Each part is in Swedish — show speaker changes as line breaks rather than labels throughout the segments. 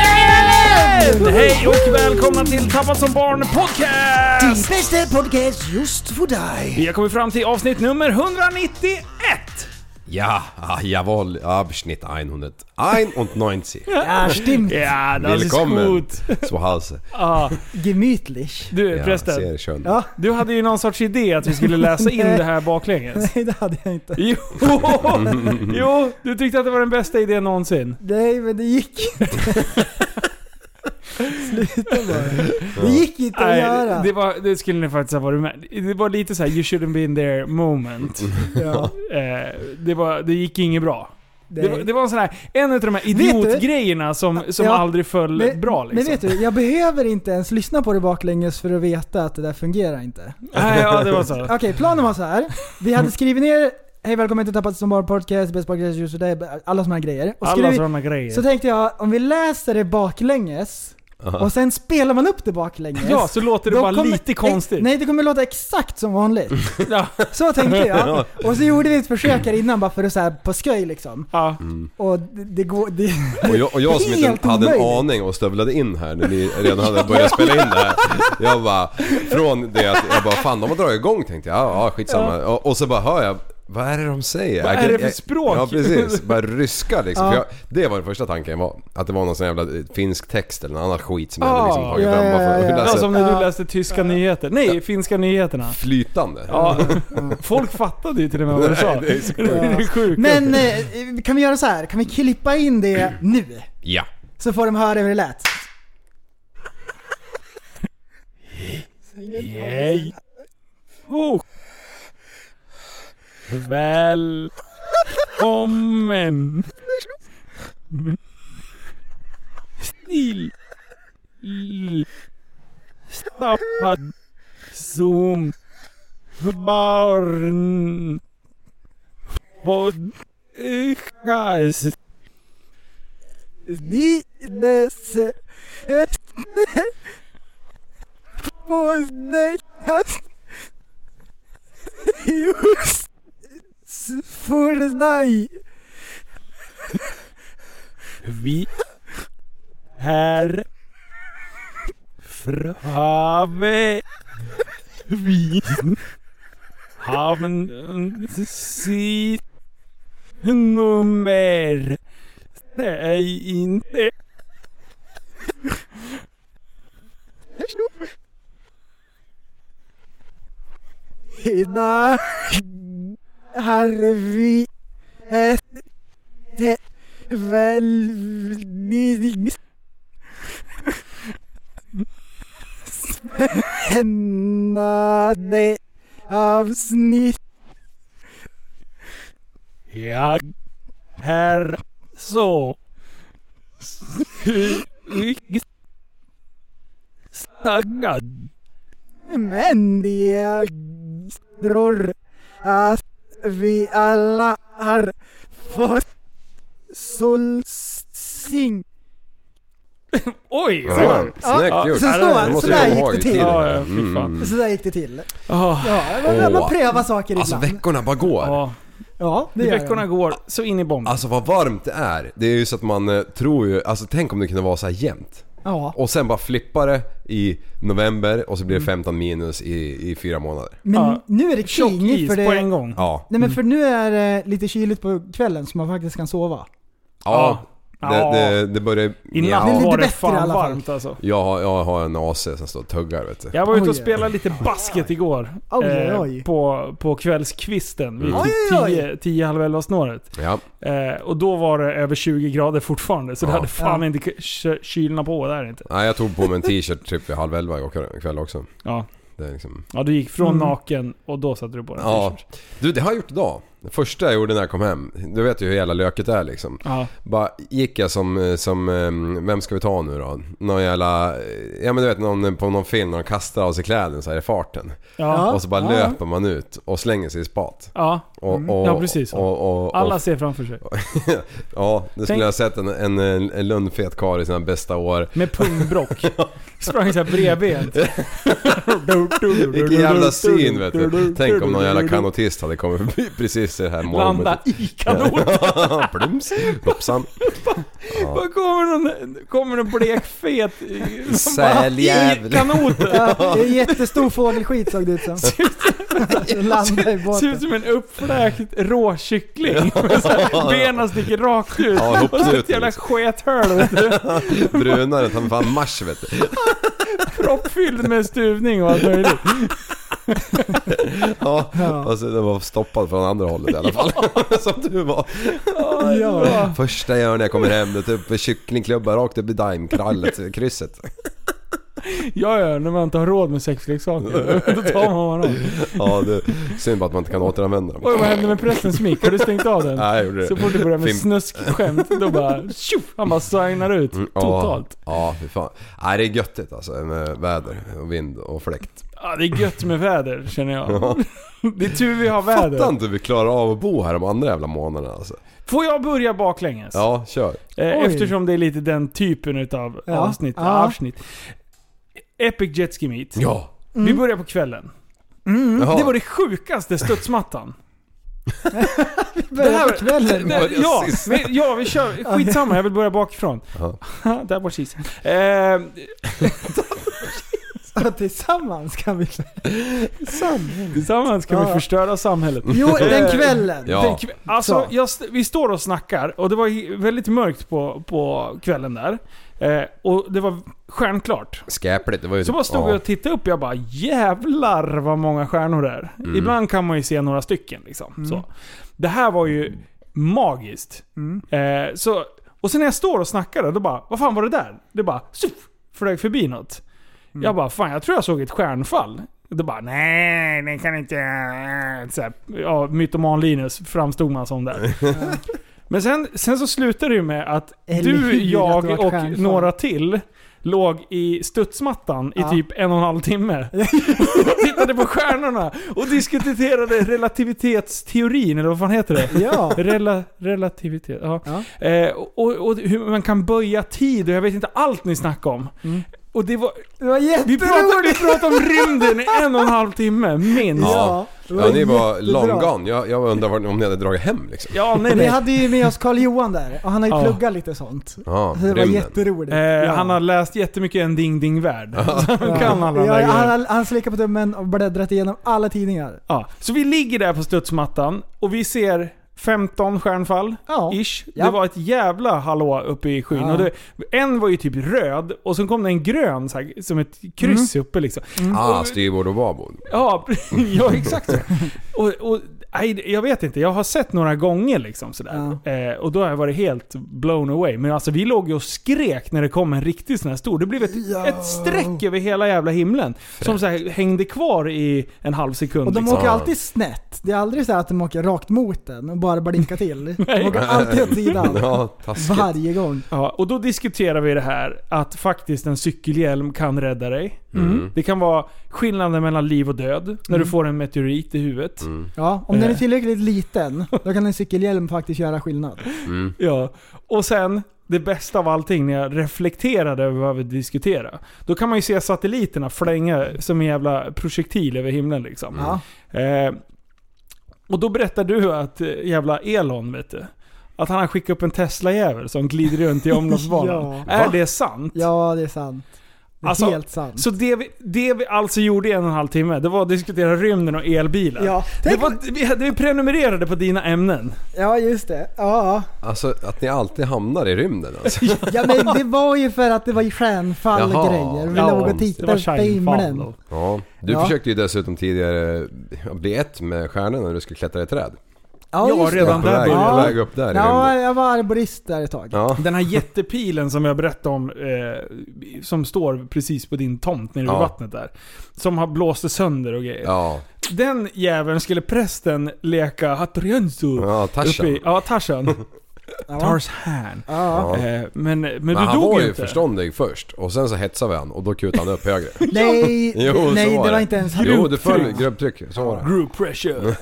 Jajamän! Hej och välkomna till Tappat som barn podcast!
Bästa podcast just för dig.
Vi har kommit fram till avsnitt nummer 191!
Ja, ah, jawohl, Abschnitt 191.
Ja, stimmt.
Ja, das ist
Willkommen
gut.
zu Hause.
Ja,
Gemütlich.
du
Ja,
förresten,
sehr schön.
Ja.
du hade ju någon sorts idé att vi skulle läsa in
Nej.
det här baklänges.
Nej, det hade jag inte.
Jo, jo, du tyckte att det var den bästa idén någonsin.
Nej, men det gick inte. Sluta bara. Det gick inte att göra.
det, var, det skulle ni faktiskt ha varit med Det var lite så här: you shouldn't been there moment.
Ja,
Eh, det, var, det gick inget bra.
nej.
Det var, det var en sån här, en av de här
du?
idiotgrejerna som, som
Ja,
aldrig föll
men,
bra liksom.
men vet du, jag behöver inte ens lyssna på det baklänges för att veta att det där fungerar inte.
Nej, ja, det var så.
Okej, planen var så här. Vi hade skrivit ner Hej välkommen till Tappat som barn podcast, bäst podcast just för dig, alla såna här grejer. Och
Alla
skrivit-
sådana grejer.
Så tänkte jag, om vi läser det baklänges och sen spelar man upp det baklänges.
ja, så låter det
då
bara
kommer-
lite konstigt.
Ex, nej, det kommer låta exakt som vanligt.
Ja,
Så tänkte jag. Och så gjorde vi ett försök här innan bara för att så här på skoj liksom.
ja.
Och det, det går... Det,
Och jag, och jag som
Helt
inte hade en
omöjligt.
aning och stövlade in här när ni redan hade börjat spela in det här. Jag bara, från det att jag bara fan de har dragit igång tänkte jag, ja ja, skitsamma. Och, och så bara hör jag, vad är det de säger?
Vad
Jag
är
kan-
det för
jag-
språk?
Ja precis, bara ryska liksom.
Ja.
För jag, det var den första tanken var, att det var någon sån jävla eh, finsk text eller någon annan skit som jag hade liksom
Ah,
tagit
ja,
fram.
ja,
bara för-
ja, ja.
hur
ja
läser jag
som när du
Ja.
läste tyska nyheter. Nej, finska nyheterna.
Flytande.
Ja. Folk fattade ju till och med vad du sa. Det är sjukt.
men eh, kan vi göra så här? Kan vi klippa in det nu?
ja.
Så får de höra hur det lät.
Nej. Oh. Välkommen. Stil. Stappad. Zoom. Barn. Podcast.
Lides... Podnejas... Just... För dig.
Vi här framme vid hamn sitt nummer. Nej, inte.
Hina... Har vi... Ett... ett- Välvnings... Spännande avsnitt.
Jag är så staggad.
Men jag tror att vi alla har fått solsting.
Oj!
Ja,
Ja,
Snyggt gjort.
så
Ja,
så-
det måste
sådär
jag
gick
komma ihåg
det
i
till.
tiden.
Ja, ja, fy
Mm.
fan.
Så där gick det till.
Ah,
Ja, man, man
Åh.
prövar saker ibland.
Alltså veckorna bara går.
ja.
Ja, det
Hur
gör
veckorna
jag.
går så in i bomben.
Alltså vad varmt det är. Det är ju så att man eh, tror ju, alltså tänk om det kunde vara så här jämnt.
Ja.
Och sen bara flippar det i november och så blir
Mm.
det 15 minus i, i fyra månader.
Men
Ja.
nu är det
Tjock
kingigt
is
för det...
på en gång. Mm.
Ja.
Nej men för nu är det lite kyligt på kvällen så man faktiskt kan sova.
Ja.
Ja.
Det, det, det börjar...
I natt
Det är
Ja.
lite
var det
bättre i
fan
alla fall.
varmt alltså.
Jag, har- jag har en AC som står och tuggar vet du.
Jag var ute och
Oj.
spelade lite basket igår.
Oj,
Eh,
oj.
på, på kvällskvisten vid
Mm.
Oj, oj, oj.
typ 10 halv elva snåret.
Ja.
Eh, och då var det över 20 grader fortfarande. Så det
Ja.
hade fan
Ja.
inte k- kö- kylna på där inte.
Nej, jag tog på mig en t-shirt typ vid halv elva igår kväll också.
Ja.
Det är liksom...
ja, du gick från
Mm.
naken och då satte du på den
Ja.
t-shirt.
Du, det har jag gjort idag. Det första jag gjorde när jag kom hem, du vet ju hur jävla löket är liksom.
Ja.
Bara gick jag som, eh, som, eh, vem ska vi ta nu då? Någon jävla, eh, ja men du vet någon eh, på någon film när de kastar av sig kläderna så här i farten.
Ja.
och så bara
ja. Mm.
löper man ut och slänger sig i spat.
ja.
Och, och,
Ja, precis.
Och, och, och,
Alla ser framför sig.
ja, det
Tänk-
skulle jag ha sett en, en, en lundfet karl i sina bästa år.
Med pungbrock. Sprang såhär bredbent.
Vilken jävla syn vet du. Tänk om någon jävla kanotist hade kommit förbi precis i det här momentet.
Landa i kanoten.
Plums! Hoppsan!
Bara kommer någon, kommer någon blek fet
Säljävel.
i kanoten.
Ja, det är jättestor fågelskit såg det ut som. Den landade
Ser
i
ut
båten.
som en uppfläkt råkyckling. Med så här, Benen sticker rakt ut.
Ja,
och så ett
ihopsluten,
jävla
liksom.
skethörl. vet du.
Brunare än fan mars vet du.
Proppfylld med stuvning och allt möjligt.
Ja,
Ja.
alltså den var stoppad från andra hållet i alla fall. Som du var.
Ja.
Första jag gör när jag kommer hem det är typ kycklingklubba rakt upp i daimkrallet, krysset.
Ja, ja, när man inte har råd med sexleksaker. Då tar man vad man har.
Ja, det, synd bara att man inte kan återanvända
Oj,
dem.
vad hände med prästens mick? Har du stängt av den?
Nej, jag gjorde
Så
det.
fort du börjar med
Fim-
snuskskämt, då bara tjoff, Han bara signar ut
Mm, ja.
totalt.
Ja, fy fan. Nej, det är göttigt alltså med väder och vind och fläkt.
Ja, det är gött med väder känner jag.
Ja.
Det är tur vi har väder.
Fattar inte hur vi klarar av att bo här de andra jävla månaderna alltså.
Får jag börja baklänges?
Ja, kör.
Eh,
Oj.
eftersom det är lite den typen utav
Ja.
avsnitt.
Ja.
avsnitt. Epic Jet Ski Meet.
Ja.
Mm.
Vi börjar på kvällen.
Jaha.
Det var det sjukaste studsmattan.
Det
här-
här kvällen.
Det-
börjar
ja,
sist.
men, ja, vi kör. Skitsamma, jag vill börja bakifrån.
Ja.
Där var sist. Eh,
Ja, Tillsammans kan vi... Tillsammans.
tillsammans kan vi
Ja.
förstöra samhället.
Jo, den kvällen.
Ja.
Den kv- alltså,
Så.
jag, st- vi står och snackar och det var ju väldigt mörkt på, på kvällen där. Eh, och det var stjärnklart.
Skäpligt, det var ju
Så bara stod jag
ja.
och tittade upp och jag bara jävlar vad många stjärnor det är.
Mm.
Ibland kan man ju se några stycken liksom. Så.
Mm.
Det här var ju magiskt. Eh, så, och sen när jag står och snackar där, då bara, vad fan var det där? Det bara, suff, flög förbi något.
Mm.
Jag bara, fan jag tror jag såg ett stjärnfall. Det bara, nej det kan inte... eh, Så här, ja, mytoman-Linus framstod man som där. Men sen, sen så slutade det ju med att
Eller
du,
hur, att
jag
det var ett
och
stjärnfall.
några till låg i studsmattan i
Ja.
typ en och en halv timme. och tittade på stjärnorna och diskuterade relativitetsteorin, eller vad fan heter det?
Ja.
Rela, relativitet, ja.
Ja.
Eh, och, och hur man kan böja tid och jag vet inte allt ni snackade om. Och det var...
Mm. Det var
Vi pratade, vi
jätteroligt!
pratade om rymden i en och en halv timme, minst. Ja,
Ja.
det
Ja, ni var
jättebra.
long gone. Jag, jag undrar var- om ni hade dragit hem liksom.
nej
Vi
nej.
hade ju med oss Karl-Johan där och han har ju
Ja.
pluggat lite sånt.
Ja,
Så det var
rymden.
jätteroligt.
Eh, han har läst jättemycket En Ding Ding Värld. Så han kan alla de
ja,
där
han,
grejerna.
har- han slickar på tummen och bläddrat igenom alla tidningar.
Ja, så vi ligger där på studsmattan och vi ser 15 stjärnfall.
Ja.
Ish. Det
Ja.
var ett jävla hallå uppe i skyn.
Ja.
Och det, en var ju typ röd och sen kom det en grön så här, som ett kryss
Mm.
uppe liksom.
Ah, styrbord och babord.
Ja, ja exakt så. Och, och, nej, jag vet inte, jag har sett några gånger liksom sådär. Eh, och då har jag varit helt blown away. Men alltså vi låg ju och skrek när det kom en riktig sån här stor. Det blev ett, ett streck över hela jävla himlen. Som så här, hängde kvar i en halv sekund.
Och de
liksom.
åker alltid snett. Det är aldrig så här att de åker rakt mot den och bara blinkar till. De åker alltid åt sidan.
Ja, taskigt.
Varje gång.
Ja, och då diskuterar vi det här att faktiskt en cykelhjälm kan rädda dig.
Mm.
Det kan vara skillnaden mellan liv och död när
Mm.
du får en meteorit i huvudet.
Mm,
Ja, om den
Eh.
är tillräckligt liten, då kan en cykelhjälm faktiskt göra skillnad.
mm.
Ja. Och sen, det bästa av allting, när jag reflekterade över vad vi diskuterade. Då kan man ju se Mm. satelliterna flänga som en jävla projektil över himlen liksom.
Ja.
Eh, Och då berättar du att eh, jävla Elon vet du. Att han har skickat upp en Tesla-jävel som glider runt i omloppsbanan.
Ja.
Är
Va?
det sant?
Ja, det är sant. Det är
Alltså,
helt sant.
Så det vi, det vi alltså gjorde i en och en halv timme, det var att diskutera rymden och elbilar.
Ja,
Det
tänk,
var, vi, hade- vi prenumererade på dina ämnen.
ja, just det. Ja,
Alltså att ni alltid hamnar i rymden alltså.
ja. ja, men det var ju för att det var ju stjärnfall och
Jaha.
grejer. Vi
Ja,
låg och
det var
tittade på
Shinefall
himlen.
då.
Ja, du
Ja.
försökte ju dessutom tidigare bli ett med stjärnorna när du skulle klättra i träd.
Ja,
just det.
redan
På
där
väg,
började
på
det.
väg upp där i
Ja,
rymden.
jag var arborist där ett tag.
Ja.
Den här jättepilen som jag berättade om, eh, som står precis på din tomt nere vid
Ja.
vattnet där. Som har blåst sönder och grejer.
Ja,
Den jäveln skulle prästen leka Hattorienzo.
ja
uppe
Tarzan.
i- Ja, Tarzan.
Ja.
Tarzan.
Ja.
Ja.
Eh, men men du
Men han
dog
var
ju
ju
inte.
förståndig först och sen så hetsade vi han och då kutade han upp högre.
Nej,
Jo, så
nej
var
det var
det.
inte ens han.
jo, du föll grupptryck. Så var det.
Group pressure.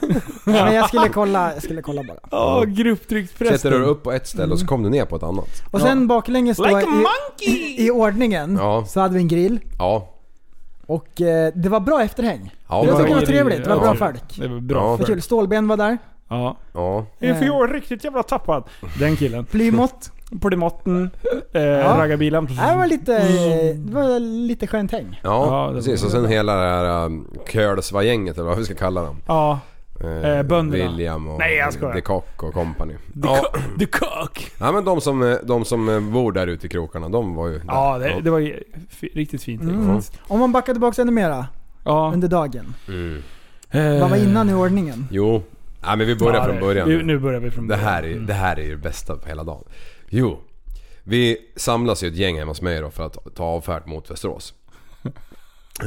Men jag skulle kolla, jag skulle kolla bara.
Ja,
Klättrade du
grupptrycksprästen.
upp på ett ställe och så kom du ner på ett annat.
Och sen baklänges då
Like a
i,
monkey!
i ordningen
Ja.
så hade vi en grill.
Ja.
Och eh, det var bra efterhäng.
Ja,
Det
men-
tycker jag var trevligt. Det var
Ja.
bra folk.
Det var bra
Ja.
Det var kul.
folk.
Stålben var där.
Ja.
ja.
If you're riktigt jävla tappad. Den killen.
Plymouth.
Polymotten, eh,
Ja.
raggarbilen.
Det här var lite, eh, det var lite skönt häng.
Ja,
Ja, det
precis.
var-
Och sen hela det här um, Kölsva-gänget eller vad vi ska kalla dem.
Ja. Eh, bönderna.
William och
Nej, jag skojar.
De Kock och company.
The,
Ja,
co- the cock!
ja, men de som, eh, de som eh, bor där ute i krokarna, de var ju där.
Ja, det, det var ju fi- riktigt fint.
Mm. Om man backar tillbaka ännu mera
Ja.
under dagen.
Mm.
Vad var innan i ordningen?
Jo. Ja, men vi börjar
Ja,
från
det-
början.
Nu, nu börjar vi från
Det
början.
här, är, det här är ju det bästa på hela dagen. Jo, vi samlas ju ett gäng hemma hos mig då för att ta avfärd mot Västerås.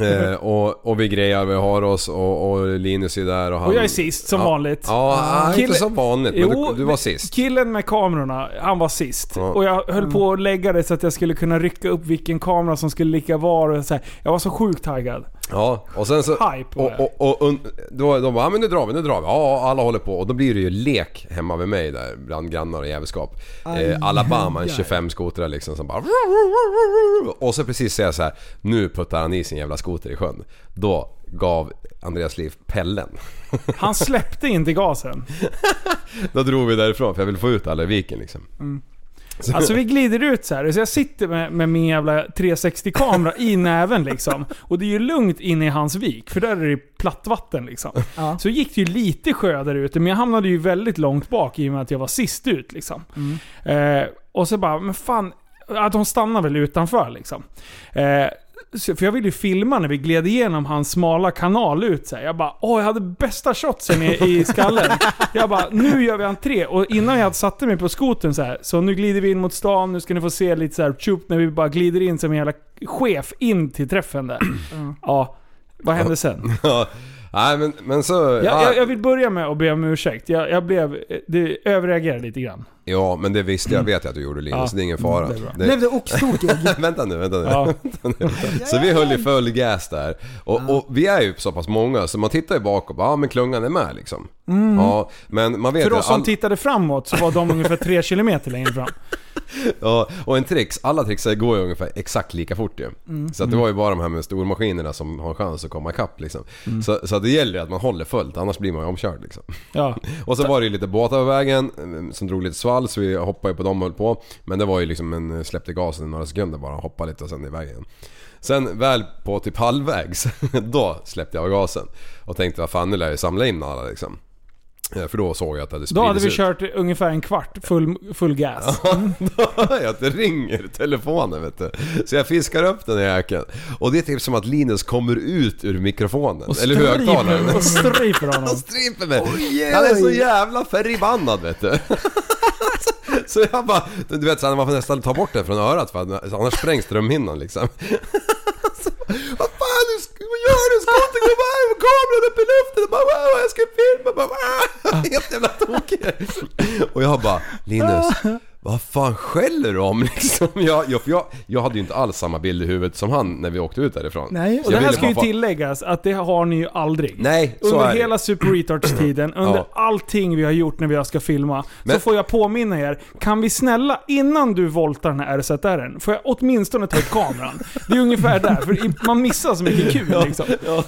eh, och, och vi grejar, vi har oss och, och Linus är där och han...
Och jag är sist, som
ja.
vanligt.
Ja, ah,
Kille-
inte som vanligt men
Jo,
du, du var sist.
Killen med kamerorna, han var sist.
Ja. Mm.
Och jag höll på att lägga det så att jag skulle kunna rycka upp vilken kamera som skulle ligga var och så här. Jag var så sjukt taggad.
Ja, och sen så...
Hype var
och,
jag.
och, och, und- då, de bara, ja men nu drar vi, nu drar vi. Ja, alla håller på. Och då blir det ju lek hemma vid mig där bland grannar och jävelskap.
Aj,
Eh, Alabama, en
aj.
25 skotrar liksom som bara... Och så precis säger jag så här, nu puttar han i sin jävla skoter i sjön. Då gav Andreas Liv pellen.
Han släppte inte gasen.
Då drog vi därifrån för jag ville få ut alla i viken liksom.
Alltså vi glider ut så här. Så jag sitter med, med min jävla 360-kamera i näven liksom. Och det är ju lugnt inne i hans vik, för där är det plattvatten liksom.
Ja.
Så gick det ju lite sjö där ute, men jag hamnade ju väldigt långt bak i och med att jag var sist ut liksom. Eh, och så bara, men fan. Att de stannar väl utanför liksom. Eh, så- för jag ville ju filma när vi gled igenom hans smala kanal ut så här. Jag bara, åh jag hade bästa shotsen i, i skallen. jag bara, nu gör vi entré. Och innan jag hade satte mig på skoten så här. så nu glider vi in mot stan, nu ska ni få se lite så här, tjup, när vi bara glider in som en jävla chef in till träffen där. Ja, vad hände sen?
Ja. Nej men, men så...
Jag,
ja.
jag, jag vill börja med att be om ursäkt. Jag, jag blev... Det överreagerade lite grann.
ja men det visste jag, vet jag att du gjorde Linus.
Ja.
Det är ingen fara.
Det är bra.
Det-
Blev du oxtokig?
vänta nu, vänta nu.
Ja.
Så vi höll i full gas där. Och, och vi är ju så pass många så man tittar ju bakåt ja men klungan är med liksom.
Mm.
Ja, men man vet
För
ju,
oss som
all-
tittade framåt så var de ungefär tre kilometer längre fram.
ja, och en trix, alla trixar går ju ungefär exakt lika fort ju.
Mm.
Så att det var ju bara de här med stormaskinerna som har en chans att komma ikapp liksom.
Mm.
Så, så att det gäller ju att man håller fullt annars blir man ju omkörd liksom.
Ja.
Och så var det ju lite båtar på vägen eh, som drog lite svall så vi hoppade ju på dem och höll på. Men det var ju liksom en, eh, släppte gasen i några sekunder bara, hoppade lite och sen iväg igen. Sen väl på typ halvvägs, då släppte jag av gasen. Och tänkte vad fan nu lär jag samla in alla liksom. Eh, För då såg jag att det hade
Då hade vi
spridits ut.
kört ungefär en kvart full, full gas.
Då hör jag att det ringer i telefonen vet du. Så jag fiskar upp den här jäkeln. Och det är typ som att Linus kommer ut ur mikrofonen. eller
Stryper-
högtalaren.
Och stryper honom.
Han stryper mig. Han är så jävla förbannad vet du. Så jag bara, du vet så här, man får nästan ta bort den från örat för att- annars sprängs drömhinnan liksom. Så, Vad fan du, sk- vad gör du? Skottet går bara, med kameran upp i luften och bara wow, jag ska filma. Bara, wow. Helt jävla tokig. Och jag bara, Linus, vad fan skäller du om liksom? Jag, jag, för jag, jag hade ju inte alls samma bild i huvudet som han när vi åkte ut därifrån.
Nej,
Så
Och
jag
det här
ville
ska ju
bara få-
tilläggas att det har ni ju aldrig.
Nej, så
under
är det.
hela Super Retards tiden, under
Ja.
allting vi har gjort när vi ska filma, så
Men-
får jag påminna er. Kan vi snälla, innan du voltar den här RZR'n, får jag åtminstone ta upp kameran? Det är ungefär där, för i- man missar så mycket kul liksom.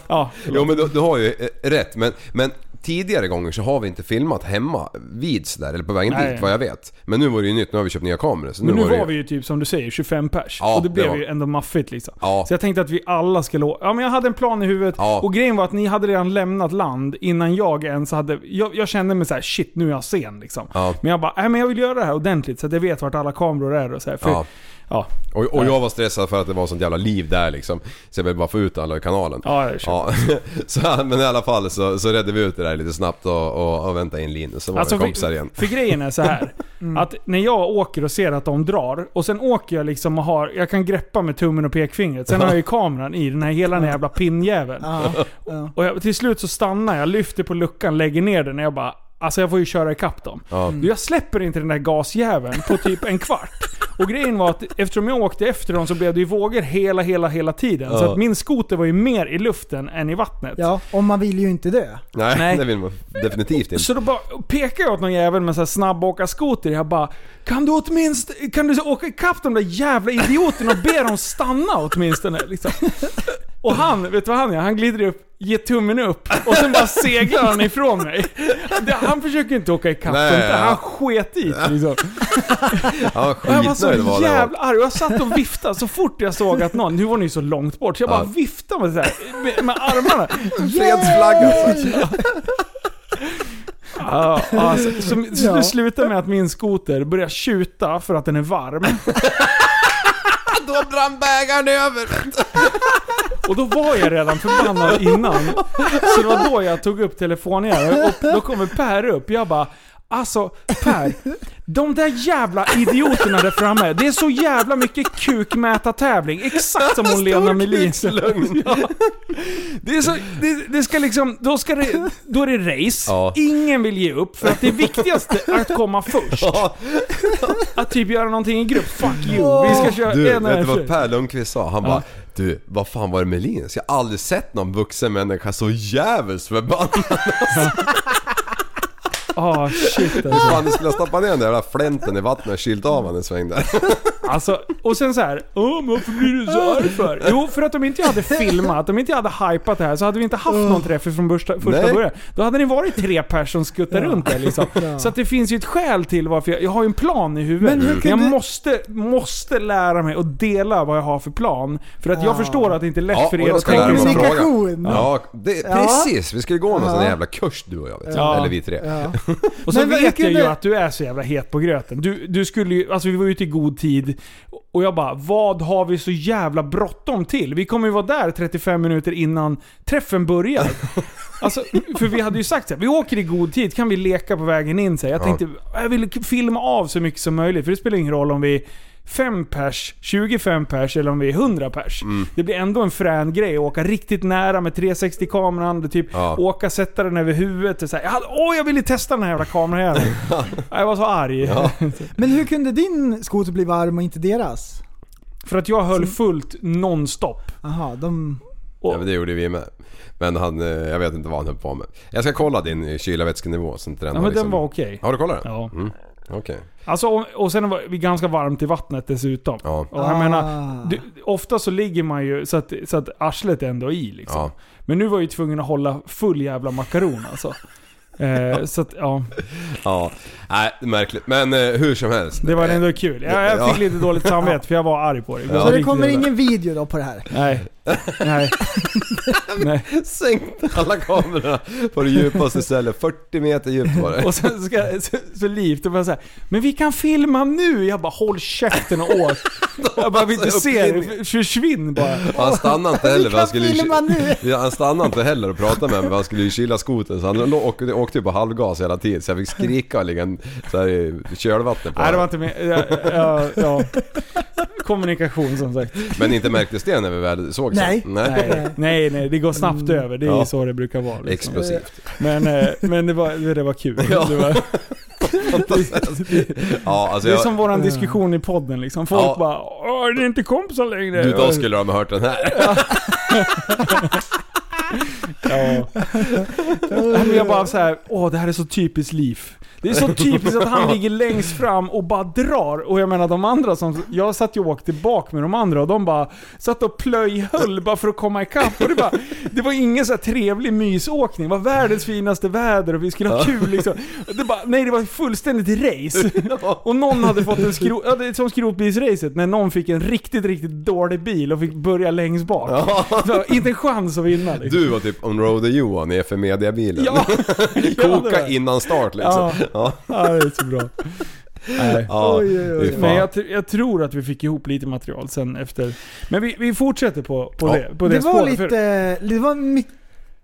Ja,
Jo men du, du har ju eh, rätt men, men tidigare gånger så har vi inte filmat hemma vid sådär, eller på vägen
Nej.
dit vad jag vet. Men nu var det ju nytt, nu har vi köpt nya kameror. Så
Men nu var
det
vi ju typ som du säger, 25 pers.
Ja,
och det
det
blev
var-
ju ändå maffigt liksom.
Ja.
Så jag tänkte att vi alla skulle å- Ja men jag hade en plan i huvudet.
Ja.
Och grejen var att ni hade redan lämnat land innan jag ens hade... Jag, jag kände mig så här: shit nu är jag sen liksom.
Ja.
Men jag bara, nej men jag vill göra det här ordentligt så att jag vet vart alla kameror är och så här. För,
Ja.
ja. Ja.
Och, och jag var stressad för att det var sånt jävla liv där liksom. Så jag ville bara få ut alla i kanalen.
Ja, jag
ja. så, Men i alla fall så, så redde vi ut det där lite snabbt och, och, och väntade in Linus. Så var
Alltså,
vi Alltså, kompisar igen.
För, för grejen är så här
Mm.
Att när jag åker och ser att de drar, och sen åker jag liksom och har... Jag kan greppa med tummen och pekfingret. Sen har jag ju kameran i den här hela den här jävla pinnjäveln.
Ja, ja.
Och jag, till slut så stannar jag, lyfter på luckan, lägger ner den och jag bara Alltså jag får ju köra ikapp dem.
Ja.
Mm.
Du, Jag släpper inte den där gasjäveln på typ en kvart. Och grejen var att eftersom jag åkte efter dem så blev det ju vågor hela, hela, hela tiden. Så
Ja.
att min skoter var ju mer i luften än i vattnet.
ja, och man vill ju inte dö.
Nej,
Nej.
det vill man definitivt inte.
Så då bara pekar jag åt någon jävel med så här snabbåkarskoter. Jag bara Kan du åtminstone... Kan du åka ikapp de där jävla idioterna och be dem stanna åtminstone? Liksom. Och han, vet du vad han gör? Han glider upp, ger tummen upp och sen bara seglar han ifrån mig. Det- Han försöker inte åka ikapp
Nej,
dem, utan
ja.
han sket i det, liksom.
Ja,
Och jag var så
skitnöjd var det.
jävla arg. Och Jag satt och viftade så fort jag såg att någon... Nu var ni ju så långt bort, så jag bara
Ja.
viftade med, så här, med, med armarna.
Fredsflagga alltså.
Ja, alltså, så, så
Ja.
det slutar med att min skoter börjar tjuta för att den är varm.
Då brann bägaren över.
Och då var jag redan förbannad innan. Så det var då jag tog upp telefonen igen. Och då kommer Per upp. Jag bara Alltså Per, de där jävla idioterna där framme. Det är så jävla mycket kukmätartävling. Exakt som hon Lena Melin sa.
Storkukslugn.
Ja. Det, är så, det, det ska liksom, då, ska det, då är det race.
Ja.
Ingen vill ge upp för att det viktigaste är att komma först.
Ja.
Att typ göra någonting i grupp. Fuck you. Vi ska köra
Du,
en
vet du
och
vad
en tjej.
Per Lundqvist sa? Han bara Du, vad fan var det med Linus? Jag har aldrig sett någon vuxen människa så djävulskt förbannad.
Ah shit alltså.
Fan, ni skulle ha stoppat ner den där jävla flänten i vattnet och kylt av han en sväng där.
Alltså, och sen så här. Åh, men varför blir du
Ah.
så arg för? Jo, för att om inte jag hade filmat, om inte jag hade hypat det här så hade vi inte haft
Ah.
någon träff från första, första
Nej.
början. Då hade ni varit tre personer som skuttar runt där liksom. Så att det finns ju ett skäl till varför jag, jag har ju en plan i huvudet.
Men
Men
hur
jag
kunde-
måste, måste lära mig att dela vad jag har för plan. För att jag
Ja.
förstår att det inte är lätt
Ja,
för
och
er
jag
att
ska lära mig
tänka
fråga.
Kommunikation.
Ja, det,
Ja.
precis. Vi skulle gå någon sån
Ja.
jävla kurs du och jag vet.
Ja.
Eller vi tre.
Ja.
Och så
Men vad-
vet
hur
jag ju
kunde-
att du är så jävla het på gröten. Du, du skulle ju, alltså vi var ute i god tid och jag bara, vad har vi så jävla bråttom till? Vi kommer ju vara där 35 minuter innan träffen börjar. Alltså, för vi hade ju sagt så här, vi åker i god tid, kan vi leka på vägen in? Så här. Jag
Ja.
tänkte, jag vill filma av så mycket som möjligt, för det spelar ingen roll om vi är 5 pers, 25 pers eller om vi är 100 pers.
Mm.
Det blir ändå en frän grej att åka riktigt nära med 360-kameran, det typ
Ja.
åka, sätta den över huvudet. och Så här, jag hade, åh, jag ville testa den här jävla kameran igen. jag var så arg.
Men hur kunde din skoter bli varm och inte deras?
För att jag höll fullt nonstop.
Aha, de...
Ja, men det gjorde vi med. Men han, eh, jag vet inte vad han höll på med. Jag ska kolla din eh, kyla vätskenivå så inte den
Ja,
har
men den
liksom...
var okej.
Har du kollat den?
Ja.
Mm. Okej.
Alltså, och, och sen var vi ganska varmt i vattnet dessutom.
Ja.
Och jag menar,
Ah.
du, ofta så ligger man ju så att, så att arslet är ändå i liksom.
Ja.
Men nu var jag ju tvungen att hålla full jävla makaron alltså. Eh, så att, ja,
Ja. Nej, det är märkligt. Men eh, hur som helst.
det var ändå kul. Jag, jag fick
Ja.
lite dåligt samvete för jag var arg på det.
Ja.
Så det
Riktigt
kommer
jävla-
ingen video då på det här?
Nej. Nej. Nej.
Sänkte alla kamerorna på det djupaste stället. 40 meter djupt var det.
Och sen ska, så, så Liv, då var jag så här, men vi kan filma nu! Jag bara håll käften och åt. Jag bara vill inte se det, försvinn bara.
Och Han stannade inte heller för han skulle ju...
filma nu.
Ja, Han stannade inte heller och pratade med mig för han skulle ju kyla skotern så han lå- åkte, åkte ju på halvgas hela tiden så jag fick skrika och ligga en- så här i kölvattnet på
Nej det var
honom.
inte med. Ja, ja, ja. Kommunikation som sagt.
Men inte märktes det när vi väl såg sen.
Nej.
Nej, nej, nej det går snabbt över. Det är
Ja.
ju så det brukar vara. Liksom.
Explosivt.
Men, eh, men det, var, det var kul.
Ja.
Det, var,
Ja, alltså
det är
jag,
som våran diskussion i podden liksom. Folk
Ja.
bara Åh, det är inte kompisar längre.
du, då skulle de ha hört den här.
ja. Nej, men jag bara så här, åh det här är så typiskt liv. Det är så typiskt att han ligger längst fram och bara drar. Och jag menar de andra som... Jag satt ju och åkte bak med de andra och de bara satt och plöjhöll bara för att komma ikapp. Och det, bara, det var ingen så här trevlig mysåkning. Det var världens finaste väder och vi skulle ha kul liksom. Det bara, nej det var fullständigt race. Och någon hade fått en skrot... Ja, det är som skrotbilsracet. När någon fick en riktigt, riktigt dålig bil och fick börja längst bak. Så, inte en chans att vinna liksom.
Du var typ on-roader Johan i FM Media-bilen.
Ja! jag hade
Koka
det.
innan start liksom.
Ja.
Ja.
Ja, det är så bra. Nej.
Ja,
Oj, oj, oj.
fy fan.
Men jag, tr- jag tror att vi fick ihop lite material sen efter. Men vi, vi fortsätter på, på
Ja.
det, på det,
Det var
spåret,
lite...
För,
Det var mycket...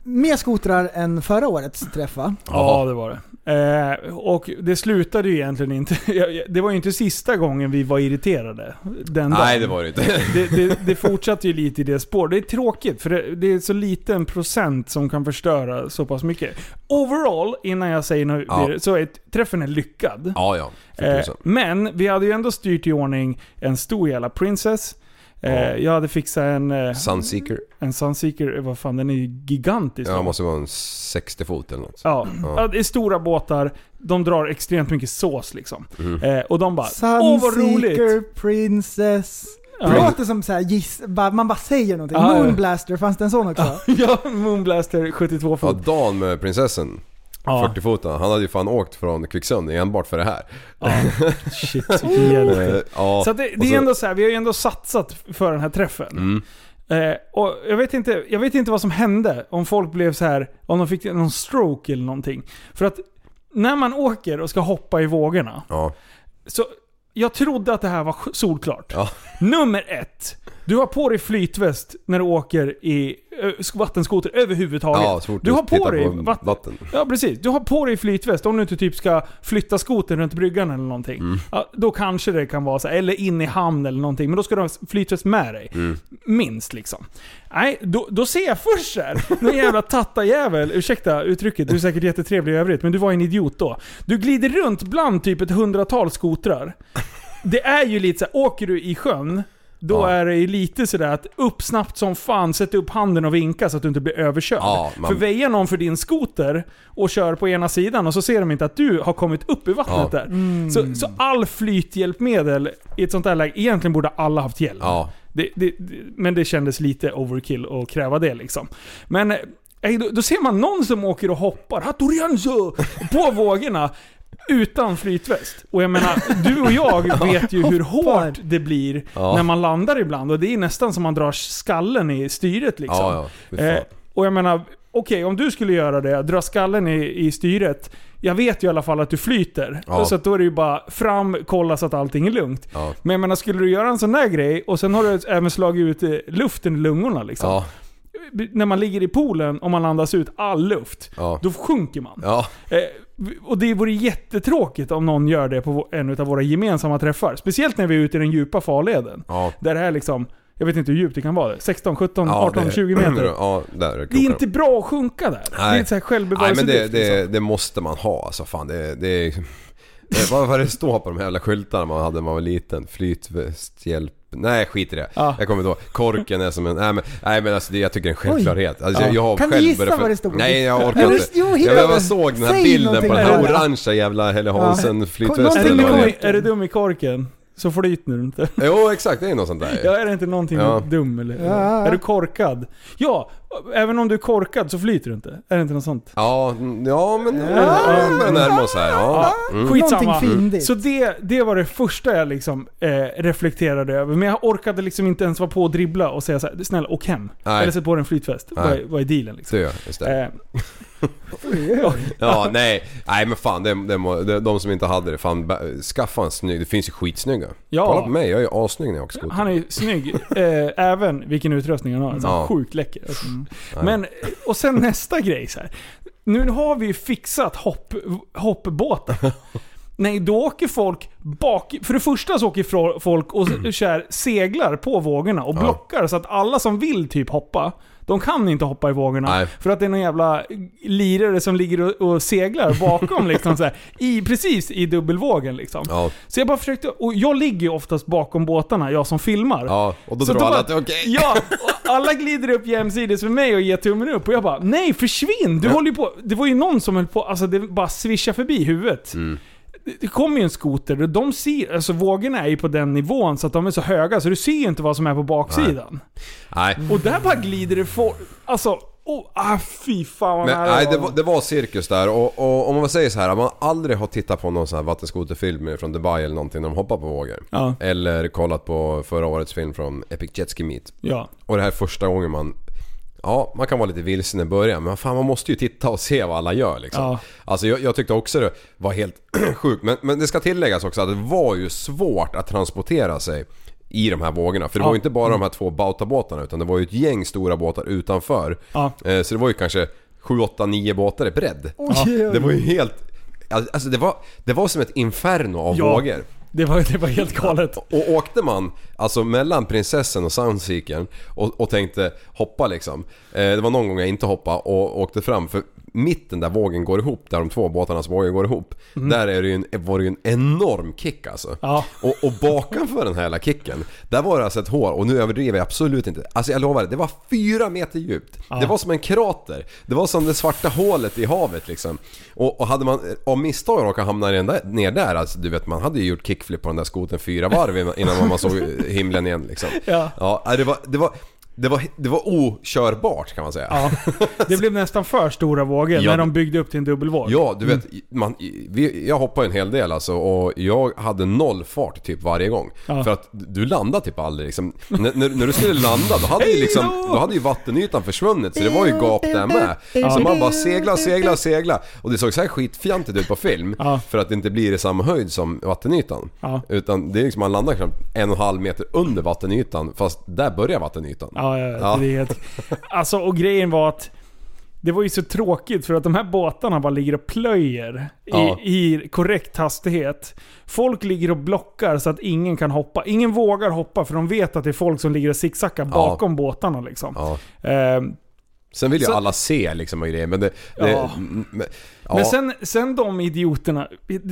Mer skotrar än förra årets träff va?
ja, det var det. Eh, och det slutade ju egentligen inte... jag- jag- Det var ju inte sista gången vi var irriterade. Den
Nej
dagen.
det var det inte.
det, det, det fortsatte ju lite i det spåret. Det är tråkigt för det, det är så liten procent som kan förstöra så pass mycket. Overall, innan jag säger något,
Ja.
så är träffen är lyckad.
Ja ja, för
Eh,
tusan.
men vi hade ju ändå styrt i ordning en stor jävla Princess. Eh,
Ja.
Jag hade fixat en, eh,
Sunseeker.
en Sunseeker, eh, vad fan den är ju gigantisk.
Ja, måste vara en 60 fot eller något.
Ja.
Ja.
ja, det är stora båtar, de drar extremt mycket sås liksom.
Mm.
Eh, och de bara Åh vad roligt!
Sunseeker, Princess.
Ja.
Det låter som såhär giss... Bara, man bara säger någonting.
Ja, ja.
Moonblaster, fanns det en sån också?
ja, Moonblaster 72
Ja,
fot.
Dan med prinsessan.
Ja,
40 foten. Han hade ju fan åkt från Kvicksund enbart för det här.
shit vilken hjälte.
Eh, Ja,
Så att det,
och
det
så-
är ändå så här, vi har ju ändå satsat för den här träffen.
Mm.
Eh, och jag vet, inte, jag vet inte vad som hände. Om folk blev så här, om de fick någon stroke eller någonting. För att när man åker och ska hoppa i vågorna.
Ja.
Så jag trodde att det här var sj- solklart.
Ja.
Nummer ett. Du har på dig flytväst när du åker i ö, vattenskoter överhuvudtaget.
Ja, så fort
du har på
tittar
dig vatten.
vatten.
Ja precis. Du har på dig flytväst om du inte typ ska flytta skoten runt bryggan eller någonting.
Mm.
Ja, då kanske det kan vara så här, eller in i hamn eller någonting. Men då ska du ha flytväst med dig.
Mm.
Minst liksom. Nej, då, då ser jag först här, någon jävla tattarjävel, ursäkta uttrycket, du är säkert jättetrevlig i övrigt, men du var en idiot då. Du glider runt bland typ ett hundratal skotrar. Det är ju lite så här, åker du i sjön, då
Ja.
är det ju lite sådär att upp snabbt som fan, sätt upp handen och vinka så att du inte blir överkörd.
Ja, man-
För väjer någon för din skoter och kör på ena sidan och så ser de inte att du har kommit upp i vattnet
Ja.
där. Så, så all flythjälpmedel i ett sånt här läge, egentligen borde alla haft hjälp.
Ja.
Det, det, det- men det kändes lite overkill att kräva det liksom. Men eh, då, då ser man någon som åker och hoppar Hattorianzo, på vågorna utan flytväst. Och jag menar, du och jag vet ju hur hårt det blir
Ja.
när man landar ibland. Och det är nästan som man drar skallen i styret liksom.
Ja, ja. Fy fan.
Eh, och jag menar, okej om du skulle göra det, dra skallen i, i styret. Jag vet ju i alla fall att du flyter.
Ja.
Så att då är det ju bara fram, kolla så att allting är lugnt.
Ja.
Men jag menar, skulle du göra en sån där grej och sen har du även slagit ut eh, luften i lungorna liksom.
Ja,
När man ligger i poolen och man andas ut all luft,
Ja.
då sjunker man.
ja.
Eh, och det vore jättetråkigt om någon gör det på vå- en av våra gemensamma träffar. Speciellt när vi är ute i den djupa farleden.
Ja.
Där det är liksom, jag vet inte hur djupt det kan vara. 16, 17,
ja
18,
det-
20 meter.
Ja, där
Det är
krokar
inte bra att sjunka där. Det är
Nej.
inte så här
Nej men det,
självbevarelsedrift.
det,
liksom.
det måste man ha alltså fan det, det är... det- Vad var det stå på de här jävla skyltarna man hade när man var liten? Flytväst, hjälp... Nej skit i det.
Ja.
Jag kommer inte ihåg. Korken är som en... Nej men, nej, men alltså, det, jag tycker det är en självklarhet. Alltså, jag, jag har
Kan du
själv
gissa
börjat för-
vad det stod?
Nej jag orkar
Jo,
inte.
jo,
jag,
hitta
jag bara
det.
såg den här
Säg
bilden
någonting
på den här
där.
orangea jävla Helle Hansen
Är du,
flytvästen.
någonting
eller vad det
dum,
med
är.
är du dum i korken så flyter du inte.
Jo exakt, det är något sånt där
Ja, är det inte någonting
Ja.
dum eller?
Ja.
Är du korkad? Ja, även om du är korkad så flyter du inte. Är det inte något sånt?
Ja, ja men... Vi börjar närma oss här. Ja. Mm.
Skitsamma.
Någonting fyndigt.
Så det, det var det första jag liksom, eh, reflekterade över. Men jag orkade liksom inte ens vara på och dribbla och säga så här: snälla åk hem.
Nej.
Eller sätt på dig en flytväst. Vad är,
Nej.
vad är dealen liksom?
Dö istället.
Eh,
Ja, nej. Nej men fan, det, det, må- det, de som inte hade det, fan bä- skaffa en snygg. Det finns ju skitsnygga.
Ja.
Kolla på mig, jag är ju assnygg när jag åker skoter. Mm.
han är ju snygg, eh, även vilken utrustning han har. Alltså,
Ja. Mm.
Sjukt läcker. Alltså. Men, och sen nästa grej så här. Nu har vi ju fixat hopp, hoppbåten. Nej, då åker folk bak... För det första så åker
Mm.
fro- folk och så här, seglar på vågorna och blockar så att alla som vill typ hoppa, De kan inte hoppa i vågorna.
Nej.
För att det är någon jävla lirare som ligger och, och seglar bakom liksom så här, i, Precis i dubbelvågen liksom.
Ja.
Så jag bara försökte, och jag ligger ju oftast bakom båtarna, jag som filmar.
Ja, och då
Så
drar
då
alla
bara-
att det är okej.
Ja, och alla glider upp jämsides med mig och ger tummen upp. Och jag bara Nej, försvinn! Du håller ju på... Det var ju någon som höll på... Alltså det bara svischade förbi huvudet.
Mm.
Det- Det kommer ju en skoter och de ser... Alltså vågorna är ju på den nivån så att de är så höga så du ser ju inte vad som är på baksidan.
Nej.
Och där bara glider det for... Alltså... Oh, ah, fy fan vad
Men,
nära
nej, det
var.
var, det var cirkus där och, och om man säger så här, om man aldrig har tittat på någon sån här vattenskoterfilm från Dubai eller någonting när de hoppar på vågor.
Ja.
Eller kollat på förra årets film från Epic Jet Ski Meet.
Ja.
Och det här är första gången man... Ja, man kan vara lite vilsen i början men fan man måste ju titta och se vad alla gör liksom.
Ja.
Alltså jag, jag tyckte också det var helt sjukt. Men, men det ska tilläggas också att det var ju svårt att transportera sig i de här vågorna. För det var ju inte bara de här två Bautabåtarna utan det var ju ett gäng stora båtar utanför.
Ja.
Eh, Så det var ju kanske 7, 8, 9 båtar i bredd.
Oj, oj, oj.
Det var ju helt... Alltså det var, det var som ett inferno av
Ja.
vågor.
Det var, det var helt galet.
Och åkte man alltså mellan prinsessen och Soundseekern och, och tänkte hoppa liksom. Eh, det var någon gång jag inte hoppade och åkte fram för mitten där vågen går ihop, där de två båtarnas vågor går ihop. Där är det ju en, var det ju en enorm kick alltså.
Ja.
Och, och bakanför den här hela kicken, där var det alltså ett hål och nu överdriver jag absolut inte. Alltså jag lovar, det var fyra meter djupt. Det var som en krater. Det var som det svarta hålet i havet liksom. Och, och hade man av misstag råkat hamna ner där- ner där, alltså du vet man hade ju gjort kickflip på den där skoten fyra varv innan- innan man såg himlen igen liksom.
Ja.
ja det var... Det var det var, det var okörbart kan man säga.
Ja. Det blev nästan för stora vågor
Ja.
när de byggde upp till en dubbelvåg.
Ja, du
Mm.
vet, man, vi, jag hoppar en hel del alltså och jag hade noll fart typ varje gång.
Ja.
För att du landade typ aldrig liksom. N- när, när du skulle landa då hade, ju liksom,
Hej då!
då hade ju vattenytan försvunnit så det var ju gap där med. Så man bara segla, segla, segla. Och det såg så här skitfjantigt ut på film
Ja.
för att det inte blir i samma höjd som vattenytan.
Ja.
Utan det är liksom, man landar knappt en och en halv meter under vattenytan fast där börjar vattenytan.
Ja, ja,
Ja.
Det är helt... Alltså, och grejen var att det var ju så tråkigt för att de här båtarna bara ligger och plöjer i,
Ja.
i korrekt hastighet. Folk ligger och blockar så att ingen kan hoppa. Ingen vågar hoppa för de vet att det är folk som ligger och zigzaggar bakom båtarna liksom.
Ja.
Ehm,
Sen vill ju
Så-
alla se liksom och grejer men det... det
Ja.
men, ja.
Men sen, sen de idioterna,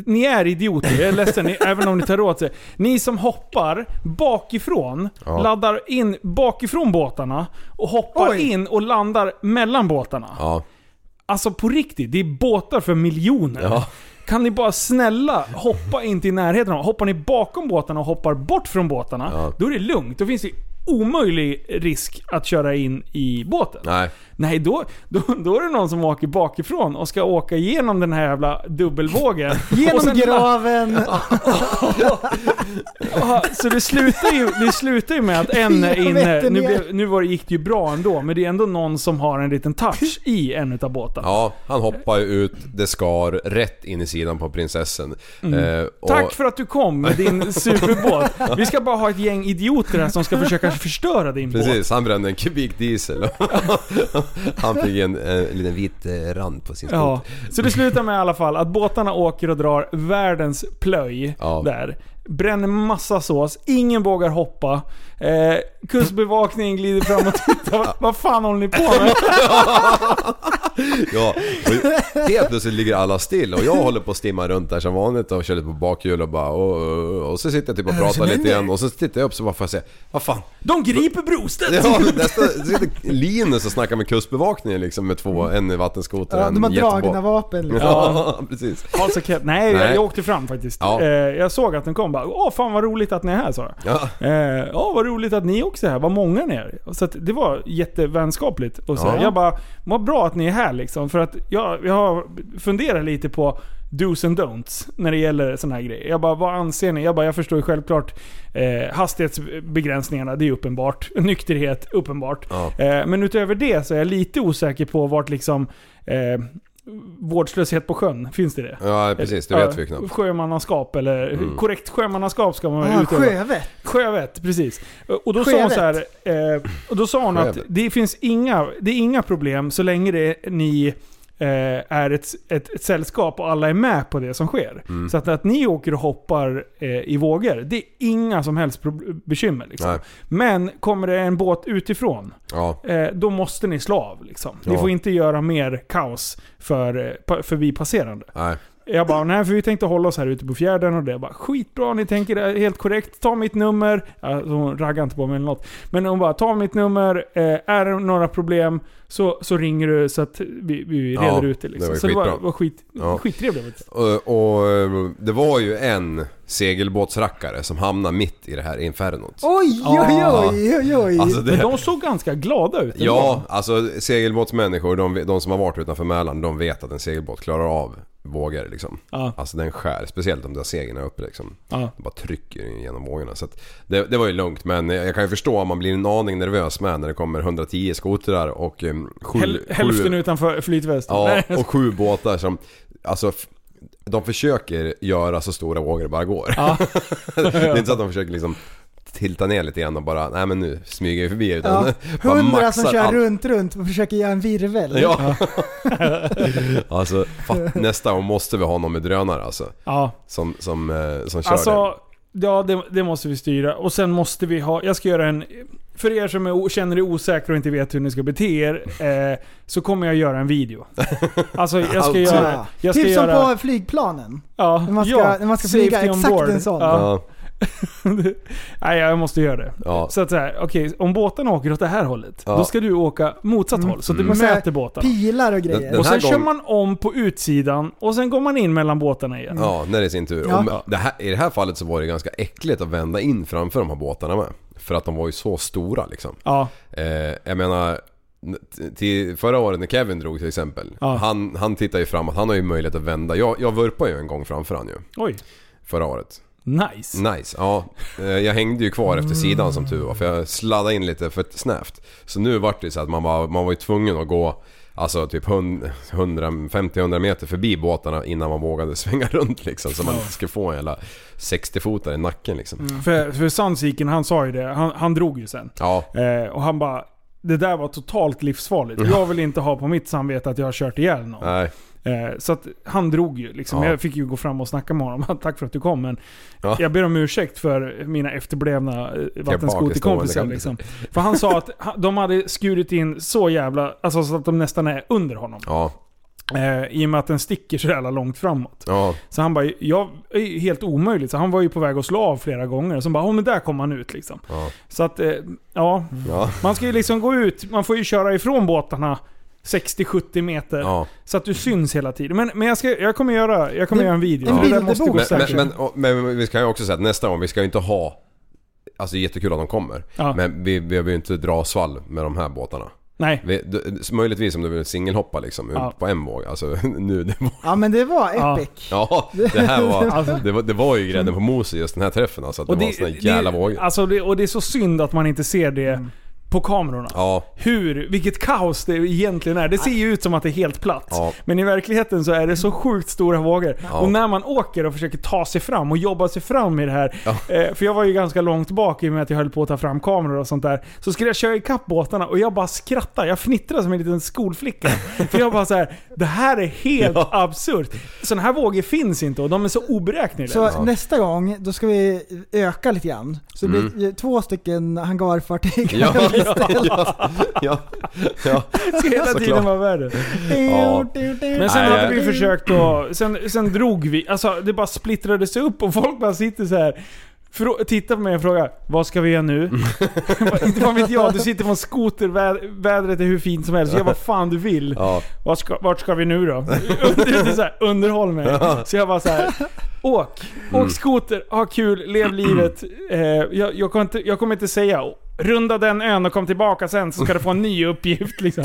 ni är idioter, jag är ledsen, ni, även om ni tar åt er. Ni som hoppar bakifrån,
Ja.
laddar in bakifrån båtarna och hoppar
Oj.
in och landar mellan båtarna.
ja.
Alltså på riktigt, det är båtar för miljoner.
Ja.
Kan ni bara snälla hoppa inte i närheten av dem? Hoppar ni bakom båtarna och hoppar bort från båtarna,
Ja.
då är det lugnt. Då finns det omöjlig risk att köra in i båten.
Nej.
Nej, då, då, då är det någon som åker bakifrån och ska åka igenom den här jävla dubbelvågen. Och
Genom
sen-
graven.
Ja, Så det slutar ju, det slutar ju med att en
Jag
är
vet
inne.
det
Nu,
mer.
blev- nu var, det- gick det ju bra ändå, men det är ändå någon som har en liten touch i en utav båtarna.
Ja, han hoppar ju ut, det skar rätt in i sidan på prinsessan. Eh, och,
Tack för att du kom med din superbåt. Vi ska bara ha ett gäng idioter här som ska försöka förstöra din båt.
Precis, han brände en kubik diesel och han fick en, en liten vit eh, rand på sin
Ja.
skot.
Så det slutar med i alla fall att båtarna åker och drar världens plöj
Ja.
där. Bränner massa sås, ingen vågar hoppa. Eh, kustbevakningen glider fram och tittar. Vad- Vad fan håller ni på med?
Ja. och helt plötsligt ligger alla still och jag håller på att stimma runt där som vanligt och kör lite på bakhjul och bara och, och, och så sitter jag typ och pratar lite igen och så tittar jag upp så bara får jag se, vad fan?
De griper Brostedt!
Ja, nästa, så sitter Linus och snackar med kustbevakningen liksom med två, en i vattenskoter och
Ja,
en
de har
jättebåt.
dragna vapen liksom.
Ja, precis.
Alltså, Kev- nej,
Nej.
Jag, jag åkte fram faktiskt.
Ja.
Eh, jag såg att den kom bara Åh fan vad roligt att ni är här sa jag.
Ja.
Eh, ja, vad roligt att ni också är här. Vad många ni är. Så att det var jättevänskapligt. Och så
Ja.
Jag bara, vad bra att ni är här liksom. För att jag, jag har funderat lite på dos and don'ts när det gäller sådana här grejer. Jag bara, vad anser ni? Jag bara, jag förstår ju självklart eh, hastighetsbegränsningarna, det är uppenbart. Nykterhet, uppenbart.
Ja.
Eh, men utöver det så är jag lite osäker på vart liksom eh, vårdslöshet på sjön, finns det det?
Ja, precis. Det vet vi knappt.
Sjömannaskap eller
Mm.
korrekt sjömannaskap ska man
Ah,
utöva.
sjövett.
Sjövett, precis. Och då sa hon så här, eh, och då sa hon att
Sjövett.
det finns inga, det är inga problem så länge det är ni eh, är ett, ett, ett sällskap och alla är med på det som sker.
Mm.
Så att, att ni åker och hoppar eh, i vågor, det är inga som helst prob- bekymmer. Liksom.
Nej.
Men kommer det en båt utifrån,
Ja.
eh, då måste ni slå av. Liksom. Ni
Ja.
får inte göra mer kaos för, eh, pa- förbipasserande.
Nej.
Jag bara, nej för vi tänkte hålla oss här ute på fjärden och det. Bara, Skitbra, ni tänker det helt korrekt. Ta mitt nummer. Alltså, hon raggade inte på mig eller något. Men hon bara, ta mitt nummer. Eh, är det några problem så, så ringer du så att vi, vi
Ja,
reder ut det. Liksom.
det var ju
så det var,
skitbra.
var skit,
Ja.
skittrevligt. vet du.
Och, och eh, det var ju en segelbåtsrackare som hamnade mitt i det här infernot.
Oj, oj,
Ah.
oj, oj, oj.
Alltså
Men
det,
de såg ganska glada ut. ändå.
ja, alltså segelbåtsmänniskor, de, de som har varit utanför Mälaren, de vet att en segelbåt klarar av vågor liksom.
Ja.
Alltså den skär, speciellt om du har segeln här uppe liksom.
Ja.
Den bara trycker in genom vågorna. Så att det, det var ju lugnt men jag kan ju förstå om man blir en aning nervös med när det kommer 110 skotrar och eh, sju,
Häl, hälften utanför flytvästen.
Ja,
Nej.
och sju båtar som... Alltså, f- de försöker göra så stora vågor det bara går. det är inte så att de försöker liksom tilta ner lite igen och bara, nej men nu smyger vi förbi. Utan
Ja,
bara
Hundra som
maxar
kör
allt.
runt, runt och försöker göra en virvel.
Ja. alltså, fatt, nästa gång måste vi ha någon med drönare alltså.
ja.
Som, som, eh, som kör
Alltså, ja det, det måste vi styra. Och sen måste vi ha, jag ska göra en... För er som är, o- känner er osäkra och inte vet hur ni ska bete er, eh, så kommer jag göra en video. Alltså jag ska
Alltid.
göra... Jag ska
typ
göra,
som på flygplanen.
ja,
när man ska- när man ska flyga,
safety on
exakt
board.
en sån.
den.
Ja.
Ja.
Nej, jag måste göra det.
Ja.
Så att säga, okej, om båtarna åker åt det här hållet,
Ja.
då ska du åka motsatt
Mm.
håll. Så att du
Och så här,
möter båtarna.
Pilar och grejer.
Den- den
Och sen
här
kör
gången-
man om på utsidan och sen går man in mellan båtarna igen.
Ja, när det är sin tur.
Ja.
Och det här, I det här fallet så var det ganska äckligt att vända in framför de här båtarna med. För att de var ju så stora liksom.
Ja.
Eh, jag menar, t- till förra året när Kevin drog till exempel.
Ja.
Han, han tittar ju framåt, han har ju möjlighet att vända. Jag, jag vurpade ju en gång framför han ju.
Oj.
Förra året.
Nice.
Nice, ja. Eh, Jag hängde ju kvar efter sidan som tur var för jag sladdade in lite för snävt. Så nu vart det ju så att man var, man var ju tvungen att gå Alltså typ 100 150-100 meter förbi båtarna innan man vågade svänga runt liksom. Så man inte skulle få en jävla 60-fotare i nacken liksom.
För, för Sandsiken, han sa ju det. Han, han drog ju sen.
Ja,
Eh, och han bara, det där var totalt livsfarligt. Jag vill inte ha på mitt samvete att jag har kört ihjäl någon.
nej.
Eh, så att han drog ju. Liksom.
Ja.
Jag fick ju gå fram och snacka med honom. Tack för att du kom men
Ja.
jag ber om ursäkt för mina efterblivna eh, vattenskoterkompisar.
bakestående
Liksom. För han sa att ha- de hade skurit in så jävla, alltså så att de nästan är under honom.
Ja,
Eh, I och med att den sticker så jävla långt framåt.
ja.
Så han bara, jag är ju helt omöjligt. Så han var ju på väg att slå av flera gånger. Så bara, oh, men där kom han ut liksom.
Ja.
Så att, eh, ja.
Ja.
Man ska ju liksom gå ut, man får ju köra ifrån båtarna 60-70 meter.
ja.
Så att du syns hela tiden. Men, men jag, ska, jag kommer göra, jag kommer
En-
göra en video.
en
Ja.
bilderbok.
Den måste gå
Men-
Men,
säkert.
men, och- men vi ska ju också säga att nästa gång, vi ska ju inte ha... Alltså det är jättekul att de kommer.
Ja.
Men vi vi behöver ju inte dra svalg med de här båtarna.
Nej.
Vi, d- s- möjligtvis om du vill singelhoppa liksom
Ja.
på en våg. Alltså nu, det var...
Ja men det var
Ja.
epic.
Ja, det här
Alltså.
var... Det var, det var ju grädden på moset just den här träffen alltså. Att det, var såna jävla vågor.
Alltså det, och det är så synd att man inte ser det på kamerorna.
Ja.
Hur, vilket kaos det egentligen är. Det ser ju ut som att det är helt platt.
Ja.
Men i verkligheten så är det så sjukt stora vågor.
Ja.
Och när man åker och försöker ta sig fram och jobba sig fram i det här. Eh, för jag var ju ganska långt bak i och med att jag höll på att ta fram kameror och sånt där. Så skulle jag köra ikapp båtarna och jag bara skrattar. Jag fnittrar som en liten skolflicka. för jag bara så här: det här är helt absurt. Sådana här vågor finns inte och de är så oberäkneliga.
Så nästa gång, då ska vi öka lite grann. Så det
Mm.
blir två stycken hangarfartyg.
Ja, ja, ja, ja.
Det ska hela tiden
Såklart.
vara värre.
Ja.
Men sen
Nej,
hade
jag-
vi försökt att... Sen, sen drog vi. Alltså det bara splittrades upp och folk bara sitter så här. frå- Tittar på mig och frågar Vad ska vi göra nu?
Mm.
Inte fan vet jag. Du sitter på en skoter, vä- vädret är hur fint som helst. Jag bara fan du vill.
ja.
Vart ska, vart ska vi nu då? Det är så här, underhåll mig. Så jag bara så här. Åk,
Mm.
åk skoter, ha kul, lev livet. Eh, jag, jag, kommer inte, jag kommer inte säga runda den ön och kom tillbaka sen så ska du få en ny uppgift. Liksom.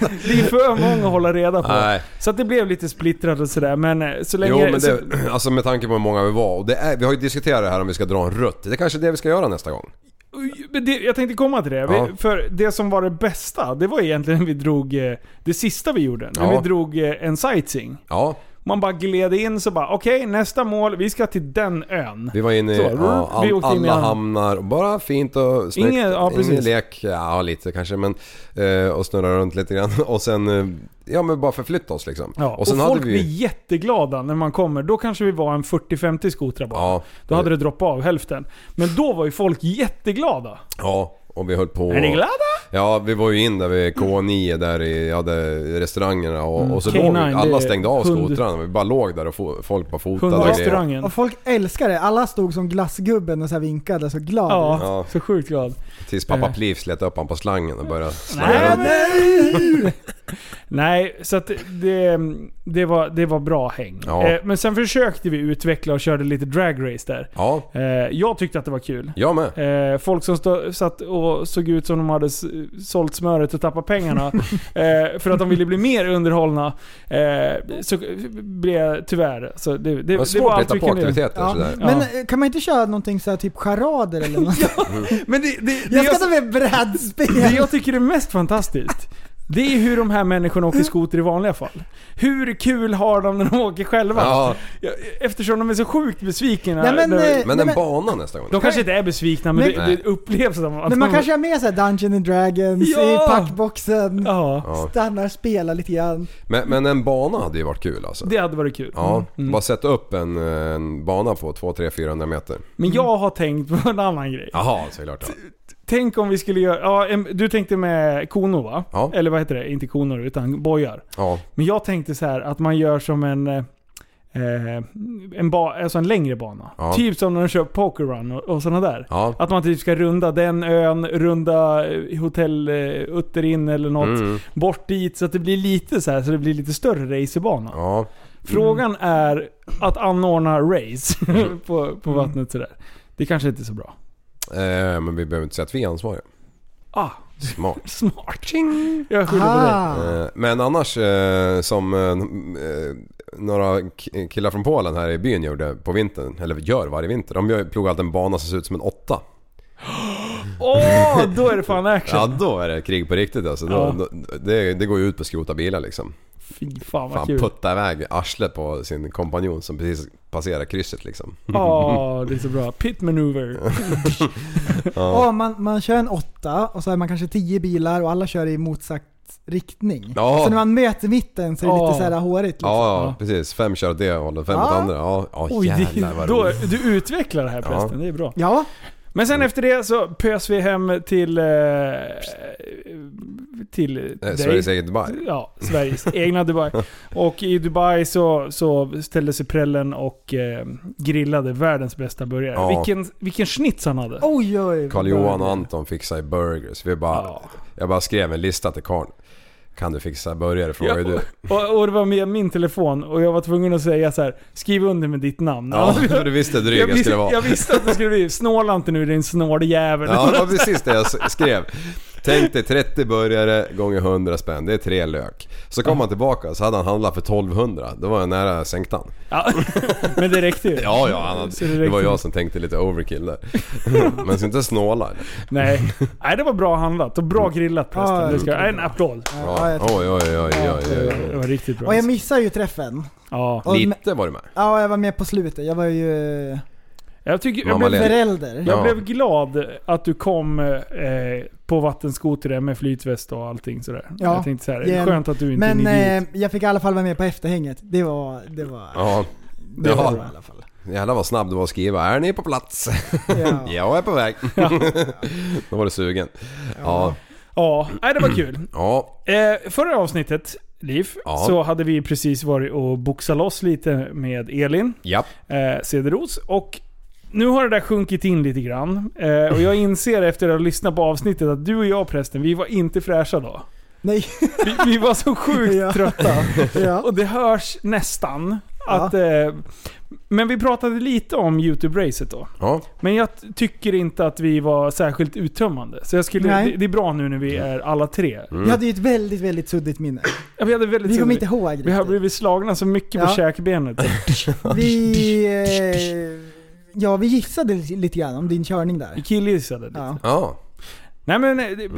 det är för många att hålla reda på.
Nej.
Så att det blev lite splittrat och sådär. Men eh, så länge...
Jo men
så,
det, alltså med tanke på hur många vi var och det är, vi har ju diskuterat det här om vi ska dra en rutt. Det är kanske är det vi ska göra nästa gång.
Men det, jag tänkte komma till det.
Ja.
Vi, för det som var det bästa, det var egentligen när vi drog... eh, Det sista vi gjorde. När
Ja.
vi drog eh, en sightseeing.
Ja,
Man bara gled in så bara okej, nästa mål, vi ska till den ön.
Vi var inne i
Så,
ja,
vi
all,
åkte in i
alla
hamn.
hamnar. Bara fint och snyggt.
Ingen- ja, precis.
lek. Ja, lite kanske men... Eh, och snurra runt lite grann. Och sen... Eh, ja men bara förflytta oss liksom.
Ja, och,
sen
folk blir jätteglada när man kommer. Då kanske vi var en 40-50 skotrar bara.
Ja,
Då hade det droppat av hälften. Men då var ju folk jätteglada.
ja, och vi höll på...
Är ni glada?
Ja, vi var ju in där vid K9 där i ja, där i restaurangerna och, och så
K9,
låg vi,
Mm. det är
alla stängde av
hund-
skotrarna. Vi bara låg där och fo- folk bara fotade och grejer.
Hundrestaurangen.
Och folk älskar det. Alla stod som glassgubben och så här vinkade så glad.
Ja,
Ja.
så sjukt glad.
Tills pappa Pliv slet upp han på slangen och började slanga
Nej,
runt.
nej! nej, så att det, det, var, det var bra häng.
Ja.
Eh, Men sen försökte vi utveckla och körde lite dragrace där.
Ja,
Eh, Jag tyckte att det var kul.
jag med.
Eh, folk som stå, satt och såg ut som de hade s- sålt smöret och tappat pengarna. eh, för att de ville bli mer underhållna. Eh, så blev jag tyvärr... Så det, det,
Det var
det
svårt
var
att
allt
hitta
vi
på
kunde göra.
aktiviteter
Ja,
sådär.
Men
Ja.
eh, kan man inte köra någonting så här, typ charader eller något?
Men det, det, det,
Jag
jag,
ska ta med
det
brädspel!
jag tycker är mest fantastiskt. Det är hur de här människorna åker skoter i vanliga fall. Hur kul har de när de åker själva?
Ja,
Eftersom de är så sjukt besvikna.
Nej, men,
de,
eh,
men
Nej,
en
men-
bana nästa gång.
de kanske inte är besvikna men,
Men-
det, det upplevs som att
Men man
de-
kanske har med sig Dungeons and Dragons
Ja!
i packboxen.
Ja,
Ja.
Stannar, spelar lite grann.
Men, men en bana hade ju varit kul alltså.
det Mm. hade varit kul.
Ja, bara sätta upp en, en bana på 2, 3, 400 meter.
Men jag har tänkt på en annan grej.
Jaha, såklart. Ja.
Tänk om vi skulle göra... Ja, em- du tänkte med konor va?
Ja.
Eller vad heter det? Inte konor utan bojar.
ja.
Men jag tänkte så här att man gör som en... eh, Eh, en, ba, alltså en längre bana.
Ja.
Typ som när de kör Poker Run och, och sådana där.
Ja.
Att man typ ska runda den ön, runda eh, hotell eh, Utterin eller något.
Mm.
Bort dit så att det blir lite så här, så det blir lite större racerbana.
Ja. Mm.
Frågan är att anordna race
Mm.
på, på vattnet sådär. Det kanske inte är så bra.
Eh, men vi behöver inte säga att vi är ansvariga.
Ah,
Smart.
smart. Jag skyller på dig.
Ah.
Eh, Men annars eh, som eh, några k- killar från Polen här i byn gjorde på vintern, eller gör varje vinter. De gör- plogar alltid en bana som ser ut som en åtta.
Åh, då är det fan action.
Ja då är det krig på riktigt alltså. Då,
Ja.
då, det, det går ju ut på att skrota bilar liksom.
Fy fan vad
Fan
kul.
putta iväg arslet på sin kompanjon som precis passerar krysset liksom.
Åh, Ah, det är så bra. Pit maneuver.
Ja, man, man kör en åtta och så är man kanske tio bilar och alla kör i motsatt riktning.
Ja.
Så när man möter mitten så är det
Ja.
lite såhär hårigt liksom.
Ja, ja precis. Fem kör åt det hållet, fem åt
Ja.
andra. Ja, ja
Oj,
jävlar
det,
vad
då,
roligt.
du utvecklar det här förresten. Det är bra.
Ja,
Men sen efter det så pös vi hem till... Eh, till
Eh,
dig.
Sveriges eget Dubai.
Ja, Sveriges egna Dubai. Och i Dubai så, så ställde sig prällen och eh, grillade världens bästa burgare.
Ja.
Vilken, vilken schnitz han hade.
oj oj.
Karl Johan och Anton fixar ju burgers. Vi bara,
Ja.
Jag bara skrev en lista till karln. Kan du fixa burgare? Frågade
Ja,
du.
och, och det var med min telefon och jag var tvungen att säga så här: skriv under med ditt namn.
Ja, för du visste
jag,
dryg jag skulle
visste, jag
vara.
visste att det skulle bli, snåla inte nu din snåljävel.
Ja, det var precis det jag s- skrev. Tänk dig 30 burgare gånger 100 spänn, det är tre lök. Så kom han tillbaka så hade han handlat för 1200. Då var jag nära sänktan.
Ja, men det räckte ju.
Ja, ja, han hade,
Så det
det var
räckte.
jag som tänkte lite overkill där. Men ska inte snåla.
Nej. Nej, det var bra handlat och
Mm.
bra grillat förresten.
Ja,
det ska, en applåd.
Ja,
Ja,
jag-
oj, oj, oj, oj, oj,
Det
oj.
var riktigt bra.
och jag missar ju träffen.
ja.
Och med,
Lite var du med.
ja, jag var med på slutet. Jag var ju eh,
jag, tycker, jag
Mamma
blev
Lena.
förälder.
Jag
Ja.
blev glad att du kom eh, på vattenskoter där med flytväst och allting sådär.
Ja.
Jag tänkte såhär,
Ja.
skönt att du inte
Men
är en idiot.
eh, jag fick i alla fall vara med på efterhänget. Det var... Det var...
Ja,
Det var
Ja.
bra i alla fall.
jävlar vad snabb du var att skriva. Är ni på plats?
Ja.
Jag är på väg. Då var du sugen. Ja,
Ja, nej, det var kul.
ja,
Eh, förra avsnittet, Liv,
Ja.
så hade vi precis varit och boxat loss lite med Elin
ja.
eh, Cederos och nu har det där sjunkit in lite grann. Eh, och jag inser efter att ha lyssnat på avsnittet att du och jag prästen, vi var inte fräscha då.
Nej.
Vi, vi var så sjukt
Ja.
trötta.
ja.
Och det hörs nästan.
Ja.
Att, eh, men vi pratade lite om YouTube-racet då.
ja.
Men jag t- tycker inte att vi var särskilt uttömmande. Så jag skulle,
Nej.
det, det är bra nu när vi är alla tre.
Jag hade ju ett väldigt, väldigt suddigt minne.
Ja, vi hade väldigt
Vi kommer inte ihåg riktigt.
vi har blivit slagna så mycket på
Ja.
käkbenet.
Vi... Eh, ja, vi gissade li- lite grann om din körning
Vi
där.
killgissade lite.
Ja.
Ja, Mm.
Nej men eh, det-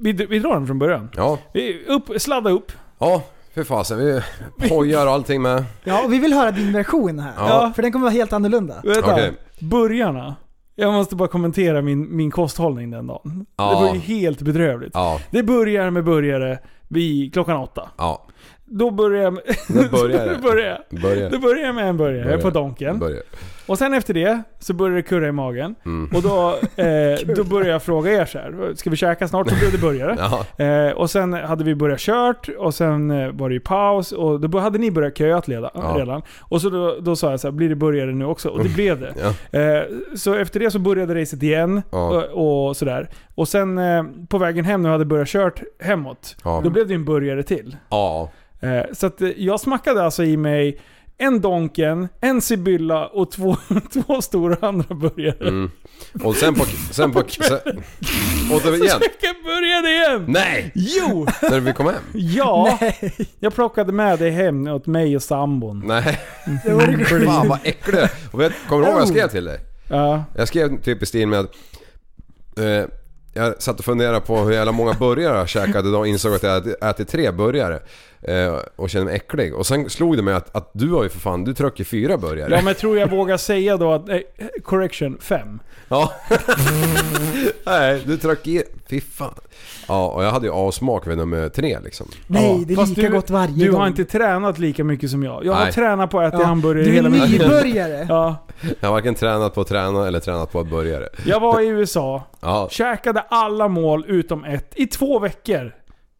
vi, vi, vi drar den från början.
ja,
Vi, upp, sladda upp.
ja. För fasen, vi pojar och allting med.
Ja, och vi vill höra din version här.
Ja.
För den kommer vara helt annorlunda.
Vänta.
Okej.
Burgarna. Jag måste bara kommentera min, min kosthållning den dagen.
Ja.
Det var ju helt bedrövligt.
Ja,
Det börjar med burgare vid klockan åtta.
ja.
Då börjar jag med...
När börjar det?
Då börjar jag.
Börja.
Då börjar jag med en burgare
Börjar.
på Donken.
Börja.
Och sen efter det så börjar det kurra i magen.
Mm.
Och då, eh, då börjar jag fråga er så här. Ska vi käka snart? Så blev det burgare.
Ja,
Eh, och sen hade vi börjat kört och sen eh, var det ju paus och då bör- hade ni börjat köa att leda,
Ja. Mm.
redan. Och så då, då sa jag så här, blir det burgare nu också? Och det blev det.
Ja.
Eh, så efter det så började racet igen
Ja.
och, och sådär. Och sen eh, på vägen hem när jag hade börjat kört hemåt,
Ja.
då blev det ju en burgare till.
ja.
Eh, så att eh, jag smackade alltså i mig en Donken, en Sibylla och två, två stora andra burgare.
Mm. Och sen på... Sen på sen, och då igen.
Vilken burgare igen!
Nej!
Jo!
När vi kom hem?
Ja! Jag plockade med dig hem åt mig och sambon.
Nej.
Det var det
Fan vad äcklig. Och vet, kommer du ihåg vad jag skrev till dig?
Ja.
Jag skrev typ i stil med att... Eh, jag satt och funderade på hur jävla många burgare jag käkade idag och insåg att jag hade ätit tre burgare. Eh, och kände mig äcklig. Och sen slog det mig att, att du har ju för fan, du tröck ju fyra burgare.
ja, men tror jag vågar säga då att... Eh, correction, fem.
Ja. Nej, du tröck i... Fy fan. Ja, och jag hade ju A-smak vid nummer tre liksom.
Nej, det är
Fast
lika
du,
gott varje
Du
gång.
har inte tränat lika mycket som jag. Jag har
Nej.
tränat på att äta
Ja.
hamburgare
Du är
hela mitt liv.
nybörjare.
Ja.
Jag har varken tränat på att träna eller tränat på att burgare.
Jag var i USA,
Ja,
käkade alla mål utom ett. I två veckor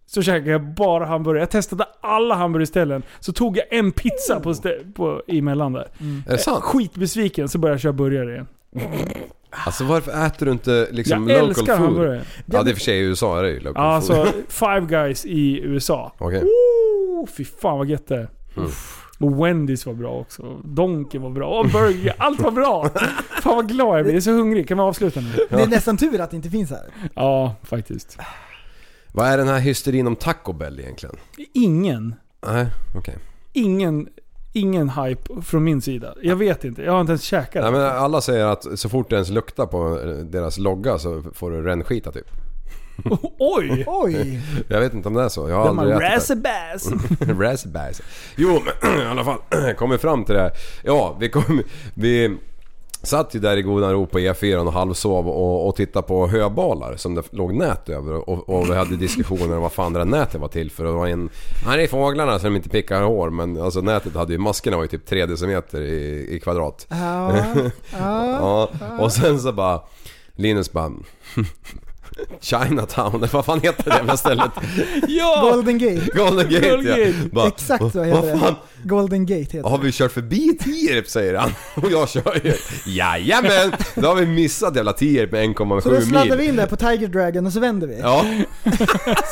så käkade jag bara hamburgare. Jag testade alla hamburgerställen. Så tog jag en pizza på stä- på, emellan där.
Mm.
är det sant?
Skitbesviken så började jag köra burgare igen.
Alltså varför äter du inte liksom
Jag
local
älskar
food?
hamburgare.
Ja, det är för sig i USA är det ju local food.
Alltså, Five Guys i USA.
Okej.
Oh, fy fan vad gött det är.
Mm.
Och Wendys var bra också. Donken var bra. Och Burger Allt var bra. Fan vad glad jag blir. Jag är så hungrig. Kan vi avsluta nu?
Det är nästan tur att det inte finns här.
Ja, faktiskt.
Vad är den här hysterin om Taco Bell egentligen?
Ingen,
Nej, okej.
ingen, ingen hype från min sida. Jag vet inte. Jag har inte ens käkat.
Nej men alla säger att så fort du ens luktar på eh, deras logga så får du rännskita typ.
Oj!
Oj!
Jag vet inte om det är så. Jag har
De har
aldrig ätit
razzabazz.
det. Razzbass. Jo, men i alla fall. Kommer fram till det här. Ja, vi kom... Vi satt ju där i godan ro på E4 och halvsov och, och tittade på höbalar som det låg nät över. Och, och vi hade diskussioner om vad fan det där nätet var till för. Det var en... Nej, det är fåglarna som inte pickar hår men alltså nätet hade ju... Maskerna var ju typ 3 decimeter i, i kvadrat.
Ja, ja.
Ja, och sen så bara... Linus bara... Chinatown, eller vad fan heter det jävla stället?
Ja!
Golden Gate.
Golden Gate
Golden
ja.
Gate.
Bara,
Exakt så
"Vad
heter
fan,
det. Golden Gate heter
Har
det.
vi kört förbi Tierp säger han. Och jag kör ju. Jajamän! Då har vi missat jävla Tierp med 1,7 mil.
Så då sladdar vi in där på Tiger Dragon och så vänder vi.
Ja.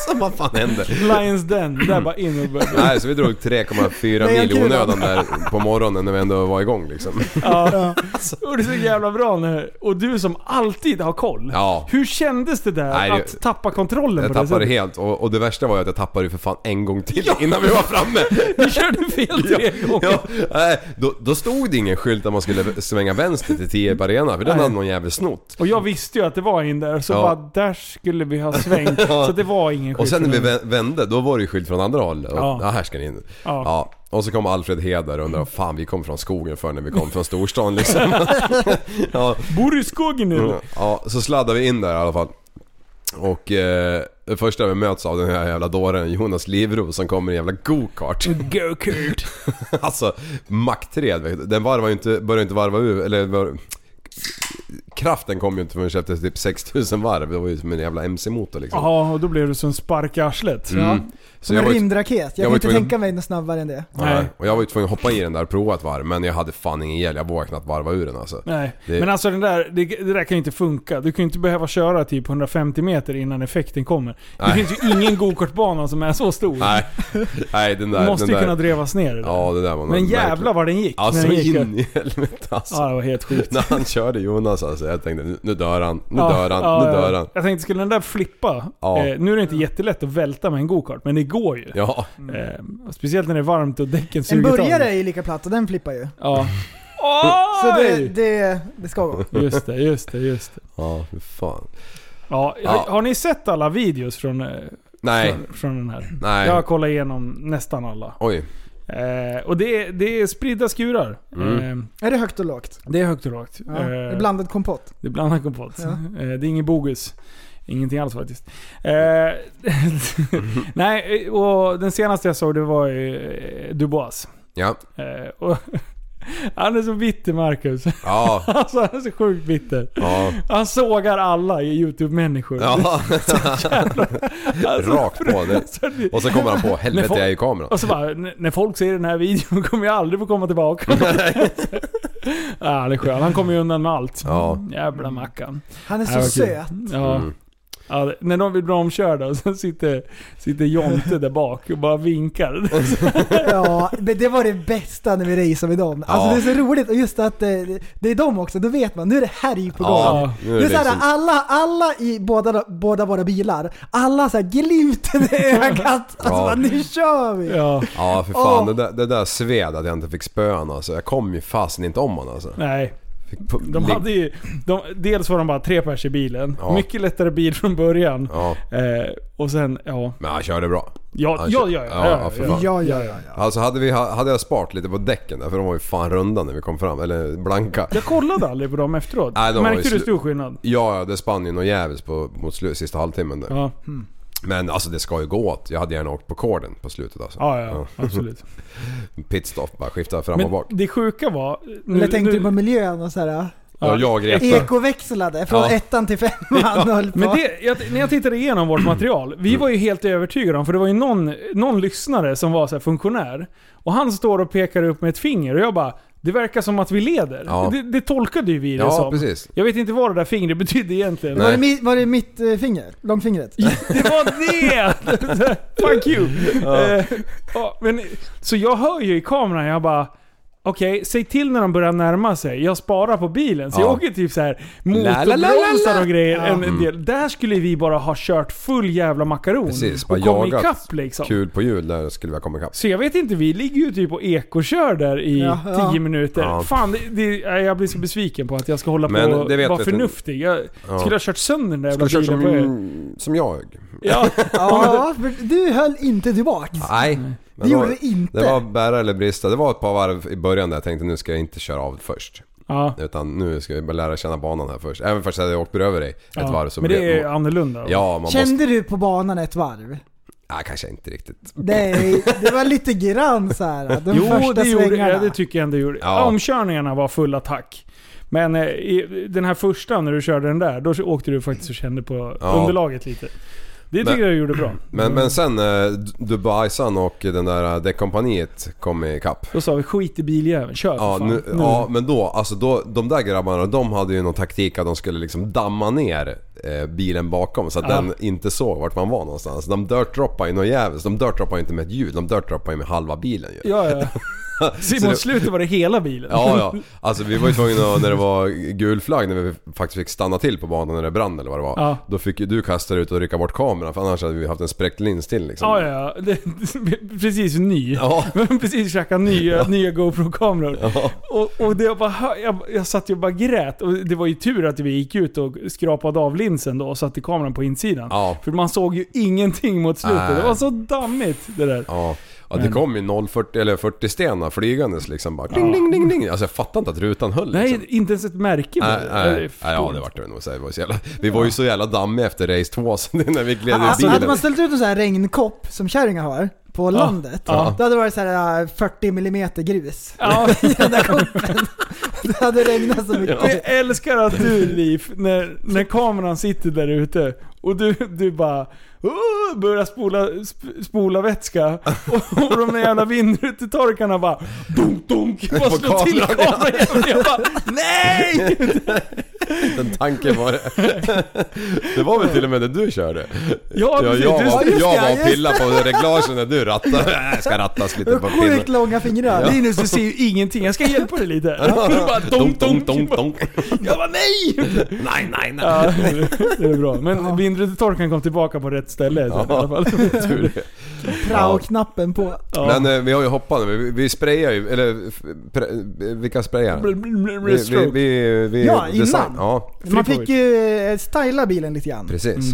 Så vad fan händer?
Lions Den. Där bara in och börja.
Nej, så vi drog 3,4
Nej, jag
mil i
kul.
onödan där på morgonen när vi ändå var igång liksom.
Ja.
Alltså.
Och det är så jävla bra nu. Och du som alltid har koll.
Ja.
Hur kändes det där
Nej,
att tappa kontrollen
Jag
på
tappade
det sättet?
helt och, och det värsta var ju att jag tappade ju för fan en gång till innan vi var framme.
Du körde fel tre gånger.
Ja, nej, då, då stod det ingen skylt att man skulle svänga vänster till Tierp Arena för den
Nej.
hade någon jävel snott.
Och jag visste ju att det var in där, så
Ja.
bara där skulle vi ha svängt. Så det var ingen skit.
Och sen när vi
för mig.
vä- vände, då var det ju skylt från andra hållet.
Ja.
Ja. ja, här ska ni in.
Ja.
Ja. Och så kom Alfred Heder och undrade fan vi kom från skogen förrän när vi kom från storstan liksom. ja.
Bor du i skogen nu?
ja, så sladdade vi in där i alla fall. Och eh, det första vi möts av den här jävla dåren Jonas Livro som kommer i en jävla go-kart.
Go-kart.
Alltså, Mac 3, vet du, den varvar ju inte, börjar inte varva ur, eller var, Kraften kom ju inte förrän efter typ 6000 varv, det var ju som en jävla MC-motor liksom.
Ja, och då blev du som spark i arslet.
Mm. Så
Som
jag
en
var, ju,
rymdraket. Jag,
jag
kan
var
inte
tvungen-
tänka mig något snabbare än det.
nej, och jag var ju tvungen att hoppa i den där och prova ett varv, men jag hade fan ingen hjälp, jag vågade knappt varva ur den alltså.
Nej,
Det-
men alltså den där, det, det där kan ju inte funka. Du kan ju inte behöva köra typ 150 meter innan effekten kommer. Det
Nej.
finns ju ingen gokartbana som är så stor.
Nej, nej den
Du
där...
måste
den
ju
där,
kunna drevas ner det där.
Ja, det där var någon
Men
märklig-
jävlar vad den gick.
Alltså
när den gick.
in i helvete alltså.
Ja, det var helt sjukt.
När han körde Jonas alltså, jag tänkte nu- nu dör han, nu
Ja,
dör han,
ja,
nu
ja.
dör han.
Jag tänkte, skulle den där flippa?
Ja.
Eh, nu är det inte jättelätt att välta med en gokart, men det går ju.
Ja,
Eh, och speciellt när det är varmt och däcken
En
suger tag.
burgare är ju lika platt och den flippar ju.
Ja.
Så det,
Oj!
det, det ska gå.
Just det, just det, just det.
ja fy fan.
Ja,
Ja.
Har, har ni sett alla videos från, eh,
Nej.
Från, från den här.
Nej.
Jag har kollat igenom nästan alla.
Oj.
Eh, och det är, det är spridda skurar.
Mm.
Eh,
Är det högt och lågt?
det är högt och lågt.
Ja. det är
Eh,
Blandad kompott.
Det är blandad kompott.
Ja.
Eh, Det är ingen bogus. Ingenting alls faktiskt. Eh, Nej, och den senaste jag såg det var ju eh, Dubois.
Ja.
Eh, och han är så bitter Marcus.
Ja.
Alltså han är så sjukt bitter.
Ja.
Han sågar alla YouTube-människor.
Ja.
Alltså,
Rakt på. Det.
alltså, det-
Och så kommer han på, helvete jag är i kameran.
och så bara, "N- när folk ser den här videon kommer jag aldrig få komma tillbaka. ja, han är skön. Han kommer ju undan med allt.
Ja.
Jävla Mackan.
Han är så
Ja, vad kul.
söt.
Ja.
Mm.
Ja, det- när de blir omkörda och sen sitter, sitter Jonte där bak och bara vinkar.
Ja, men det var det bästa när vi raceade med dem. Alltså
Ja.
det är så roligt och just att eh, det är dem också, då vet man nu är det härj på gång.
Ja, nu är
det är
det
såhär,
liksom-
alla, alla i båda, båda våra bilar, alla såhär glimten i ögat. Alltså
Ja.
bara, nu kör vi!
Ja,
Ja för fan,
Åh.
det, där, det där sved att jag inte fick spöan alltså. Jag kom ju fasen inte om honom alltså.
nej.
Fick på,
De hade ju, de, dels var de bara tre pers i bilen.
Ja.
Mycket lättare bil från början.
Ja.
Eh, och sen, ja.
Men han körde bra.
Ja,
Han
ja,
kö-
ja, ja.
ja,
ja,
för
ja,
fan.
Ja, ja, ja.
Alltså hade, vi, hade jag sparat lite på däcken där, för de var ju fan runda när vi kom fram. Eller blanka.
Jag kollade aldrig på dem efteråt.
Nej, de var
Märkte
ju
du
slut.
stor skillnad?
Ja, ja, det spann ju något jävligt på, mot slu, sista halvtimmen där.
Ja,
Men alltså det ska ju gå åt. Jag hade gärna åkt på korden på slutet alltså.
ja, ja absolut.
Pitstop bara, skifta fram och
Men
bak.
det sjuka var... Nu,
Eller tänkte du
nu-
på miljön och såhär,
Ja, jag grep
ekoväxlade från
Ja.
ettan till femman och höll på.
Men det, jag, när jag tittade igenom vårt material, vi
Mm.
var ju helt övertygade om, för det var ju någon, någon lyssnare som var så här funktionär, och han står och pekar upp med ett finger och jag bara det verkar som att vi leder.
Ja.
Det, det tolkade ju vi det
Ja,
som.
precis.
Jag vet inte vad det där fingret betydde egentligen.
var, det
Nej.
mi, var det mitt eh, finger? Långfingret?
Det var det! Fuck you! Eh, ja, men, så jag hör ju i kameran, jag bara Okej, säg till när de börjar närma sig. Jag sparar på bilen. Så
Ja. Mm.
jag åker typ så här
la, la, la, la.
motorbromsar och grejer. En, en del. Där skulle vi bara ha kört full jävla makaron.
Precis, bara
och kommit
jagat.
ikapp liksom.
kul på hjul där skulle vi ha kommit ikapp.
Så jag vet inte, vi ligger ju typ och ekokör där i
Ja, ja.
10 minuter.
Ja.
Fan, det, det, nej, jag blir så besviken på att jag ska hålla
Men
på och
det vet
vara
vi inte.
förnuftig. Jag
Ja.
skulle ha kört sönder den där jävla
Skulle kört
bilen på er.
som, som jag.
Ja,
Ja, för du höll inte tillbaks.
Nej.
Det gjorde du inte.
Det var bära eller brista. Det var ett par varv i början där jag tänkte nu ska jag inte köra av först.
ja.
Utan nu ska jag bara lära känna banan här först. Även fast jag hade åkt över dig ett
Ja,
varv så
Men
blev-
det är annorlunda.
Ja, man måste...
Kände du på banan ett varv?
Nej, kanske inte riktigt.
Nej, det var lite grann så här. De
jo,
första
det gjorde
svängarna.
ja, det tycker jag ändå gjorde.
Ja.
Omkörningarna var full attack. Men eh, i, den här första, när du körde den där, då åkte du faktiskt och kände på
Ja.
underlaget lite. Det tycker
Men-
jag gjorde bra.
Men, men sen eh, Dubaisan och den där eh, däckkompaniet kom ikapp.
Då sa vi skit i biljäveln, kör för
Ja,
fan.
nu, ja, men då, alltså då, de där grabbarna, de hade ju någon taktik att de skulle liksom damma ner eh, bilen bakom så att
Ja.
den inte såg vart man var någonstans. De dirtdroppade ju något jävligt. De dirtdroppade ju inte med ett ljud, de dirtdroppade ju med halva bilen ju.
Ja, ja. Så
Så det-
mot slutet var det hela bilen.
Ja, ja. Alltså vi var ju tvungna att- när det var gul flagg, när vi faktiskt fick stanna till på banan när det brann eller vad det var.
Ja.
Då fick ju du kasta dig ut och rycka bort kameran för annars hade vi haft en spräckt lins till liksom.
Ja, ja, ja. Det, precis ny.
Ja.
precis käkat nya, nya GoPro-kameror. Och, och det jag, bara, hör- jag, jag satt ju och bara grät. Och det var ju tur att vi gick ut och skrapade av linsen då och satte kameran på insidan.
Ja.
För man såg ju ingenting mot slutet.
Nej.
Det var så dammigt det där.
Ja, ja det kom ju 0,40 eller 40 stenar flygandes liksom bara ding, ding, ding, ding. Alltså jag fattar inte att rutan höll
Nej,
liksom.
inte ens ett märke
Nej, nej,
Det är
nej, ja det
förståeligt.
vart det nog. Så det var ju så jävla, vi var ju så jävla dammiga efter race 2 så det- när vi gled ur
Alltså, hade
bilen.
man ställt ut en sån här regnkopp som kärringar har på landet,
Ja.
då hade det varit så här äh, 40 mm grus.
Ja,
Det hade regnat så mycket.
jag älskar att du Liv, när, när kameran sitter där ute och du, du bara "Åh", börjar spola, sp- spola vätska och, och de där jävla vindrutetorkarna bara dunk dunk bara
På
slår till
kameran, ja.
kameran igen. Jag bara NEJ!
Den tanken var det. Det var väl till och med när du körde?
Ja,
jag,
precis.
jag
Du-
var,
just det,
jag var och
just
pillade på reglagen när du rattade. Jag ska rattas lite på
Sjukt
pinnen.
långa fingrar. Det är-
Linus du ser ju ingenting, jag ska hjälpa dig lite. Du bara dunk
Dunk, dunk,
dunk.
dunk, dunk.
Jag bara nej!
Nej, nej, nej.
Ja, det är bra. Men vindrutetorkaren kom tillbaka på rätt ställe i alla fall.
Tur det.
Prao-knappen på.
Ja.
Men eh, vi har ju hoppat nu. Vi, vi sprayar ju, eller f- pre, vilka sprayar? Vi, vi,
Stroke.
vi, vi
Ja, innan.
Ja,
Man
Free
fick ju eh, styla bilen lite grann.
precis.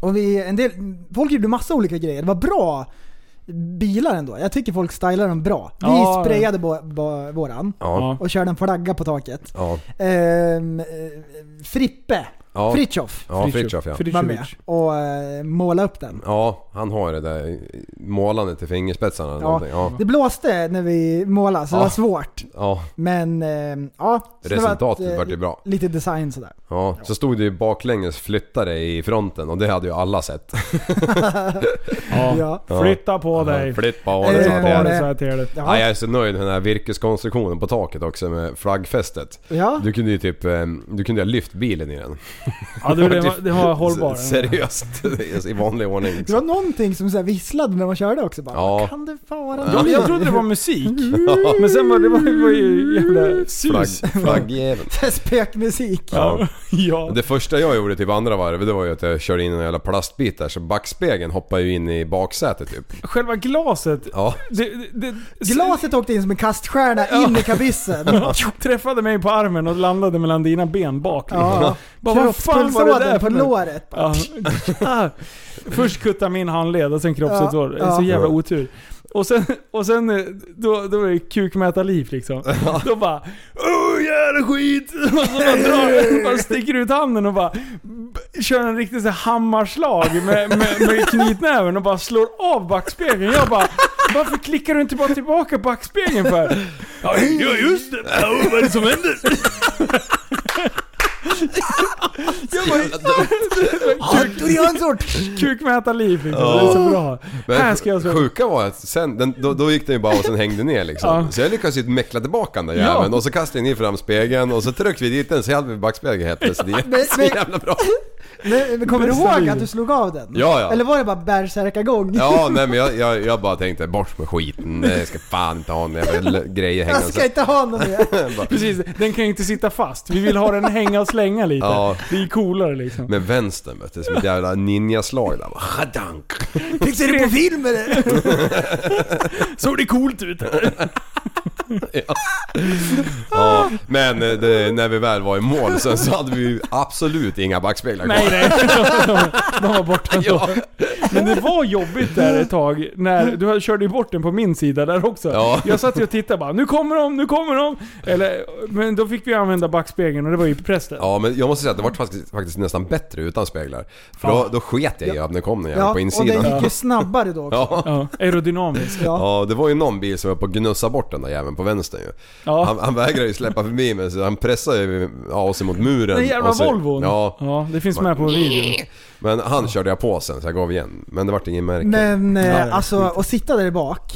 Och vi, en del, folk gjorde massa olika grejer. Det var bra bilar ändå. Jag tycker folk stylar dem bra. Vi
Ja.
sprayade bo, bo, våran
Ja.
och körde en flagga på taket.
Ja.
Ehm, eh, Frippe
Ja.
Fritjof
Ja, Fritiof ja.
var med och eh, målade upp den.
Ja, han har det där målandet i fingerspetsarna eller
Ja.
någonting. Ja.
Det blåste när vi målade så det
Ja.
var svårt.
ja.
Men ehm, ja. så det var
Resultatet
ett, eh,
vart ju bra.
Lite design sådär.
Ja, så stod det ju baklänges flyttare i fronten och det hade ju alla sett.
Ja.
Ja.
Ja.
Flytta på dig.
Flytt på
Eh,
det sa
Bara
jag.
det.
så här till dig.
Ja.
Ja, jag är så nöjd med den här virkeskonstruktionen på taket också med flaggfästet.
Ja.
Du kunde ju typ, eh, du kunde ju ha lyft bilen i den.
Ja, du, det, var, det var hållbar.
S- Seriöst, i vanlig ordning. liksom.
Det var någonting som så här visslade när man körde också. Bara,
Ja.
Vad kan det vara?
Ja, men jag trodde det var musik. Men sen var det, var, det var ju jävla
Flagg,
sus.
flaggjäveln.
Så här Spökmusik.
Ja.
Ja.
Det första jag gjorde typ andra varvet det var ju att jag körde in en jävla plastbit där så backspegeln hoppade ju in i baksätet typ.
Själva glaset.
Ja.
Det, det, det,
Glaset åkte in som en kaststjärna in i kabyssen.
Träffade mig på armen och landade mellan dina ben bak.
Ja.
Bara, vad fan var det där
på
för något?
låret.
Ja. Ah. Först kuttar min handled och sen kroppsutår. Det är
Ja.
Så jävla otur. Och sen, och sen eh, då, då är det kukmätarliv liksom. Då bara Åh jävla skit! Och så bara, drar, bara sticker ut handen och bara b- kör en riktig så här hammarslag med, med, med knytnäven och bara slår av backspegeln. Jag bara varför klickar du inte bara tillbaka backspegeln för? Ja just det, vad är det som händer? Jag bara,
Arthur Jönsson!
Kukmätarliv liksom. Det är så bra. här ska jag slå.
sjuka var att sen, den, då, då gick den ju bara och sen hängde ner liksom.
Ja.
Så jag lyckades ju meckla tillbaka den där jäveln och så kastade jag ner fram spegeln och så tryckte vi dit den så jag hade backspegeln helt plötsligt. Det är så
men-
jävla bra.
Men, men kommer du
Bästa
ihåg
liv.
att du slog av den?
Ja, ja.
Eller var det bara bärsärkagång?
Ja, nej men jag, jag, jag bara tänkte bort med skiten. Jag ska fan inte ha några jävla l- grejer
Jag
hängande.
ska inte ha någon mer.
Precis, den kan ju inte sitta fast. Vi vill ha den hänga och slänga lite.
Ja.
Det är coolare liksom.
Med vänstern vet du, som ett jävla ninjaslag där. Bara, Hadank!
Fick se det på film eller?
Såg det coolt ut?
Ja, men eh, det, när vi väl var i mål sen så hade vi ju absolut inga backspeglar
Nej,
kvar.
nej. De var borta då.
Ja.
Men det var jobbigt där ett tag. När du körde ju bort den på min sida där också.
Ja.
Jag satt ju och tittade bara. Nu kommer de, nu kommer de. Eller, men då fick vi använda backspegeln och det var ju prästen.
Ja men jag måste säga att det var faktiskt, faktiskt nästan bättre utan speglar. För då, då sket jag i att den kom den jäveln
Ja,
på
och den
insidan.
gick ju snabbare då också.
Ja.
Ja, aerodynamiskt.
Ja.
Ja, det var ju någon bil som var på att gnussa bort den där jäveln på vänstern ju.
Ja.
Han, han vägrade ju släppa förbi mig så han pressade ju ja, oss mot muren.
Den jävla
och så,
Volvon.
Ja,
ja, det finns med på videon.
men han körde jag på sen så jag gav igen. Men det vart ingen märke.
Men eh,
Typ. Ja, Mm. det är
alltså att sitta där bak,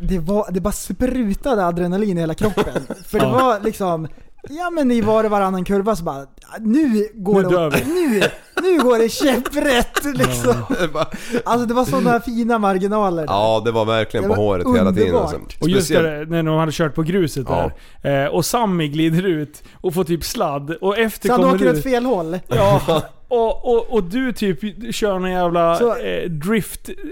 det, var, det bara sprutade adrenalin i hela kroppen. För det var liksom, ja men i var och varannan kurva så bara, nu går
Nu
det
dör vi.
nu, nu går det käpprätt liksom.
Det var-
Alltså det var sådana fina marginaler.
Ja, det var verkligen
Det
på
var
håret hela tiden.
underbart.
Alltså.
Och just
Speciellt-
där, när de hade kört på gruset
Ja.
där. Eh, och Sammy glider ut och får typ sladd. Och efter
Så han
kommer
åker
du... Alltså,
åt fel håll.
Ja, och, och, och du typ kör någon jävla
Så-
eh,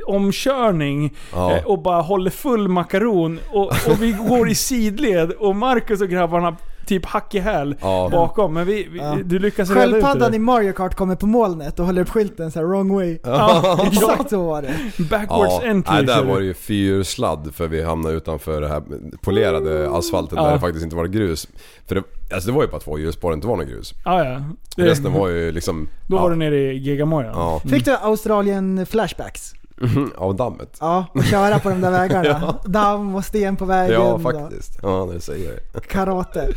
driftomkörning
Ja.
eh, och bara håller full makaron. Och, och vi går i sidled och Marcus och grabbarna typ hack i häl
Ja.
bakom. Men vi, vi, du lyckas reda ut det.
Sköldpaddan i
där.
Mario Kart kommer på molnet och håller upp skylten så här wrong way.
Ja, Mm.
Exakt så var det.
Backwards entry.
nej, där
kör du.
var det ju fyrsladd för vi hamnade utanför det här polerade asfalten
Ja.
där det faktiskt inte var grus. För det, alltså det var ju bara två hjulspår, det inte var något grus.
Ah, ja. det,
Resten var ju liksom...
Då
ja,
var du nere i Gegamoja.
Ja,
Fick du Australien flashbacks?
av dammet.
Ja, och köra på de där vägarna. Damm och sten på vägen.
Ja,
och
faktiskt. Ja, när du säger det.
Karate.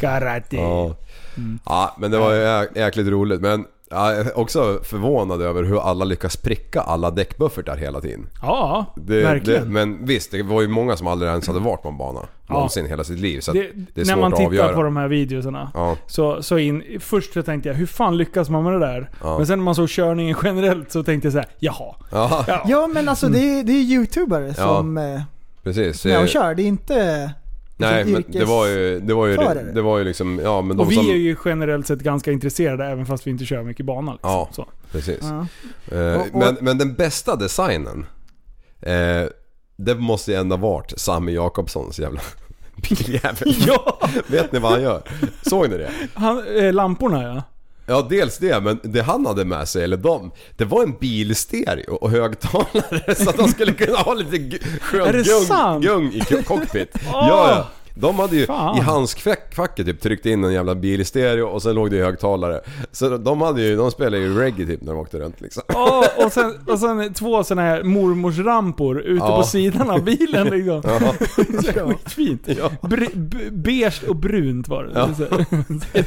Karate.
Ja.
Mm.
ja, men det var ju jä- jäkligt roligt. Men ja, jag är också förvånad över hur alla lyckas pricka alla däckbuffertar hela tiden.
Ja,
Det,
verkligen.
Det, men visst, det var ju många som aldrig ens hade varit på en bana.
Ja.
Någonsin i hela sitt liv. Så att
det,
det,
när
är svårt
man
att
tittar
avgöra.
på de här videoserna.
Ja.
Så, så in, först så tänkte jag, hur fan lyckas man med det där? Men sen när man såg körningen generellt så tänkte jag så här, jaha.
Ja,
Ja.
Ja men alltså det är, det är youtubare som eh,
precis.
är med och
Eh,
kör. Det är inte
Nej,
liksom
men det var ju... Det var ju,
yrkesförare.
det var ju liksom... Ja, men de
Och vi
som...
är ju generellt sett ganska intresserade även fast vi inte kör mycket bana. Liksom.
Ja.
Så.
Precis.
Ja.
Eh,
Och- och-
Men, men den bästa designen, eh, det måste ju ändå varit Sammy Jakobssons jävla biljävel.
ja
Vet ni vad han gör? Såg ni det?
han, eh, lamporna ja.
Ja, dels det, men det han hade med sig, eller de, det var en bilstereo och högtalare så att de skulle kunna ha lite gu-
Är det
skön gung,
sant?
gung i co- cockpit. Ja, ja. De hade ju
Fan.
i handskfacket typ tryckt in en jävla bilstereo och sen låg det i högtalare. Så de hade ju, de spelade ju reggae typ när de åkte runt liksom.
Ja, och, sen, och sen två såna här mormorsrampor ute
Ja.
på sidan av bilen liksom.
Ja.
Det var Skitfint.
Ja.
Br- b- beige och brunt var det.
Ja.
Så här.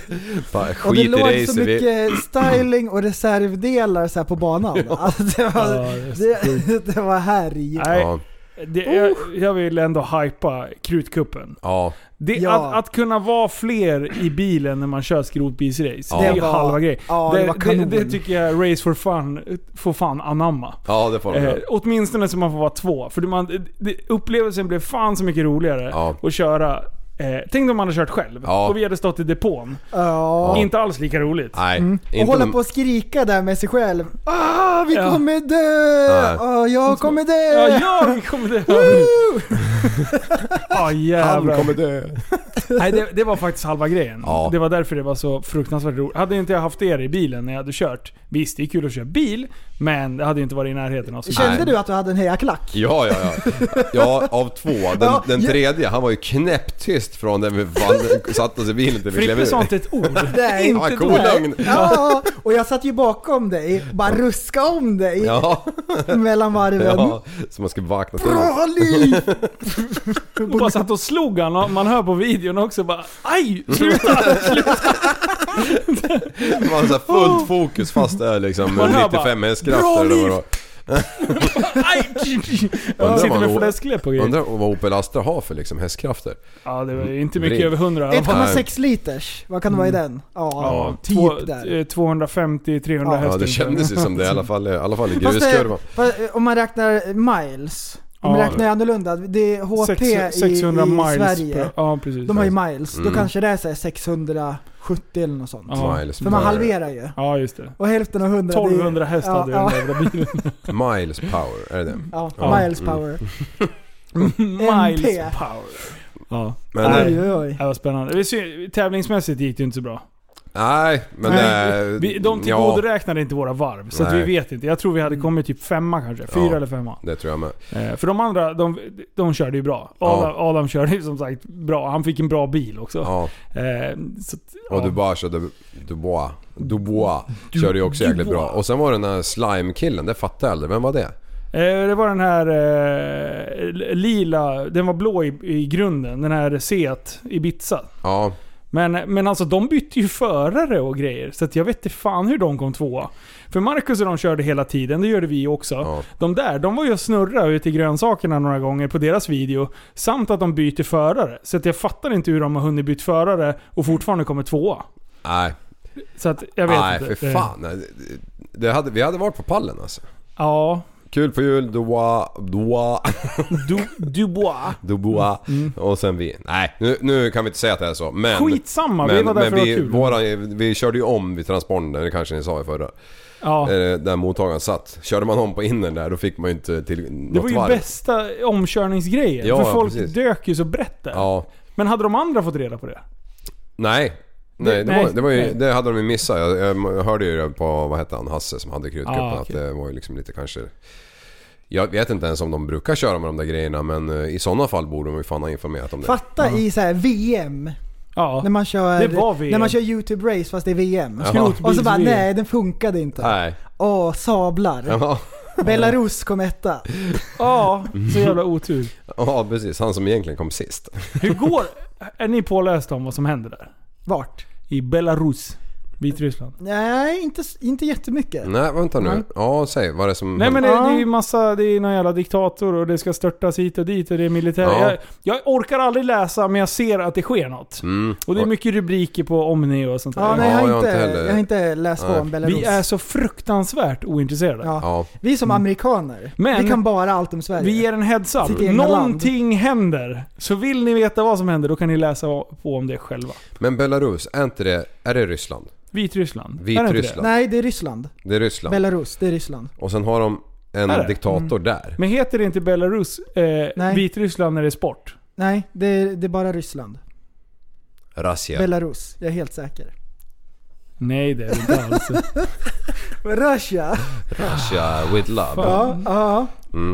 Fan,
Och det
skit i
låg så
racer. Vi...
mycket styling och reservdelar så här på banan. Alltså, det, var,
Ja, det är så
det, det var härj.
Nej,
Ja,
det, jag, jag vill ändå hypa krutkuppen.
ja.
Det,
Ja.
att, att kunna vara fler i bilen när man kör skrotbilsrace, det är ju
Det var-
halva grejen.
ja, det var
det,
kanon.
det tycker jag Race for Fun får fan anamma.
ja, det får de
Eh,
göra.
åtminstone så man får vara två. För det- man, det, upplevelsen blev fan så mycket roligare
Ja.
att köra. Eh, tänk om man hade kört själv
Ja.
och vi hade stått i depån.
Ja.
Inte alls lika roligt.
Nej,
mm. Och
inte
hålla
de-
på och skrika där med sig själv. Ah, vi
Ja.
kommer dö!
Nej.
Ah, jag kommer
Ja,
dö!
jag kommer dö! Ja
Han
jävlar.
kommer dö.
Nej, det, det var faktiskt halva grejen.
Ja.
Det var därför det var så fruktansvärt roligt. Hade inte jag haft er i bilen när jag hade kört. Visst, det är kul att köra bil, men det hade ju inte varit i närheten av så
Kände
Nej.
du att du hade en hejaklack?
Ja, ja, ja. Ja, av två. Den,
Ja,
den
ja.
tredje, han var ju knäpptyst från den vi vann, satt oss i bilen till vi klev
Frippe
ur.
sa inte ett ord.
Nej,
Ja,
inte
cool
då.
lögn.
Ja, och jag satt ju bakom dig och bara ruska om dig
Ja,
mellan varven.
ja. Så man ska vakna till.
Bra liv!
Hon bara satt och slog han och man hör på videon också bara Aj! Sluta! sluta.
Man har så här fullt fokus fast det är liksom
Man hör bara,
95
"Bra
hästkrafter. eller vad det var.
Aj!
vad
Han sitter
han-
med fläskläpp och grejer.
Undrar vad Opel Astra har för liksom hästkrafter.
Ja, det var ju inte mycket
Vrid.
över 100 i alla fall.
1,6 liters, vad kan det vara i den? Ja,
Ja,
typ
två-
där.
eh, 250-300
Ja,
Ja,
hästar.
det kändes ju som det i alla fall, i alla fall i
Fast det,
gruskurvan.
fast, eh, om man räknar miles, om man
Ja.
räknar annorlunda. Det är HP
Sex- 600
i, i
miles
Sverige.
per- Ja, precis.
De har ju miles,
Mm.
då kanske det är så här 670 eller något sånt.
Ja.
Miles,
För man
power.
halverar ju.
Ja, just det.
Och hälften av 100 det är-
1200 häst
ja,
hade den
ja,
där jävla bilen.
Miles power, är det det?
ja,
Ja.
Miles
Mm.
power.
Miles
MP.
power. Ja,
Men,
Nej.
nej,
Oj, oj, oj.
det var spännande. Vi ser, tävlingsmässigt gick det inte så bra.
nej men...
Nej,
eh,
Vi, de
ja,
tillgodoräknade inte våra varv, så att vi
Nej.
vet inte. Jag tror vi hade kommit typ femma kanske. Fyra
Ja.
eller femma.
det tror jag med.
Eh, för de andra, de, de körde ju bra.
Ja.
Adam, Adam körde ju som sagt bra. Han fick en bra bil också.
Ja.
Eh, så, att-
Och
ja.
Dubois körde... Dubois. Dubois körde ju också jäkligt bra. Och sen var det den här slime-killen, det fattar jag aldrig. Vem var det?
Eh, det var den här eh, lila, den var blå i, i grunden. Den här Seat Ibiza.
Ja,
Men, men alltså de bytte ju förare och grejer. Så att jag vet inte fan hur de kom tvåa. För Marcus och de körde hela tiden, det gjorde vi också.
Ja.
De där, de var ju och snurrade ute i grönsakerna några gånger på deras video. Samt att de byter förare. Så att jag fattar inte hur de har hunnit byta förare och fortfarande kommer tvåa.
nej.
Så att jag vet
Nej,
inte.
för
Eh,
fan. Nej, det- Det hade, vi hade varit på pallen alltså.
Ja.
Kul på jul, Dubois, Dubois,
Du, Dubois.
Dubois
Mm.
och sen vi. Nej, nu, nu kan vi inte säga att det är så. Men,
Skitsamma, vi
men,
var där
men
för att ha
vi,
kul.
våra, vi körde ju om vid transpondern, det kanske ni sa i förra.
Ja.
Eh, Där mottagaren satt. Körde man om på innern där, då fick man ju inte till något
Det var ju
varv.
bästa omkörningsgrejen.
Ja,
för folk
precis.
dök ju så brett där.
Ja.
Men hade de andra fått reda på det?
Nej. Nej, det,
Nej,
var, det, var ju,
nej.
det hade de ju missat. Jag, jag hörde ju det på, vad hette han, Hasse som hade krutkuppen
Ah, okej.
att det var ju liksom lite kanske... Jag vet inte ens om de brukar köra med de där grejerna men eh, i sådana fall borde de ju fan ha informerat om det.
Fatta i så här VM,
Ja.
när man kör,
Det var VM.
När man kör YouTube race fast det är VM.
Skrotbils-
Och så bara
VM.
nej, den funkade inte.
Nej.
Åh, sablar.
Ja.
Belarus kom etta.
Ja, så jävla otur.
ja, precis. Han som egentligen kom sist.
Hur går... Är ni pålästa om vad som händer där?
Vart?
I Belarus, Vitryssland.
Nej, inte, s- inte jättemycket.
Nej, vänta nu. Ja, säg. Vad är det som...
Nej men det, det
Ja.
är ju massa, det är någon jävla diktator och det ska störtas hit och dit och det är militär.
Ja.
Jag, jag orkar aldrig läsa men jag ser att det sker något.
Mm.
Och det är mycket rubriker på Omni och sånt där.
Ja, nej,
Ja,
jag, har
jag har
inte,
inte heller-
jag har inte läst på
Nej.
om Belarus.
Vi är så fruktansvärt ointresserade.
ja.
Ja. Mm.
vi är som amerikaner.
Men-
vi kan bara allt om Sverige.
Vi ger en heads up.
Sitt egna
Någonting händer. Så vill ni veta vad som händer då kan ni läsa på om det själva.
Men Belarus, är inte det... Är det Ryssland?
Vitryssland. Är det inte det?
Vitryssland?
Nej, det är Ryssland.
Det är Ryssland.
Belarus, det är Ryssland.
Och sen har de en
Är det? Mm.
diktator där.
Men heter det inte Belarus eh,
Nej.
Vitryssland när det är sport?
Nej, det är, det är bara Ryssland.
Razzia.
Belarus, jag är helt säker.
Nej det är det inte alls.
Russia?
Russia with love.
Ja, ja.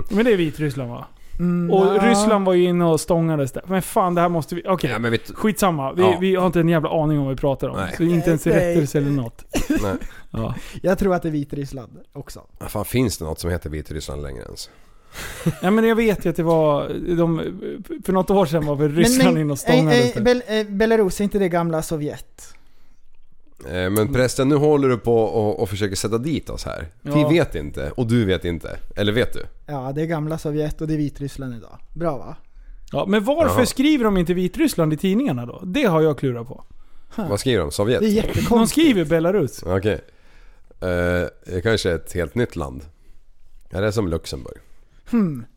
Men det är Vitryssland va?
Mm,
Och
ja.
Ryssland var ju inne och stångades där. Men fan det här måste vi... Okej.
Ja, men vet,
Skitsamma. Vi,
Ja.
vi har inte en jävla aning om vad vi pratar om.
Nej.
Så inte ens i
Nej.
rättelse eller något.
nej.
Ja.
Jag tror att det är Vitryssland också.
Ja, Fan, finns det något som heter Vitryssland längre ens?
ja men jag vet ju att det var... De, för något år sedan var väl Ryssland inne och stångades
eh, eh,
där.
Bel, eh, Belarus, är inte det gamla Sovjet?
Eh, Men prästen, nu håller du på och, och försöker sätta dit oss här.
Ja.
Vi vet inte och du vet inte. Eller vet du?
Ja, det är gamla Sovjet och det är Vitryssland idag. Bra va?
Ja, men varför
Jaha.
skriver de inte Vitryssland i tidningarna då? Det har jag klurat på.
Vad skriver de? Sovjet?
Det är
De
jättekonstigt.
skriver Belarus.
Okej. Eh, det kanske är ett helt nytt land. Ja, det är som Luxemburg.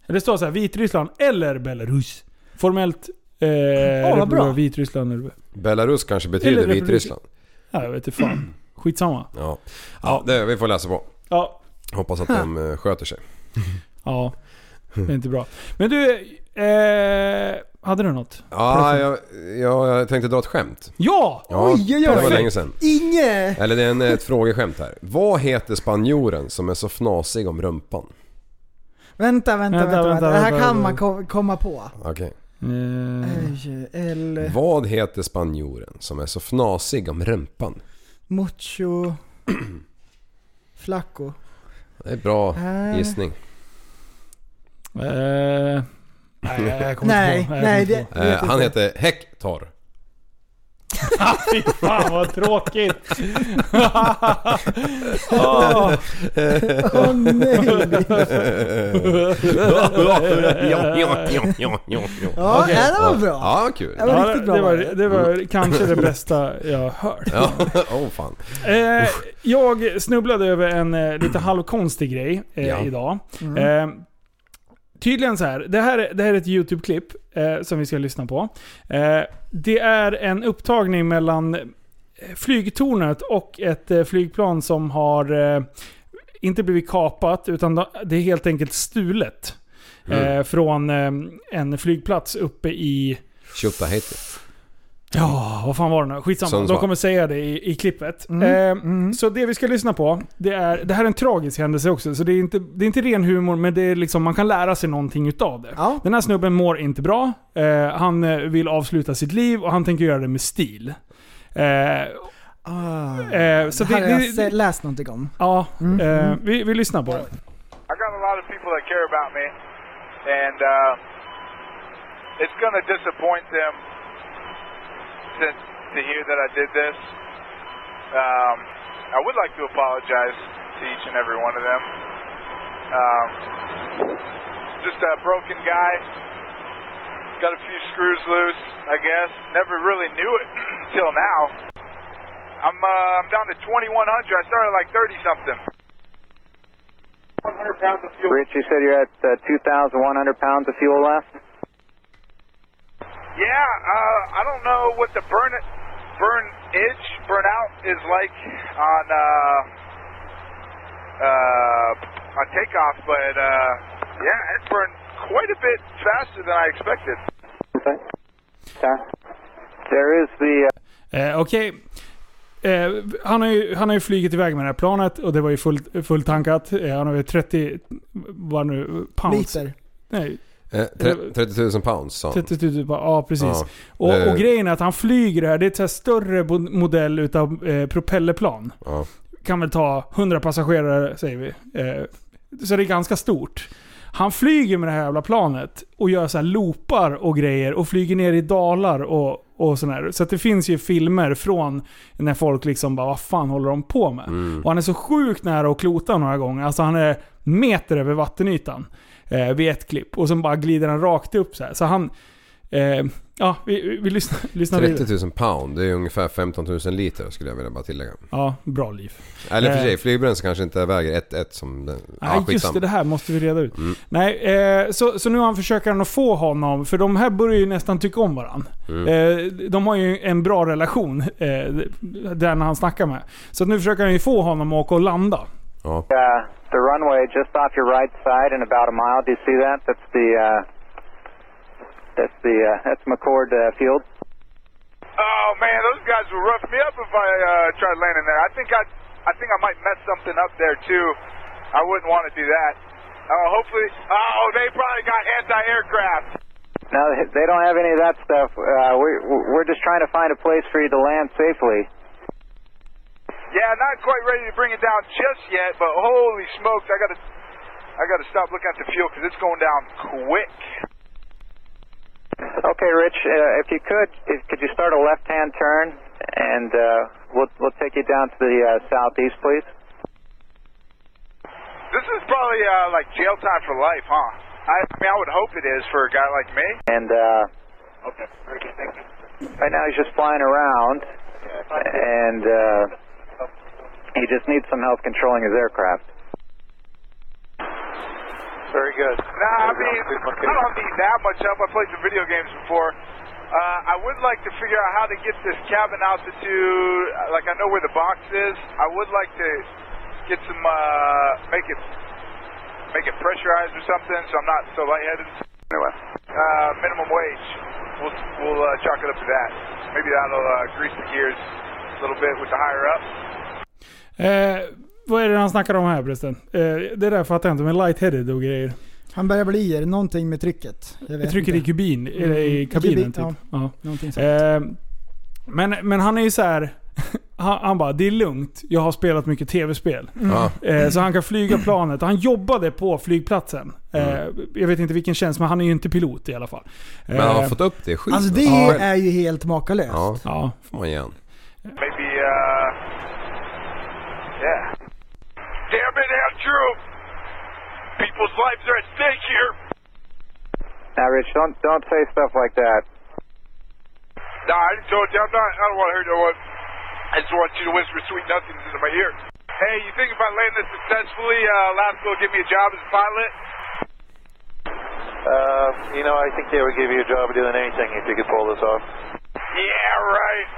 Det står så här, Vitryssland eller Belarus. Formellt eh,
vad bra.
Republika Vitryssland. eller-
Belarus kanske betyder
Eller republik-
Vitryssland.
Ja, jag vet inte fan. Skitsamma.
Ja, ja det, vi får läsa på.
Ja.
Hoppas att de eh, sköter sig.
Ja.
Hm.
Det är inte bra. Men du, eh, hade du något?
Ja, jag, ja, jag tänkte dra ett skämt.
Ja!
Oj,
Ja,
oj, oj.
Det var länge sedan.
Inge!
Eller det är en, eh, ett frågeskämt här. Vad heter spanjoren som är så fnasig om rumpan?
Vänta, vänta, vänta.
Vänta, vänta,
vänta, det här
vänta,
kan
vänta.
man ko- komma på.
Okej.
Eh,
Oj, El
Vad heter spanjoren som är så fnasig om rumpan?
Mucho Flacco.
Det är
Ah.
bra
Eh.
gissning.
eh, nej, jag kommer
Nej,
inte på.
nej. Det,
Eh,
vet
han
inte.
heter Hector.
Fy fan vad tråkigt. Åh.
Åh nej! Ja,
Okej.
nej, det var bra.
Ja,
Det
kul.
Ja,
var
det,
riktigt bra.
det var,
var det.
det var kanske det bästa jag har hört.
Ja, oh fan.
Eh, jag snubblade över en eh, lite halvkonstig grej eh,
Ja.
idag.
Mm.
Eh, tydligen så här. Det här, är- det här är ett YouTube-klipp eh, som vi ska lyssna på. Eh, det är en upptagning mellan eh, flygtornet och ett eh, flygplan som har eh, inte blivit kapat, utan det är helt enkelt stulet. Eh, från eh, en flygplats uppe i...
Tjutta heter
Ja, vad fan var det nu? Skitsamma,
Sundsvall.
de kommer säga det i, i klippet.
Mm,
Eh,
mm.
Så det vi ska lyssna på, det, är, det här är en tragisk händelse också. Så det är inte, det är inte ren humor, men det är liksom, man kan lära sig någonting utav det.
Ja.
Den här snubben mår inte bra. Eh, han eh, vill avsluta sitt liv och han tänker göra det med stil. Eh,
Ah,
eh, så
det
det,
här har jag Mm,
det,
se- läst någonting om.
ja, eh, vi, vi lyssnar på det.
I got a lot of people that care about me, and uh, it's going to disappoint them to, to hear that I did this. Um, I would like to apologize to each and every one of them. Um, just a broken guy, got a few screws loose, I guess. Never really knew it till now. I'm uh, I'm down to 2100. I started like 30 something. 100 pounds of fuel.
Rich, you said you're at uh, 2,100 pounds of fuel left?
Yeah, uh, I don't know what the burn burn itch burnout is like on uh, uh, on takeoff, but uh, yeah, it burned quite a bit faster than I expected.
Okay. Sir? There is the uh,
Eh, Okej. Eh, han, har ju, han har ju flugit iväg med det här planet och det var ju fullt, fulltankat. Eh, han har väl 30... Vad nu? Pounds?
Liter.
Nej,
det. Eh, tre- 30 000 pounds sa han.
30 000 bara, typ, ja precis.
Ja,
och,
det-
och grejen är att han flyger det här, det är ett så här större bo- modell utav eh, propellerplan.
Ja.
Kan väl ta 100 passagerare säger vi. Eh, så det är ganska stort. Han flyger med det här jävla planet och gör så här loopar och grejer och flyger ner i dalar och, och sådär. Så att det finns ju filmer från när folk liksom bara vad fan håller de på med? Och han är så sjukt nära att klota några gånger. Alltså han är meter över vattenytan eh, vid ett klipp. Och sen bara glider han rakt upp så här. Så han... Eh, ja, vi, vi lyssnar, lyssnar vidare.
30 000 pound, det är ungefär 15 000 liter skulle jag vilja bara tillägga.
Ja, bra liv.
Eller för
Eh.
sig, flygbränsle kanske inte väger 1-1 som den...
Nej,
Ja, Mm.
just det.
skitsamma.
Det här måste vi reda ut. Nej, eh, så, så nu har han försöker han att få honom, för de här börjar ju nästan tycka om varandra.
Mm.
Eh, de har ju en bra relation, eh, den han snackar med. Så att nu försöker han ju få honom att åka och landa.
Ja.
uh, the runway just off your right side in about a mile. Do you see that? That's the uh, that's the uh, that's McCord uh, Field.
Oh man, those guys will rough me up if I uh, tried landing there. I think I, I think I might mess something up there too. I wouldn't want to do that. Uh, hopefully, oh, they probably got anti-aircraft.
No, they don't have any of that stuff. Uh, we, we're just trying to find a place for you to land safely.
Yeah, not quite ready to bring it down just yet, but holy smokes, I gotta, I gotta stop looking at the fuel because it's going down quick.
Okay, Rich, uh, if you could, if, could you start a left-hand turn, and uh, we'll we'll take you down to the uh, southeast, please.
This is probably uh, like jail time for life, huh? I, I mean, I would hope it is for a guy like me.
And uh,
Okay. Okay, thank you.
right now he's just flying around, and uh, he just needs some help controlling his aircraft.
Very good. Nah, I mean, I don't need that much help. I played some video games before. Uh, I would like to figure out how to get this cabin altitude. uh, Like, I know where the box is. I would like to get some, uh, make it, make it pressurized or something, so I'm not so lightheaded. Anyway, uh, minimum wage. We'll we'll uh, chalk it up to that. Maybe that'll uh, grease the gears a little bit with the higher up.
Eh, vad är det han snackar om här förresten? Eh, det där fattar jag inte, men lightheaded och grejer.
Han börjar bli er, någonting med trycket. Jag vet
Jag trycker i
Eh, inte.
kubin, eller i
Mm,
kabinen
kubin,
typ. Ja.
Någonting sånt.
Eh, men, men han är ju så här. Han, han bara, det är lugnt. Jag har spelat mycket tv-spel.
Ja.
Eh, så han kan flyga planet. Han jobbade på flygplatsen.
Mm.
Eh, jag vet inte vilken tjänst, men han är ju inte pilot i alla fall. Eh,
Men han har fått upp det skit.
Alltså det
Ja.
är ju helt makalöst.
Ja,
Ja.
får man igen.
Maybe, uh. Yeah. Damn it, Andrew! People's lives are at stake here!
Now, Rich, don't don't say stuff like that.
Nah, I just told you, I'm not, I don't want to hear no one. I just want you to whisper sweet nothings into my ear. Hey, you think if I land this successfully, uh, Alaska will give me a job as a pilot?
Uh, you know, I think they would give you a job doing anything if you could pull this off.
Yeah, right.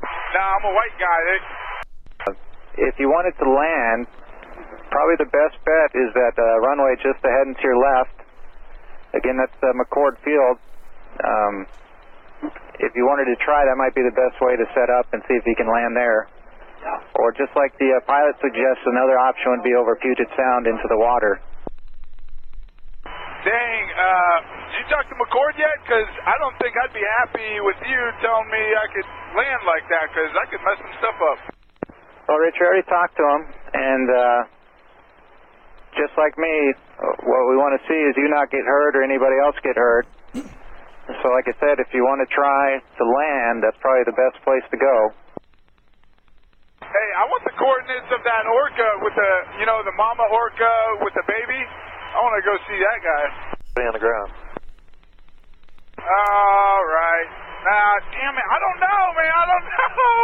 Nah, I'm a white guy. eh? They,
If you wanted to land, probably the best bet is that uh, runway just ahead and to your left. Again, that's uh, McCord Field. Um, if you wanted to try, that might be the best way to set up and see if you can land there. Or just like the uh, pilot suggests, another option would be over Puget Sound into the water.
Dang, uh, did you talk to McCord yet? Because I don't think I'd be happy with you telling me I could land like that, because I could mess some stuff up.
Well, Rich, I already talked to him, and uh, just like me, uh, what we want to see is you not get hurt or anybody else get hurt. So, like I said, if you want to try to land, that's probably the best place to go.
Hey, I want the coordinates of that orca with the, you know, the mama orca with the baby. I want to go see that guy.
Stay on the ground.
All right. Nah, damn it. I don't know, man. I don't know.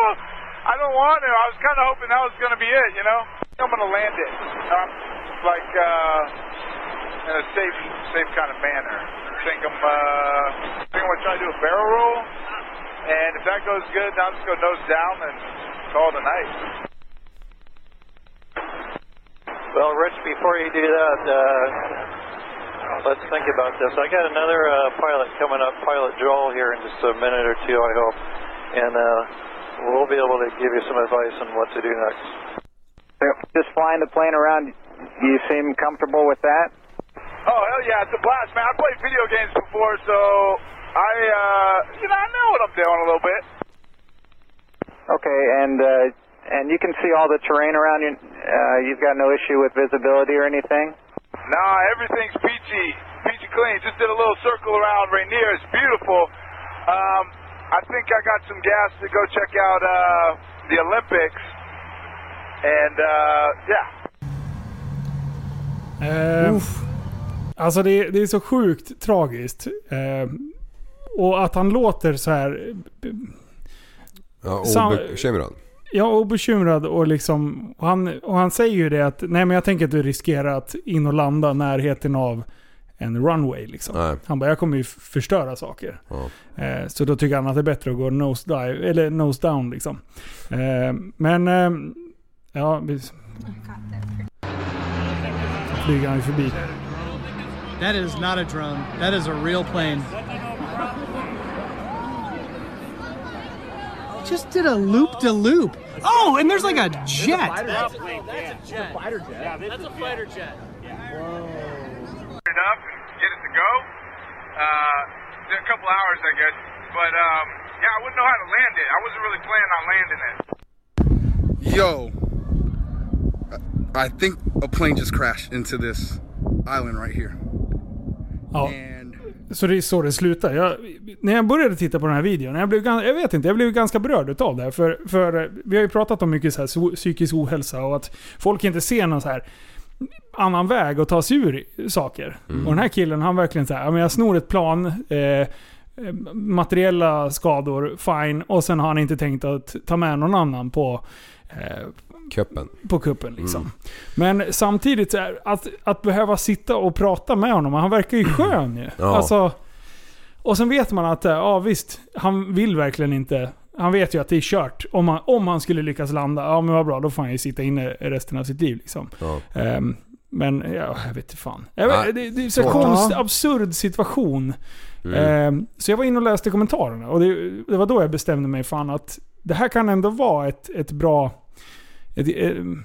I don't want to. I was kind of hoping that was going to be it, you know? I'm going to land it. Um, like, uh, in a safe, safe kind of manner. I think I'm, uh, I think I'm going to try to do a barrel roll. And if that goes good, then I'm just going to nose down and call it a night.
Well, Rich, before you do that, uh, let's think about this. I got another uh, pilot coming up, Pilot Joel, here in just a minute or two, I hope. And uh, we'll be able to give you some advice on what to do next.
Just flying the plane around, you seem comfortable with that?
Oh hell yeah, it's a blast, man! I played video games before, so I, uh, you know, I know what I'm doing a little bit.
Okay, and uh, and you can see all the terrain around you. Uh, you've got no issue with visibility or anything.
Nah, everything's peachy, peachy clean. Just did a little circle around Rainier. It's beautiful. Um, I think I got some gas to go check out uh, the Olympics, and uh, yeah.
Eh, Alltså det, det är så sjukt tragiskt. Eh, och att han låter så här
Ja,
Sam-
obekymrad.
Ja, obekymrad och liksom... Och han, och han säger ju det att nej men jag tänker inte riskera att in och landa i närheten av en runway liksom.
Nej.
Han bara, jag kommer ju f- förstöra saker.
Ja.
Eh, så då tycker han att det är bättre att gå nose, dive, eller nose down liksom. Eh, men... Eh, ja, vi... Flyger han ju förbi.
That is not a drone. That is a real plane. just did a loop de loop. Oh, and there's like a jet.
That's a fighter jet. Yeah, that's a fighter jet.
it up and get it to go. Uh, took a couple hours, I guess. But um, yeah, I wouldn't know how to land it. I wasn't really planning on landing it.
Yo, I think a plane just crashed into this island right here.
Ja. Så det är så det slutar. Jag, när jag började titta på den här videon, jag, blev, gan- jag vet inte, jag blev ganska berörd utav det. För, för eh, vi har ju pratat om mycket så här, so- psykisk ohälsa och att folk inte ser någon så här annan väg att ta sig ur saker. Och den här killen, han verkligen så här, "Ja, men jag snor ett plan, eh, materiella skador, fine. Och sen har han inte tänkt att ta med någon annan på eh,
Kuppen.
på kuppen liksom. Men samtidigt, så här, att, att behöva sitta och prata med honom. Han verkar ju skön ju.
Ja.
Alltså, och sen vet man att, eh, ja visst, han vill verkligen inte. Han vet ju att det är kört. Om han, om han skulle lyckas landa, ja men vad bra, då får han ju sitta inne resten av sitt liv liksom.
Ja.
Ehm, men ja, jag vet inte fan. Jag vet,
Nej,
det, det är så
svårt.
konst,
Ja.
absurd situation.
Mm.
Ehm, så jag var inne och läste kommentarerna och det, det var då jag bestämde mig fan att det här kan ändå vara ett, ett bra... Ett, ehm,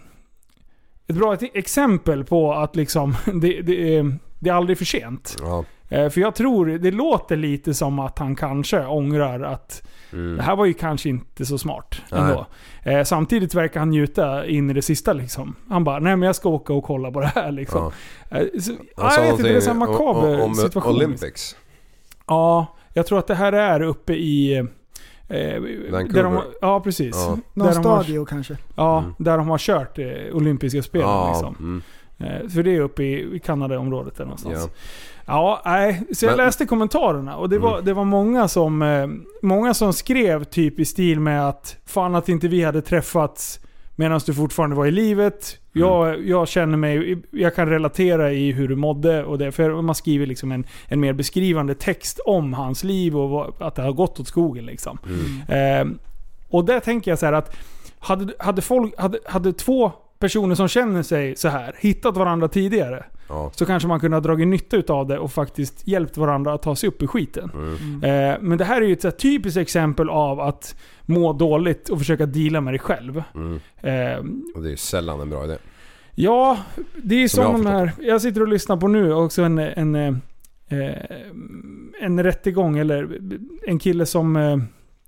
ett bra ett exempel på att liksom, det, det, är- det är aldrig för sent.
Ja.
Eh, För jag tror, det låter lite som att han kanske ångrar att
Mm.
det här var ju kanske inte så smart
Nej.
ändå. Eh, Samtidigt verkar han njuta in i det sista liksom. Han bara, nej men jag ska åka och kolla på det här liksom. Eh, Så,
Han
ja,
sa
jag vet inte, det är en sån här
någonting om-
makaber
om- om
situation.
Olympics.
Ja, jag tror att det här är uppe i... eh, där de,
Vancouver.
ja, precis.
Ja. Mm.
Där
Någon
de har-
stadio kanske.
Ja, där de har kört eh, olympiska spelen.
Ja,
Liksom.
mm.
Eh, För det är uppe i i Kanadaområdet där någonstans.
Ja.
Ja, nej. Så jag
Men-
läste kommentarerna och det var, det var många, som, eh, många som skrev typ i stil med att fan att inte vi hade träffats medan du fortfarande var i livet. Jag, jag känner mig, jag kan relatera i hur du mådde och det, för man skriver liksom en, en mer beskrivande text om hans liv och vad, att det har gått åt skogen liksom. Eh, och där tänker jag så här att hade, hade, folk, hade, hade två personer som känner sig så här hittat varandra tidigare
Ja.
så kanske man kunde ha dragit nytta av det och faktiskt hjälpt varandra att ta sig upp i skiten.
Mm.
Eh, men det här är ju ett så här typiskt exempel av att må dåligt och försöka deala med dig själv.
Mm.
Eh,
Och det är sällan en bra idé.
Ja, det är ju
Som
som,
jag har
de här... Jag sitter och lyssnar på nu också en, en, eh, eh, en rättegång, eller en kille som... eh,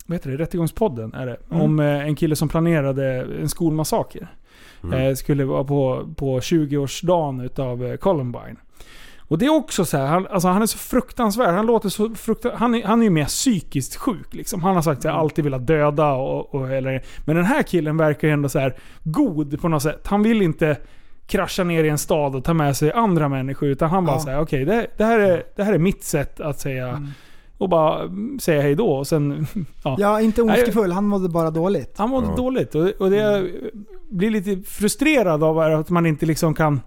Vad heter det? Rättegångspodden är det.
Mm.
Om eh, en kille som planerade en skolmassaker.
Mm.
Eh, Skulle vara på, på 20-årsdagen utav eh, Columbine. Och det är också så här, han, alltså han är så fruktansvärd. Han låter så fruktansvärd. Han, är- han är ju mer psykiskt sjuk liksom. Han har sagt att
Mm.
jag alltid velat döda och, och eller, Men den här killen verkar ju ändå så här god på något sätt. Han vill inte krascha ner i en stad och ta med sig andra människor. Utan han bara
Ja. Mm.
så här, okej det, det, här är- det här är mitt sätt att säga... Och bara mm, säga hej då och sen... Ja,
Ja, inte
Nej,
ondskefull. Han mådde bara dåligt.
han mådde dåligt. Och, och det jag
Mm.
blir lite frustrerad av är att man inte liksom kan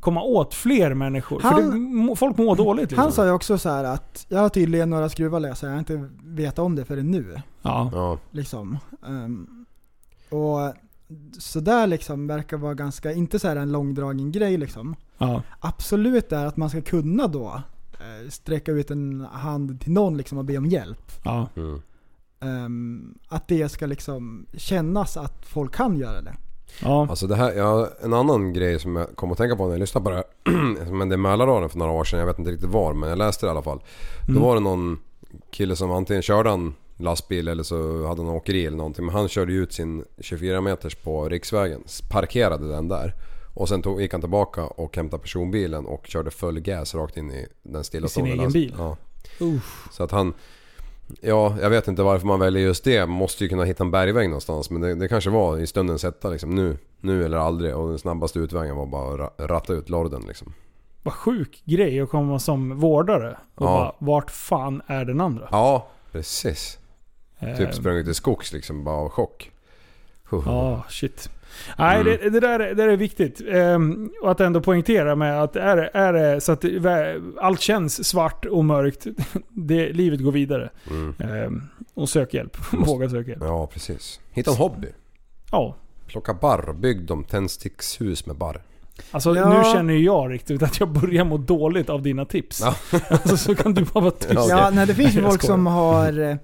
komma åt fler människor. För
Han-
det, må- folk mår dåligt. Liksom.
Han sa ju också så här att jag har tydligen några skruvar lösa, jag har inte vetat om det förrän nu.
Ja.
Liksom. Ehm, och sådär liksom verkar vara ganska, inte så här en långdragen grej liksom.
Ja.
Absolut är att man ska kunna då eh, sträcka ut en hand till någon liksom och be om hjälp.
Ja.
Mm.
Ehm, att det ska liksom kännas att folk kan göra det.
Alltså det här, ja, en annan grej som jag kom att tänka på när jag lyssnade på det här. men det är Mälardalen för några år sedan, jag vet inte riktigt var men jag läste det i alla fall.
Mm.
Då var det någon kille som antingen körde han lastbil eller så hade han åkeri eller någonting. Men han körde ju ut sin 24 meters på riksvägen, parkerade den där. Och sen tog, gick han tillbaka och hämtade personbilen och körde full gas rakt in i den stilla
I sin
stående
egen
last-
bil?
Ja.
Uff.
Så att han... Ja, jag vet inte varför man väljer just det. Man måste ju kunna hitta en bergväg någonstans. Men det, det kanske var i stunden sätta liksom. Nu, nu eller aldrig. Och den snabbaste utvägen var bara att ra- ratta ut lorden liksom.
Vad sjuk grej att komma som vårdare och
Ja.
bara vart fan är den andra?
Ja, precis.
Ehm.
Typ sprungit i skogs liksom bara av chock.
Ja, shit. Nej,
Mm.
det, det, där, är- det där är viktigt. Ehm, och att ändå poängtera med att är, det- är det så att det- vä- allt känns svart och mörkt, det, livet går vidare.
Mm.
Ehm, och sök hjälp. Våga söka hjälp.
Ja, precis. Hitta en hobby.
Ja.
Plocka barr. Bygg dem tändstickshus med barr.
Alltså
Ja.
nu känner ju jag riktigt att jag börjar må dåligt av dina tips.
Ja.
Alltså, så kan du bara vara tyst.
Ja, nej, det finns ju
Jag
folk
skojar.
som har eh, eh,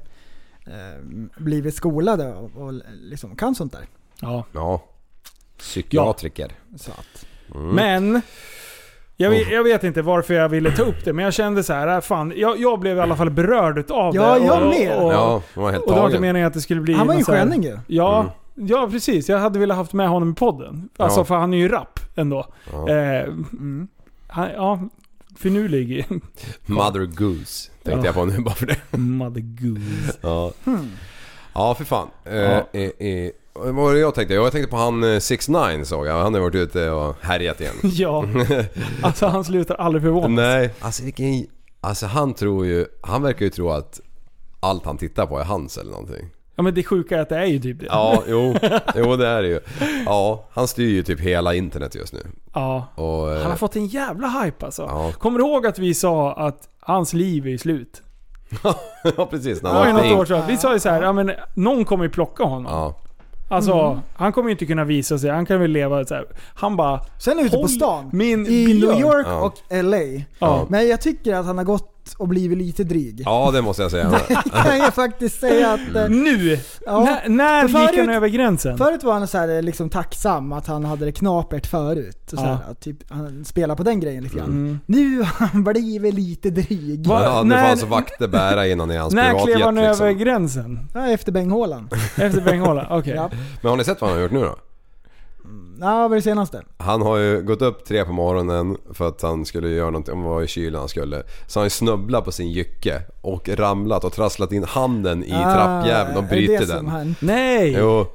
blivit skolade och, och liksom kan sånt där.
Ja.
Ja. Psykiatriker.
Så att.
Mm. Oh.
Men, jag, vet- jag vet inte varför jag ville ta upp det, men jag kände så här, äh, fan, jag, jag blev i alla fall berörd av
Ja,
det.
jag med.
Och,
Ja, det var helt
och det var inte
tagen.
meningen att det skulle bli...
Han var ju
någon så här-
sköning ju.
Ja,
Mm.
ja, precis. Jag hade velat haft med honom i podden. Alltså,
Ja.
för han är ju rapp ändå.
Ja.
Eh, han, ja, finurlig.
Mother Goose tänkte
Ja.
jag på nu bara för det.
Mother goose.
Ja, Hmm. ja för fan. Eh,
Ja.
eh, eh, vad var det jag tänkte? Jo, Jag tänkte på han 6 9 såg jag. Han har varit ute och härjat igen.
Ja, alltså han slutar aldrig förvåna.
Nej. Alltså vilken... Alltså han tror ju... Han verkar ju tro att allt han tittar på är hans eller någonting.
Ja men det sjuka är att det är ju typ det.
Ja, jo. Jo det är det ju. Ja, han styr ju typ hela internet just nu.
Ja.
Och, eh,
Han har fått en jävla hype alltså.
Ja.
Kommer du ihåg att vi sa att hans liv är i slut?
ja precis. När
Det var ju
han åkte
något år
in.
sedan. Vi sa ju så här, ja, men någon kommer ju plocka honom.
Ja.
Alltså,
Mm.
han kommer ju inte kunna visa sig. Han kan väl leva så här. Han bara...
Sen ute på
"Håll
stan.
Min
I
björn."
New York
Ja.
och LA.
Ja.
Men jag tycker att han har gått och blivit lite dryg.
ja, det måste jag säga.
Kan jag faktiskt säga att... eh,
Nu!
Ja.
När, när
För förut-
gick han över gränsen?
Förut var han så här, eh, liksom tacksam att han hade det knapert förut. Och
Ja.
så
Mm.
här, typ, han spelade på den grejen lite grann. Nu har han blivit lite dryg.
Va?
Ja, nu får
När-
han så vakter bära in honom i hans
När
privatjet
klev han över
liksom.
gränsen?
Ja, efter Benghålan.
Efter Benghåla? Okej.
Ja.
Men har ni sett vad han har gjort nu då?
Ja, vad är det senaste?
Han har ju gått upp tre på morgonen för att han skulle göra någonting, om det var i kylan han skulle. Så har han ju snubblat på sin jycke och ramlat och trasslat in handen i
Ah,
trappjäveln och
är det
brutit
som
den.
han-
Nej!
Jo,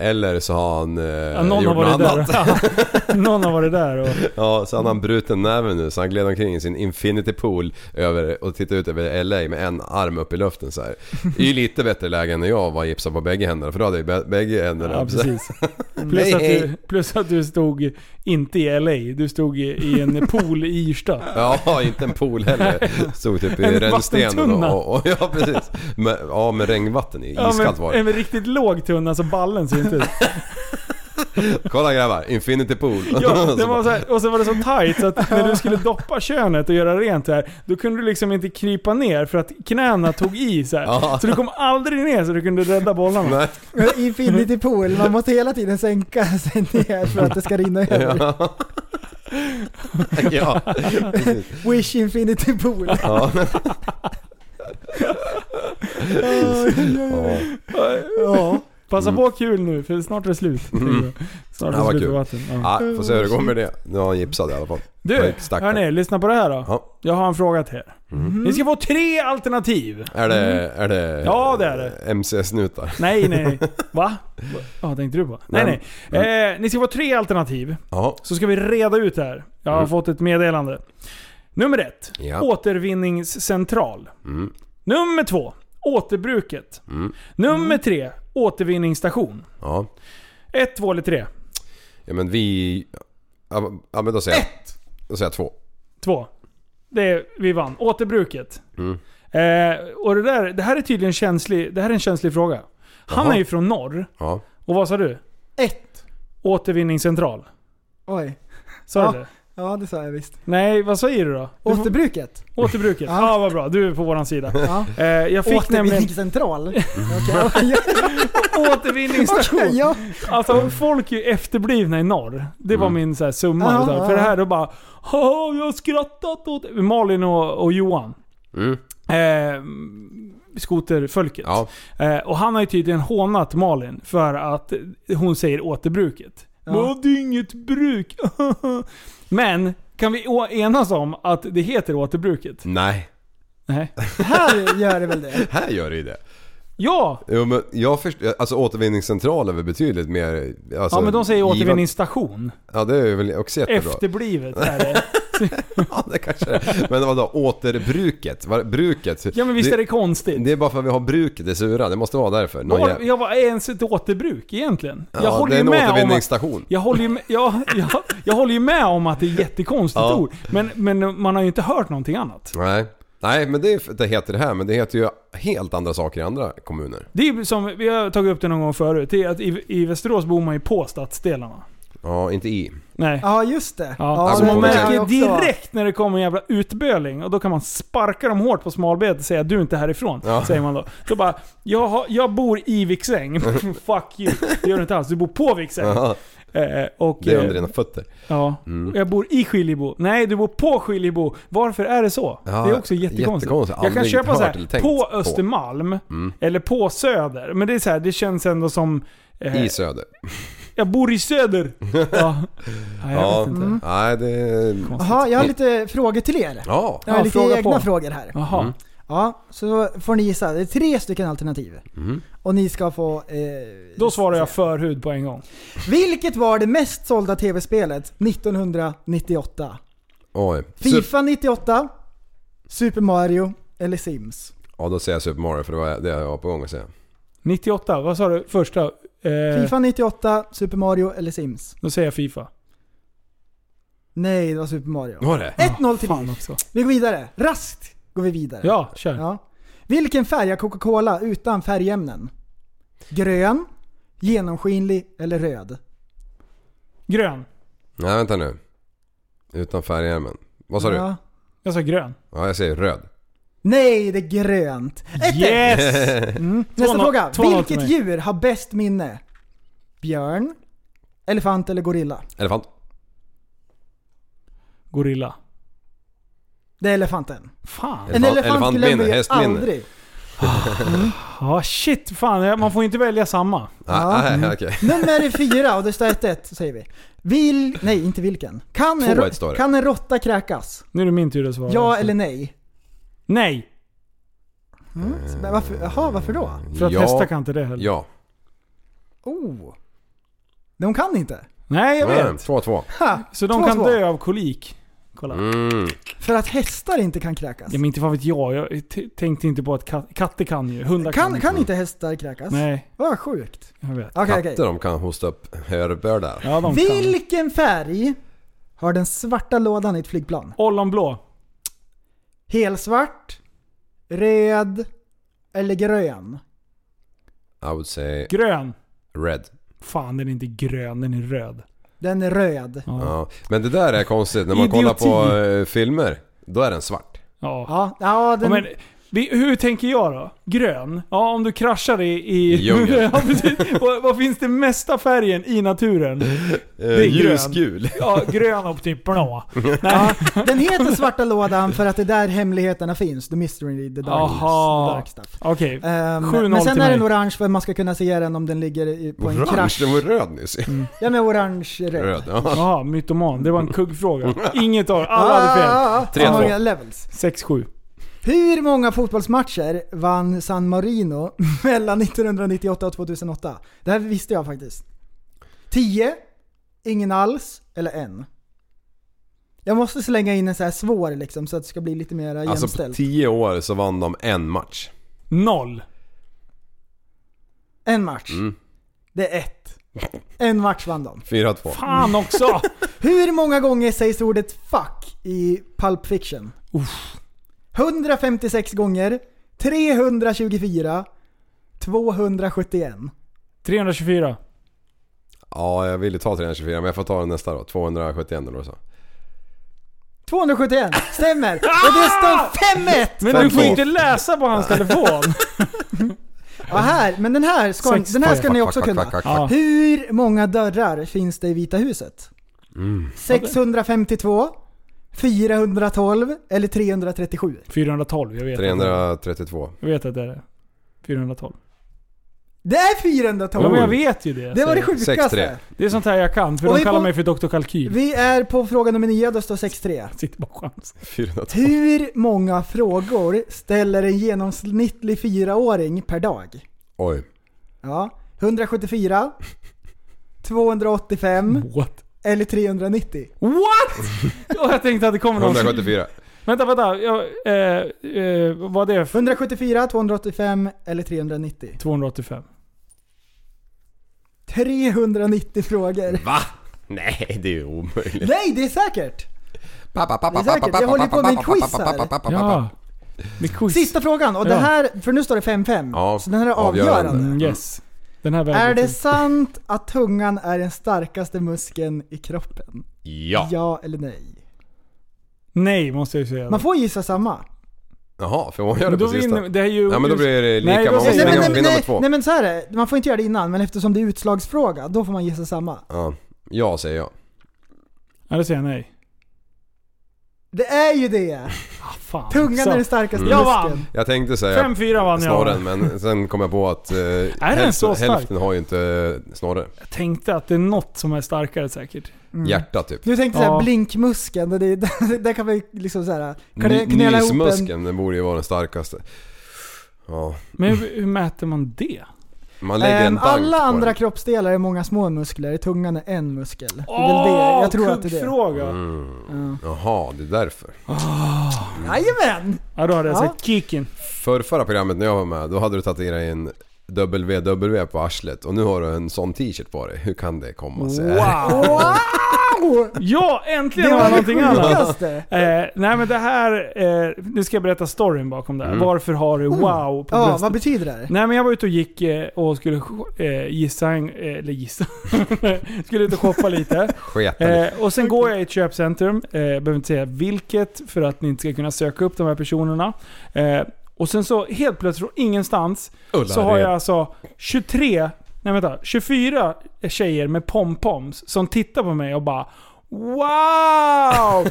eller så har han eh,
Ja, någon har
gjort något
varit
annat.
där. någon har varit där och...
Ja, så han har en bruten näve nu så han gled omkring i sin infinity pool över, och tittade ut över LA med en arm upp i luften så här. Det är ju lite bättre läge än när jag var gipsad på bägge händerna för då hade jag ju bä- bägge händerna.
Ja, precis. Plus,
Hej,
att du,
hej.
plus att du stod inte i LA, du stod i, i en pool i Yrsta.
Ja, inte en pool heller. Stod typ i
En
rännstenen
vattentunna.
och, och, ja precis. Men, ja, med regnvatten i.
Ja,
Iskallt var
men, en
det.
riktigt låg tunna så ballen ser inte ut.
Kolla grabbar, infinity pool.
Ja, det
Så
var så här, och så var det så tight så att när du skulle doppa könet och göra rent här, då kunde du liksom inte krypa ner för att knäna tog i så här.
Ja.
Så du kom aldrig ner så du kunde rädda bollarna.
Nej.
Infinity pool, man måste hela tiden sänka sig ner för att det ska rinna över.
Ja. ja. precis.
Wish infinity pool.
Ja. ja.
Ja.
Mm.
Passa på kul nu för snart är det slut. Snart är det
Ja, vad
slut på
kul.
vatten. Ja.
Ja, får se hur det går med det. Nu har han gipsad i alla fall.
Du,
Stackare.
hörni, lyssna på det här då.
Ja. Mm.
Jag har en fråga till er. Ni ska få tre alternativ.
Är det... Är det
Mm. Ja, det är det.
MC-snutar.
Nej, nej, nej. Va? Vad tänkte du på? Nej, nej.
Nej,
Eh, ni ska få tre alternativ.
Ja.
Så ska vi reda ut det här. Jag har fått ett meddelande. Nummer ett.
Mm. Ja.
Återvinningscentral.
Mm.
Nummer två. Återbruket.
Mm.
Nummer tre. Återvinningsstation.
Ja.
Ett, två eller tre?
ja, men vi... Ja, ja, men då säger jag... Då säger jag två.
Två. Det är, vi vann. Återbruket.
Mm.
Eh, och det, där, det här är tydligen känslig, det här är en känslig fråga. Han
Jaha.
är ju från norr.
Ja.
Och vad sa du?
Ett.
Återvinningscentral.
Oj.
Sa
Ja.
du det?
Ja, det sa jag visst.
Nej, vad säger du då? Du får-
Återbruket.
Återbruket. Ja,
Ja.
vad bra. Du är på våran sida.
Ja.
Eh, jag fick nämligen
Återvinningscentral. Okej,
återvinningsstation.
okej, ja.
Alltså folk är ju efterblivna i norr. Det
Mm.
var min så här, summa.
Ja,
utav-
ja,
För det
ja.
här då bara "Haha, jag har skrattat åt... Malin och, och Johan.
Mm.
Eh, skoterfolket.
Ja.
Eh, och han har ju tydligen hånat Malin för att hon säger återbruket.
Ja.
Ja. Det är inget bruk. Men kan vi å- enas om att det heter återbruket?
Nej.
Nej.
Här gör det väl det.
Här gör det ju det.
Ja!
Jo, men jag förstår... Alltså återvinningscentral är väl betydligt mer... Alltså,
Ja men de säger
givan-
återvinningsstation.
Ja, det är väl också jättebra.
Efterblivet är det.
Ja, det kanske är. Men vadå? Återbruket? Vad- Bruket?
Ja men visst är det konstigt?
Det är bara för att vi har bruket i Sura, det måste vara därför. Någon
Var,
jäv-
jag var ens ett återbruk egentligen.
Ja,
jag håller
det är
ju
en
med om att,
återvinningsstation.
jag, håller ju med, ja, jag, jag håller ju med om att det är ett jättekonstigt
Ja.
ord. Men, men man har ju inte hört någonting annat.
Nej. Nej, men det, är- det heter det här, men det heter ju helt andra saker i andra kommuner.
Det är ju som, vi har tagit upp det någon gång förut, det är att i, i Västerås bor man ju på stadsdelarna.
Ja, inte i.
Nej.
Ja, just det.
Ja,
Ja,
så
det
man
märker
märker
jag också.
direkt när det kommer en jävla utböling och då kan man sparka dem hårt på smalbenet och säga du är inte härifrån.
Ja.
Säger man då. Då bara, jag, har, jag bor i Viksäng. Fuck you. Det gör du inte alls. Du bor på Viksäng.
Ja.
Eh, och,
Det är under
eh,
dina fötter.
Ja.
Mm.
Och Jag bor i Skiljebo. Nej, du bor på Skiljebo. Varför är det så?
Ja,
det är också jättekonstigt.
jättekonstigt.
Jag kan
Aldrig
köpa
hört
så
eller
här,
tänkt
på
på.
Östermalm,
Mm.
eller på Söder. Men det är så här, det känns ändå som... eh,
I söder.
jag bor i Söder. ja. Nej, jag
Ja,
vet inte.
Mm.
nej det är...
Jaha, jag har lite frågor till er.
Ja.
Jag har
Ja,
lite
fråga
egna
på.
frågor här.
Jaha.
Mm.
Ja, så får ni gissa. Det är tre stycken alternativ.
Mm.
Och ni ska få... Eh,
Då svarar jag förhud på en gång.
vilket var det mest sålda tv-spelet 1998?
Oj. Sup-
Fifa 98, Super Mario eller Sims?
ja, då säger jag Super Mario för det var det jag var på gång att säga.
98, vad sa du första? Eh,
Fifa 98, Super Mario eller Sims?
Då säger jag Fifa.
Nej, det var Super Mario.
Var det?
1-0 till
Fan
dig.
också.
Vi går vidare. Raskt går vi vidare.
Ja, kör.
Ja. Vilken färg har Coca-Cola utan färgämnen? Grön, genomskinlig eller röd?
Grön.
Nej, vänta nu. Utan färgärmen. Vad sa du?
Ja.
Jag sa grön.
Ja, jag säger röd.
Nej, det är grönt. Ett, ett.
Yes!
Mm. Nästa
Två no-
fråga.
två noll till
Vilket
mig.
djur har bäst minne? Björn, elefant eller gorilla?
Elefant.
Gorilla.
Det är elefanten.
Fan.
En
Elefant-
elefant skulle
elefantminne,
jag ju
hästminne.
aldrig.
Ja, shit. Fan, man får inte välja samma.
Ja.
Nej, nej, Ah, okej.
Nummer är fyra och det står 1-1 säger vi. Vil, nej, inte vilken. Kan en,
2-1
rå-
står det.
kan en råtta kräkas?
Nu är det min tur att svara.
Ja eller nej?
Nej!
Men varför, jaha, varför då?
För att
Ja.
hästar kan inte det heller.
Ja.
Oh. De kan inte.
Nej, jag
Mm,
vet.
2-2.
Ha,
Så de
två,
kan
två.
dö av kolik. Kolla.
Mm.
För att hästar inte kan kräkas.
Ja, men inte fan vet jag. Jag t- tänkte inte på att kat- katter kan ju. Hundar kan,
Kan, kan inte hästar kräkas?
Nej,
Vad sjukt.
jag vet.
Okej, okej.
Katter de kan hosta upp hörbördar.
Ja, de kan.
Vilken färg har den svarta lådan i ett flygplan?
Ollonblå.
Helsvart, röd eller grön?
I would say
Grön.
red.
Fan, den är inte grön. Den är röd.
Den är röd.
Ja. Ja.
Ja. Men det där är konstigt. När man
Idioti.
kollar på eh, filmer, då är den svart.
Ja, ja
Ja,
den...
men, vi, hur tänker jag då? Grön? Ja, om du kraschar i... i
I djungeln.
ja, precis. Vad, vad finns det mesta färgen i naturen?
Det
är grön.
Eh, Ljusgul.
Ja, grön och typ blå.
Ja, den heter Svarta Lådan för att det är där hemligheterna finns. The Mystery, The Darkness,
Aha.
the Dark Stuff.
Okej.
Ehm,
7-0
men sen
till
är den
mig.
orange för att man ska kunna se den om den ligger i- på en
Orange,
krasch.
den var röd nyss.
Ja men orange, röd.
Röd, ja.
Jaha, mytoman. Det var en kuggfråga. Inget av Alla hade fel.
Ah,
Tre,
så
två.
många levels.
6-7.
Hur många fotbollsmatcher vann San Marino mellan 1998 och 2008? Det här visste jag faktiskt. 10, ingen alls eller en? Jag måste slänga in en så här svår liksom så att det ska bli lite mer
Alltså på
jämställt.
10 år så vann de en match.
Noll.
En match.
Mm.
Det är ett. En match vann de.
4-2.
Fan också!
Hur många gånger sägs ordet 'fuck' i Pulp Fiction? 156 gånger, 324, 271.
324.
Ja, jag ville ta 324 men jag får ta den nästa då. 271 eller vad du sa.
271 stämmer! Och det står 5-1!
Men
Fem,
du får
två.
inte läsa på hans telefon.
Ja, här, men den här ska,
Sex,
den här ska
fuck,
ni
Fuck,
också
fuck,
kunna.
fuck, fuck,
Ja.
fuck.
Hur många dörrar finns det i Vita huset?
Mm.
652, 412 eller 337?
412, jag vet. att-
332.
Jag vet att det är det. 412.
Det är 412!
Ja, men jag vet ju det.
Det var det
säger jag.
sjukaste.
6-3.
Det är sånt här jag kan, för
Och
de
vi
kallar
får-
mig för Dr. Kalkyl.
Vi är på fråga nummer 9, då står 6-3.
Sitter bara chans.
412.
Hur många frågor ställer en genomsnittlig fyraåring per dag?
Oj.
Ja, 174, 285
What?
eller 390?
What? Och jag tänkte att det kommer någon som-
174.
Vänta, vänta. Jag, eh, eh, vad är det för...
174, 285 eller 390?
285.
390 frågor.
Va? Nej, det är ju omöjligt.
Nej, det är säkert!
Pappa,
Det
pappa,
är säkert. Jag håller på med en quiz här.
Ja. Det är quiz.
Sista frågan, och det
Ja.
här, för nu står det 5-5.
Ja,
så den här är
avgörande.
avgörande.
Mm, yes. Den här
Är
vägen
det
till-
sant att tungan är den starkaste muskeln i kroppen?
Ja.
Ja eller nej?
Nej, måste jag ju säga.
Man får gissa samma.
Jaha, för hon gör det
Då
på sista.
vinner- det är ju-
ja, men då blir det lika.
Nej, då
man måste
säger-
vinna,
Nej,
Nej,
men-
vinna med
nej,
två.
nej men så här är det. man får inte göra det innan, men eftersom det är utslagsfråga, då får man gissa samma.
Ja. ja, säger jag.
Ja, då säger jag nej.
Det är ju det!
Ah, Fan.
Tungan
Så-
är den starkaste
Mm. Jag
muskeln.
Jag tänkte säga
5-4 vann jag.
snorren, men sen kom jag på att eh,
den så
hälften,
stark?
hälften har ju inte eh, snorre.
Jag tänkte att det är något som är starkare säkert.
Hjärta typ.
Du tänkte såhär
Ja.
blinkmuskeln, där, det, där, där kan man ju liksom såhär knö-
Ny-
knöla ihop en...
Nysmuskeln, den borde ju vara den starkaste. Ja.
Men hur, hur mäter man det?
Man lägger en
Ehm,
bank
alla
på
andra
den.
kroppsdelar är många små muskler, tungan är en muskel. Det är väl det, jag tror att det är det.
kuggfråga.
Mm. Jaha, det är därför.
Jajamän!
Ja, då hade jag
Ja.
sagt kicken.
Förrförra programmet när jag var med, då hade du tatuerat in WW E på arslet och nu har du en sån t-shirt på dig. Hur kan det komma sig?
Wow!
Ja, äntligen
Det
var
var
Ah. det
det
någonting annat.
sjukaste.
Eh, nej men det här, eh, nu ska jag berätta storyn bakom det här.
Mm.
Varför har du wow på
Ja,
bröstet?
vad betyder det här?
Nej men jag var ute och gick eh, och skulle eh, gissa, en, eh, eller gissa, skulle ut och shoppa lite.
Sketa lite.
Eh, och sen går jag i ett köpcentrum, eh, jag behöver inte säga vilket för att ni inte ska kunna söka upp de här personerna. Eh, och sen så helt plötsligt från ingenstans
Ulla,
så har
det-
jag alltså 23, nej vänta, 24 tjejer med pompoms som tittar på mig och bara Wow!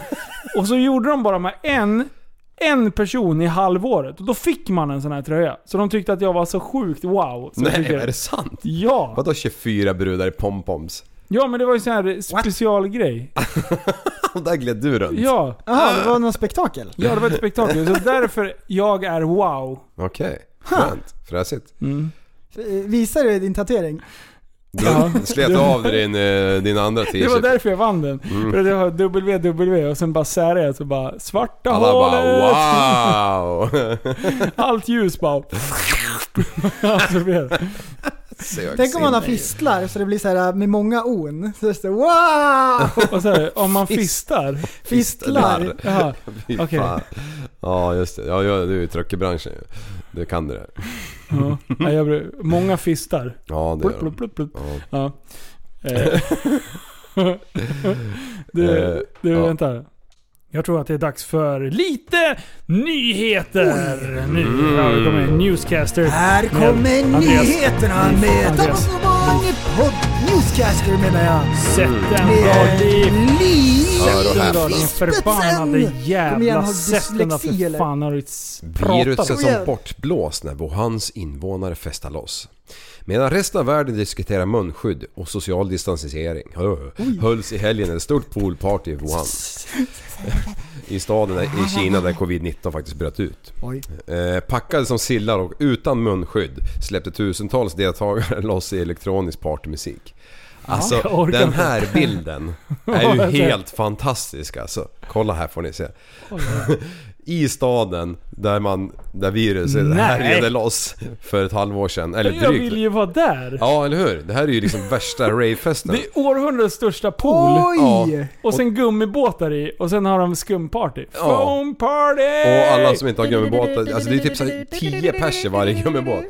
och så gjorde de bara med en, en person i halvåret. Och då fick man en sån här tröja. Så de tyckte att jag var så sjukt wow. Så jag
Nej,
tyckte-
är det sant?
Ja!
Vadå 24 brudar i pompoms?
Ja men det var ju sån här specialgrej.
Och där gled du runt?
Ja.
Jaha, det var något spektakel?
Ja, det var ett spektakel. Så därför jag är wow.
Okej, skönt. Fräsigt.
Eh, Visar du din tatuering?
Du
Ja.
slet av dig din, eh, din andra
Det
t-shirt.
var därför jag vann den.
Mm.
För att jag har ww och sen bara särade jag så bara svarta
Alla
hålet.
bara wow!
Allt ljus bara... Alltså, Absorberar.
Sögs
Tänk om man
in.
har fistlar så det blir så här äh, med många on. Så det står wow!
och så här, om man fistar.
Fistlar.
Jaha.
Fy
Okej.
fan. Ja just det. Ja, jag- du är ju i truckerbranschen ju. Du kan det där.
Ja. Nej, jag blir, många fistar.
Ja det
Plupp,
gör de.
plupp, plupp, plupp.
Ja.
Ja. Eh. du, du
Eh, ja.
vänta. Jag tror att det är dags för lite nyheter. Nu ja, kommer en newscaster.
Här
med
kommer
Andreas
nyheterna med
Andreas.
Tappasobang på Newscaster menar jag.
Sätten
Med
drar liv.
Liv!
Hör och
Sätten drar
häpna.
din förbannade
Spetsen! Kom igen,
jävla
har du
sätten. där,
dyslexi,
För
eller?
fan har du
Viruset
pratat?
som bortblåst när Wuhans invånare festar loss. Medan resten av världen diskuterar munskydd och social distansering hö, hölls i helgen ett stort poolparty i Wuhan. I staden där- i Kina där covid-19 faktiskt bröt ut.
Oj.
Eh, packade som sillar och utan munskydd släppte tusentals deltagare loss i elektronisk partymusik.
jag
Alltså
orkar
den
inte.
här bilden är ju
Ja, jag ser.
helt fantastisk alltså. Kolla här får ni se. I staden där, man, där viruset
Nej.
härjade loss för ett halvår sedan. Eller
Jag vill
drygt.
ju vara där.
Ja eller hur? Det här är ju liksom värsta ravefesten.
Det är århundradets största pool.
Oj!
Och sen gummibåtar i och sen har de skumparty.
Ja.
Foam party!
Och alla som inte har gummibåtar, alltså det är typ så här 10 pers i varje gummibåt.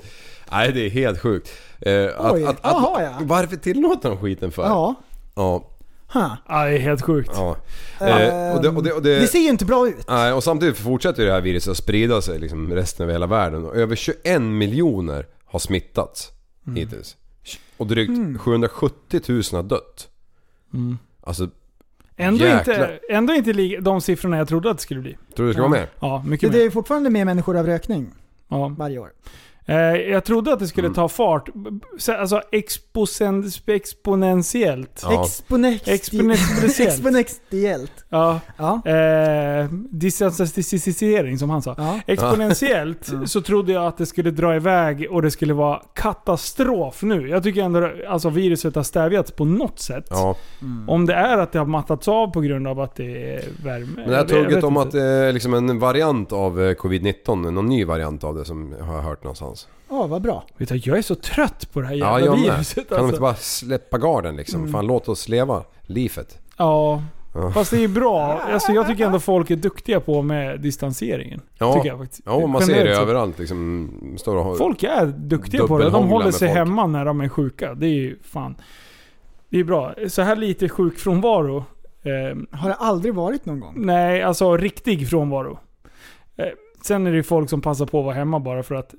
Nej det är helt sjukt. Eh, att,
Oj,
att, att,
jaha, ja.
Varför tillåter de skiten för?
Ja.
Ja.
Huh.
Ja, det är helt sjukt.
ja. Eh, och det, och det, och det,
Det ser ju inte bra ut.
Nej, och samtidigt fortsätter ju det här viruset att sprida sig liksom resten av hela världen. Och över 21 miljoner har smittats
Mm.
hittills. Och drygt 770 000 har dött.
Mm.
Alltså,
Ändå inte,
Jäklar.
ändå inte li- de siffrorna jag trodde att det skulle bli.
tror du det ska vara med?
Ja,
Det,
mycket
det
mer.
är fortfarande mer människor av rökning
Ja.
varje år.
Eh, jag trodde att det
Mm.
skulle ta fart. Så- Alltså exposen- exponentiellt.
Ja.
Exponex-
Exponentiellt.
Exponentiellt.
Ja.
Ja.
Eh, distansisering som han sa.
Ja.
Exponentiellt så trodde jag att det skulle dra iväg och det skulle vara katastrof nu. Jag tycker ändå alltså viruset har stävjats på något sätt.
Ja.
Mm.
Om det är att det har mattats av på grund av att det är värme.
Men det här
Jag vet- jag
tugget
vet
om
inte.
att det är liksom en variant av eh, Covid-19, någon ny variant av det som jag har jag hört någonstans.
Åh, vad bra.
Vet du, jag är så trött på det här
Ja,
jävla
jag med.
viruset
Kan de
alltså.
inte bara släppa garden liksom? Fan låt oss leva livet.
Ja. Fast det är bra. Alltså, jag tycker ändå folk är duktiga på med distanseringen.
Ja,
tycker jag faktiskt.
ja man ser det
Generellt sett.
överallt liksom. Står och,
Folk är duktiga på det. De
Dubbelhångla
håller
med
sig
folk.
hemma när de är sjuka. Det är ju fan... Det är bra. Så här lite sjukfrånvaro. Eh,
Har det aldrig varit någon gång?
nej, alltså riktig frånvaro. Eh, sen är det ju folk som passar på att vara hemma bara för att,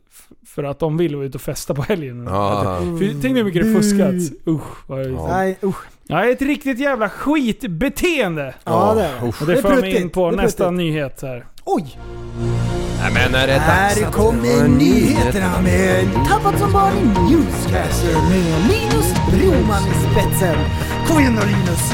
för att de vill och ut och festa på helgen.
Ja.
För, tänk hur mycket det fuskats. Usch. Vad
Ja.
Nej, usch.
Ja, ett riktigt jävla skitbeteende.
Ja, det är det.
Och det
Det är
för mig
pruttigt.
in på
Det är
nästa
pruttigt.
nyhet här.
Oj!
Nej men är det dags
Här
att-
kommer nyheterna med Tappat som barn i Newscaster med Linus Broman i spetsen. Kom igen då Linus!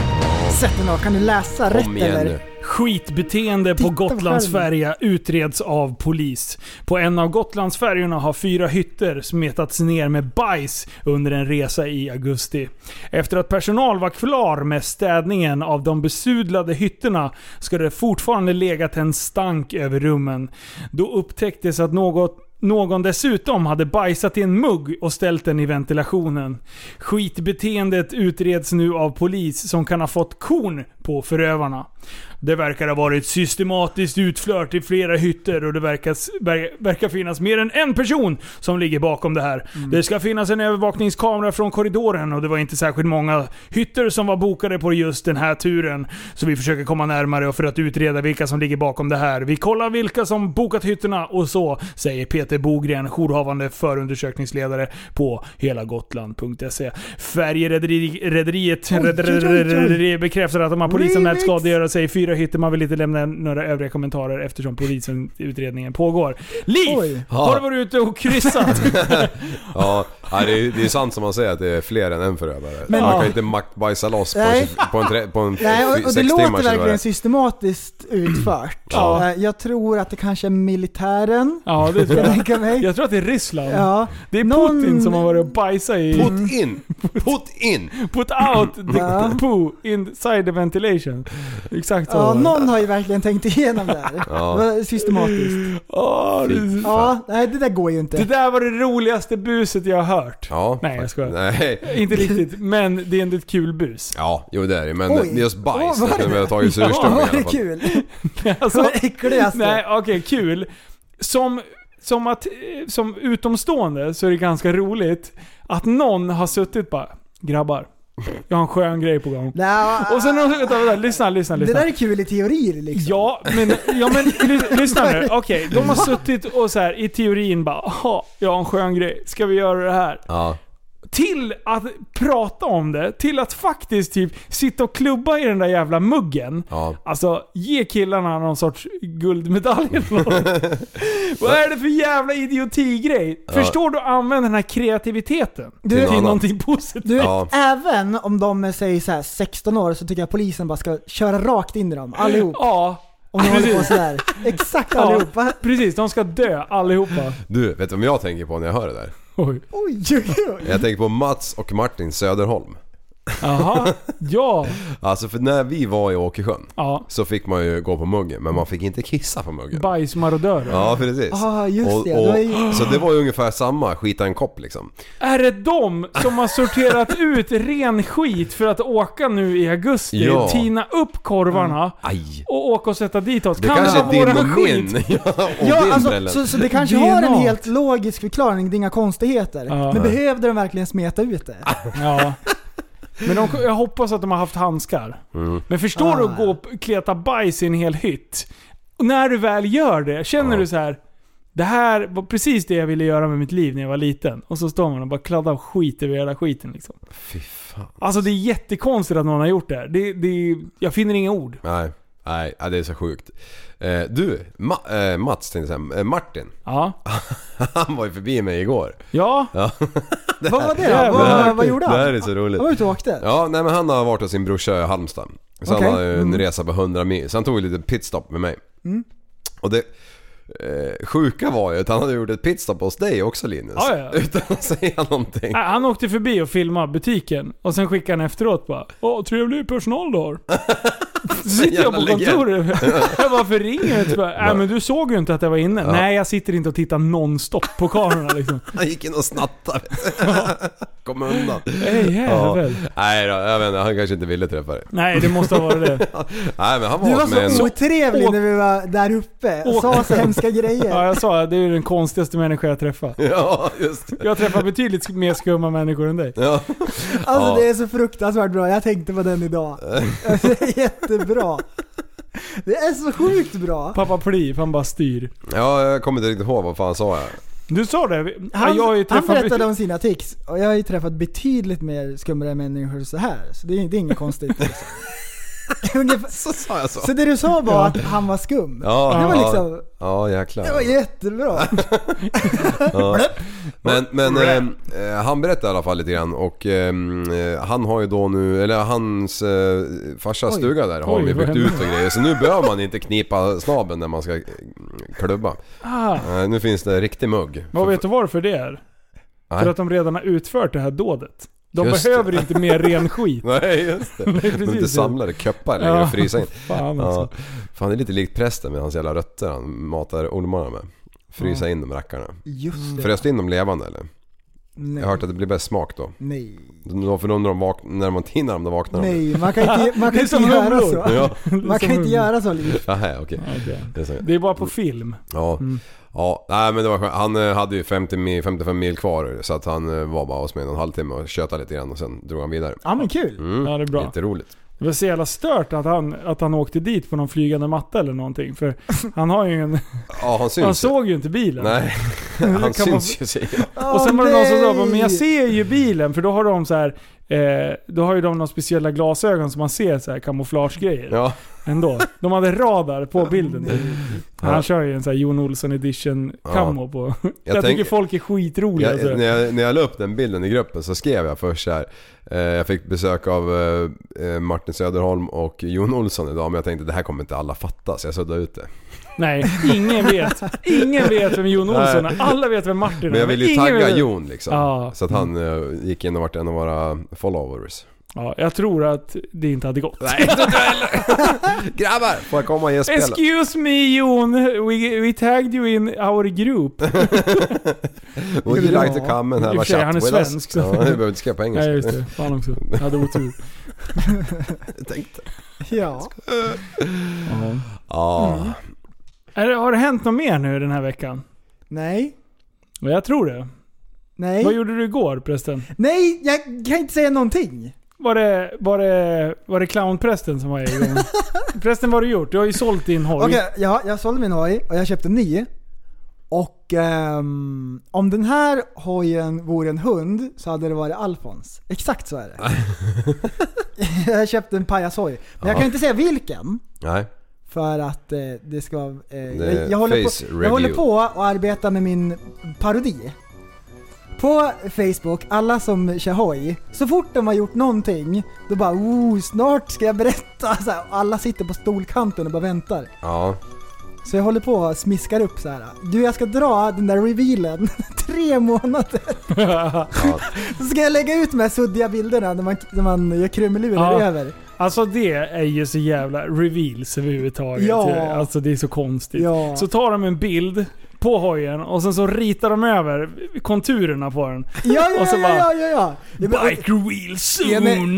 Sätt dig ner. Kan du läsa
Kom
rätt
igen
eller?
nu.
Skitbeteende på Gotlandsfärja utreds av polis. På en av Gotlandsfärjorna har fyra hytter smetats ner med bajs under en resa i augusti. Efter att personal var klar med städningen av de besudlade hytterna ska det fortfarande legat en stank över rummen. Då upptäcktes att något någon dessutom hade bajsat i en mugg och ställt den i ventilationen. Skitbeteendet utreds nu av polis som kan ha fått korn på förövarna. Det verkar ha varit systematiskt utflört i flera hytter och det verkar, ver, verkar finnas mer än en person som ligger bakom det här.
Mm.
Det ska finnas en övervakningskamera från korridoren och det var inte särskilt många hytter som var bokade på just den här turen. Så vi försöker komma närmare och för att utreda vilka som ligger bakom det här. Vi kollar vilka som bokat hytterna och så, säger Peter Bogren, jourhavande förundersökningsledare på helagotland.se. Färjerederi- Rederiet
Oj, oj, oj, oj.
rederi bekräftar att de har polisen lät
Remix.
skadegöra sig i fyra hytter. Man vill inte lämna några övriga kommentarer eftersom polisutredningen pågår. Liv!
Oj.
Har du varit ute och kryssat?
Ja, nej, det är, det är sant som man säger att det är fler än en förövare.
Men-
man kan ju inte mackbajsa loss på,
Nej.
på en, tre, på en
Nej, och, och det
sex timmars
låter
eller vad det är.
verkligen systematiskt utfört.
Ja.
Eh, Jag tror att det kanske är militären.
ja, det
Kan
tror
jag
jag.
tänka mig.
Jag tror att det är Ryssland.
Ja.
Det är
Någon-
Putin som har varit och bajsat i...
Put in! Put in!
Put out the
Ja.
poo inside the ventilation. Exakt så.
Ja, någon har ju verkligen tänkt igenom det här.
Ja.
Det var Systematiskt.
Åh, det,
Ja, nej det där går ju
det
inte.
där var det roligaste buset jag har hört.
Ja,
Nej, jag skojar.
Nej.
Inte riktigt, men det är ändå ett kul bus.
Ja, jo det är det. Men
Oj.
just bajs,
Åh, vad
oh,
är
vi har tagit
Ja,
surströmming
Åh, det
i alla
är
fall.
kul.
Alltså,
Det var det äckligaste.
Nej, okej, kul. Som, som, att, eh, som utomstående så är det ganska roligt att någon har suttit bara “Grabbar, jag har en skön grej på gång”.
Nej,
Och sen har de vänta, vänta, lyssna, lyssna,
det
lyssna.
där är kul i teorier liksom.
Ja, men, ja, men ly- lyssna nu. Okej, de har suttit och så här i teorin bara “Jaha, jag har en skön grej. Ska vi göra det här?”
Ja.
till att prata om det, till att faktiskt typ sitta och klubba i den där jävla muggen.
Ja.
Alltså, ge killarna någon sorts guldmedalj eller något. Vad är det för jävla idiotigrej? Förstår du att använda den här kreativiteten
Du-
till
Till
någonting positivt?
Du,
Ja.
även om de är säg, så här, 16 år så tycker jag polisen bara ska köra rakt in i dem, allihop.
Ja,
Om de håller på
precis.
sådär. Exakt
Ja,
allihopa.
precis. De ska dö allihopa.
Du, vet du vad jag tänker på när jag hör det där?
Oj.
Oj, oj, oj.
Jag tänker på Mats och Martin Söderholm.
Jaha. Ja.
Alltså för när vi var i Åkersjön
ja.
så fick man ju gå på muggen, men man fick inte kissa på muggen.
Bajsmarodörer.
Ja, precis.
Ah, just det. Det var ju-
Så det var ju ungefär samma, skita i en kopp liksom.
Är det de som har sorterat ut ren skit för att åka nu i augusti,
Ja.
tina upp korvarna
Aj!
och åka och sätta dit oss?
Det
kan
kanske
det
är
vara
din och
våran skit?
min. Ja, och din
Ja, alltså,
Brellen.
så, så det kanske
DNA.
har en helt logisk förklaring, det är inga konstigheter.
Ja.
Men behövde de verkligen smeta ut det?
Alltså,
Ja. Men de, jag hoppas att de har haft handskar.
Mm.
Men förstår du att gå och kleta bajs i en hel hytt? Och när du väl gör det, känner du så här. Det här var precis det jag ville göra med mitt liv när jag var liten. Och så står man och bara kladdar och skit över hela skiten liksom.
Fy fan.
Alltså det är jättekonstigt att någon har gjort det här. Det, det, jag finner inga ord.
Nej, nej, ja, det är så sjukt. Eh, du, Ma- eh, Mats tänkte jag säga, eh, Martin.
Ja.
Han var ju förbi mig igår.
Ja.
Ja.
Vad var det
Det här-
då? Vad,
det här-
vad gjorde
Det här är
han?
så roligt.
Han var ute och åkte?
Ja, nej men han har varit hos sin brorsa i Halmstad. Så
Okej. Mm.
han har ju en resa på 100 mil. Så han tog lite pitstop med mig. Och det eh, sjuka var ju att han hade gjort ett pitstop hos dig också Linus.
Ja, ja.
Utan att säga någonting.
Nej, Han åkte förbi och filmade butiken och sen skickade han efteråt bara Åh, trevlig personal du har. Så sitter jag på
Jävla legend.
kontoret. Jag Varför ringer du inte? Bara,
Ja.
Äh, men du såg ju inte att jag var inne.
Ja.
Nej, jag sitter inte och tittar nonstop på kamerorna liksom.
Han gick in och snattade. Kom undan.
Ej, jävel.
Ja. Nej då, jag vet inte, han kanske inte ville träffa dig.
Nej, det måste ha varit det.
Nej men han var,
Du var
med en...
så
Otrevlig när vi var där uppe. Sa så hemska
Ja,
grejer.
jag sa det. är ju den konstigaste människa jag träffat.
Ja, just det.
Jag har träffat betydligt mer skumma människor än dig.
Ja.
Alltså det är så fruktansvärt bra. Jag tänkte på den idag. Alltså, Det är jättebra. Det är så sjukt bra.
Pappa Pliv, han bara styr.
ja, jag kommer inte riktigt ihåg vad fan sa jag.
Du sa det?
Han,
jag har ju
han
träffat
berättade om sina tics och jag har ju träffat betydligt mer skummare människor så här. Så det är, det är inget konstigt. liksom. Ungefär-
Så sa jag så.
Så det du sa var att han var skum.
Ja,
det var
ja.
liksom,
Ja, jäklar.
det var jättebra.
Ja. Men, men eh, eh, han berättade i alla fall lite grann och ehm, eh, han har ju då nu, eller hans eh, farsas
Oj.
stuga där har
Oj,
de ju
vad
byggt
hände?
ut och grejer. Så nu behöver man inte knipa snaben när man ska eh, klubba.
Ah.
Eh, nu finns det riktig mugg.
Vad vet du varför det är?
Nej.
För att de redan har utfört det här dådet. De
Just det.
behöver inte mer ren skit.
Nej just det.
Nej,
De
precis.
är inte samlade köppar längre
Ja,
i frysingen.
fan alltså.
Ja. Fan det är lite likt prästen med hans jävla rötter han matar ormarna med. Frysa in de rackarna.
Mm.
Just det.
Frös du in dem levande eller?
Nej.
Jag har hört att det blir bäst smak då.
Nej.
Då för då när de vaknar, när man tinar dem, då vaknar de.
Nej, man kan inte,
Det
man kan
är
inte
som
göra
humlor.
så.
Ja.
Man kan inte göra så Liv.
Nej, okej. Det är så.
Det är bara på film.
Ja.
Mm.
Ja, nej men det var skönt. Han eh, hade ju 50 mil, 55 mil kvar så att han eh, var bara hos mig en och en halv timme och tjötade lite grann och sen drog han vidare.
Ja, men kul.
Mm.
Ja, det är bra.
Jätteroligt.
Det var så jävla stört att han, att han åkte dit på någon flygande matta eller någonting. För han har ju en...
Ja, han syns
han
ju.
såg ju inte bilen.
Nej,
Det kan
han
man-
syns ju säger jag.
Och sen var det någon som sa
nej!
"Bara, men jag ser ju bilen för då har de så här, eh, då har ju de några speciella glasögon som man ser så här kamouflagegrejer.
Ja.
Ändå. De hade radar på bilden. Han
Ja.
kör ju en sån här Jon Olsson edition
Ja.
camo på. Jag,
tänk-
tycker folk är skitroliga. alltså. så
Jag,
här.
när, jag, när jag la upp den bilden i gruppen så skrev jag först så här. Eh, jag fick besök av eh, eh, Martin Söderholm och Jon Olsson idag men jag tänkte det här kommer inte alla fatta så jag suddade ut det.
Nej, ingen vet. Ingen vet vem Jon Olsson är. Alla vet vem Martin är.
Men jag ville ju
ingen
tagga
vet-
Jon liksom.
Ja.
Så att han eh, gick in och vart en av våra followers.
Ja, jag tror att det inte hade gått.
Nej, Grabbar! Får jag komma och ge spel?
Excuse me Jon, we, we tagged you in our group.
Would you like to come and
I
have
och för
a
sig,
chat
Han är
with
svensk.
us? Ja, jag behöver inte skriva på engelska.
Nej, just det. Fan också. Jag hade otur.
Jag tänkte.
Ja.
Ja.
Mm. Är det, har det hänt något mer nu den här veckan?
Nej.
Ja, Jag tror det.
Nej.
Vad gjorde du igår prästen?
Nej, jag kan inte säga någonting.
Var det, var det, var det clownprästen som var igång? prästen, vad har du gjort? Du har ju sålt din hoj.
Okej, ja, jag sålde min hoj och jag köpte en ny. Och ehm, om den här hojen vore en hund så hade det varit Alfons. Exakt så är det. jag köpte en pajashoj. Men jag
Ja.
kan inte säga vilken.
Nej.
För att eh, det ska... Eh,
Det är
jag, jag, håller
face
på, jag
review.
håller på och arbetar med min parodi. På Facebook, alla som kör hoj, så fort de har gjort någonting, då bara oh, snart ska jag berätta. Så här, och alla sitter på stolkanten och bara väntar.
Ja.
Så jag håller på och smiskar upp så här. Du, jag ska dra den där revealen tre månader.
ja.
Så ska jag lägga ut de här suddiga bilderna när man, när man gör krumelurer
Ja.
över.
Alltså det är ju så jävla reveals överhuvudtaget.
Ja.
Alltså det är så konstigt.
Ja.
Så tar de en bild på hojen och sen så ritar de över konturerna på den.
Ja, ja,
och så
ja,
bara
ja, ja, ja. ja men-
Bike wheel soon!
Ja, men-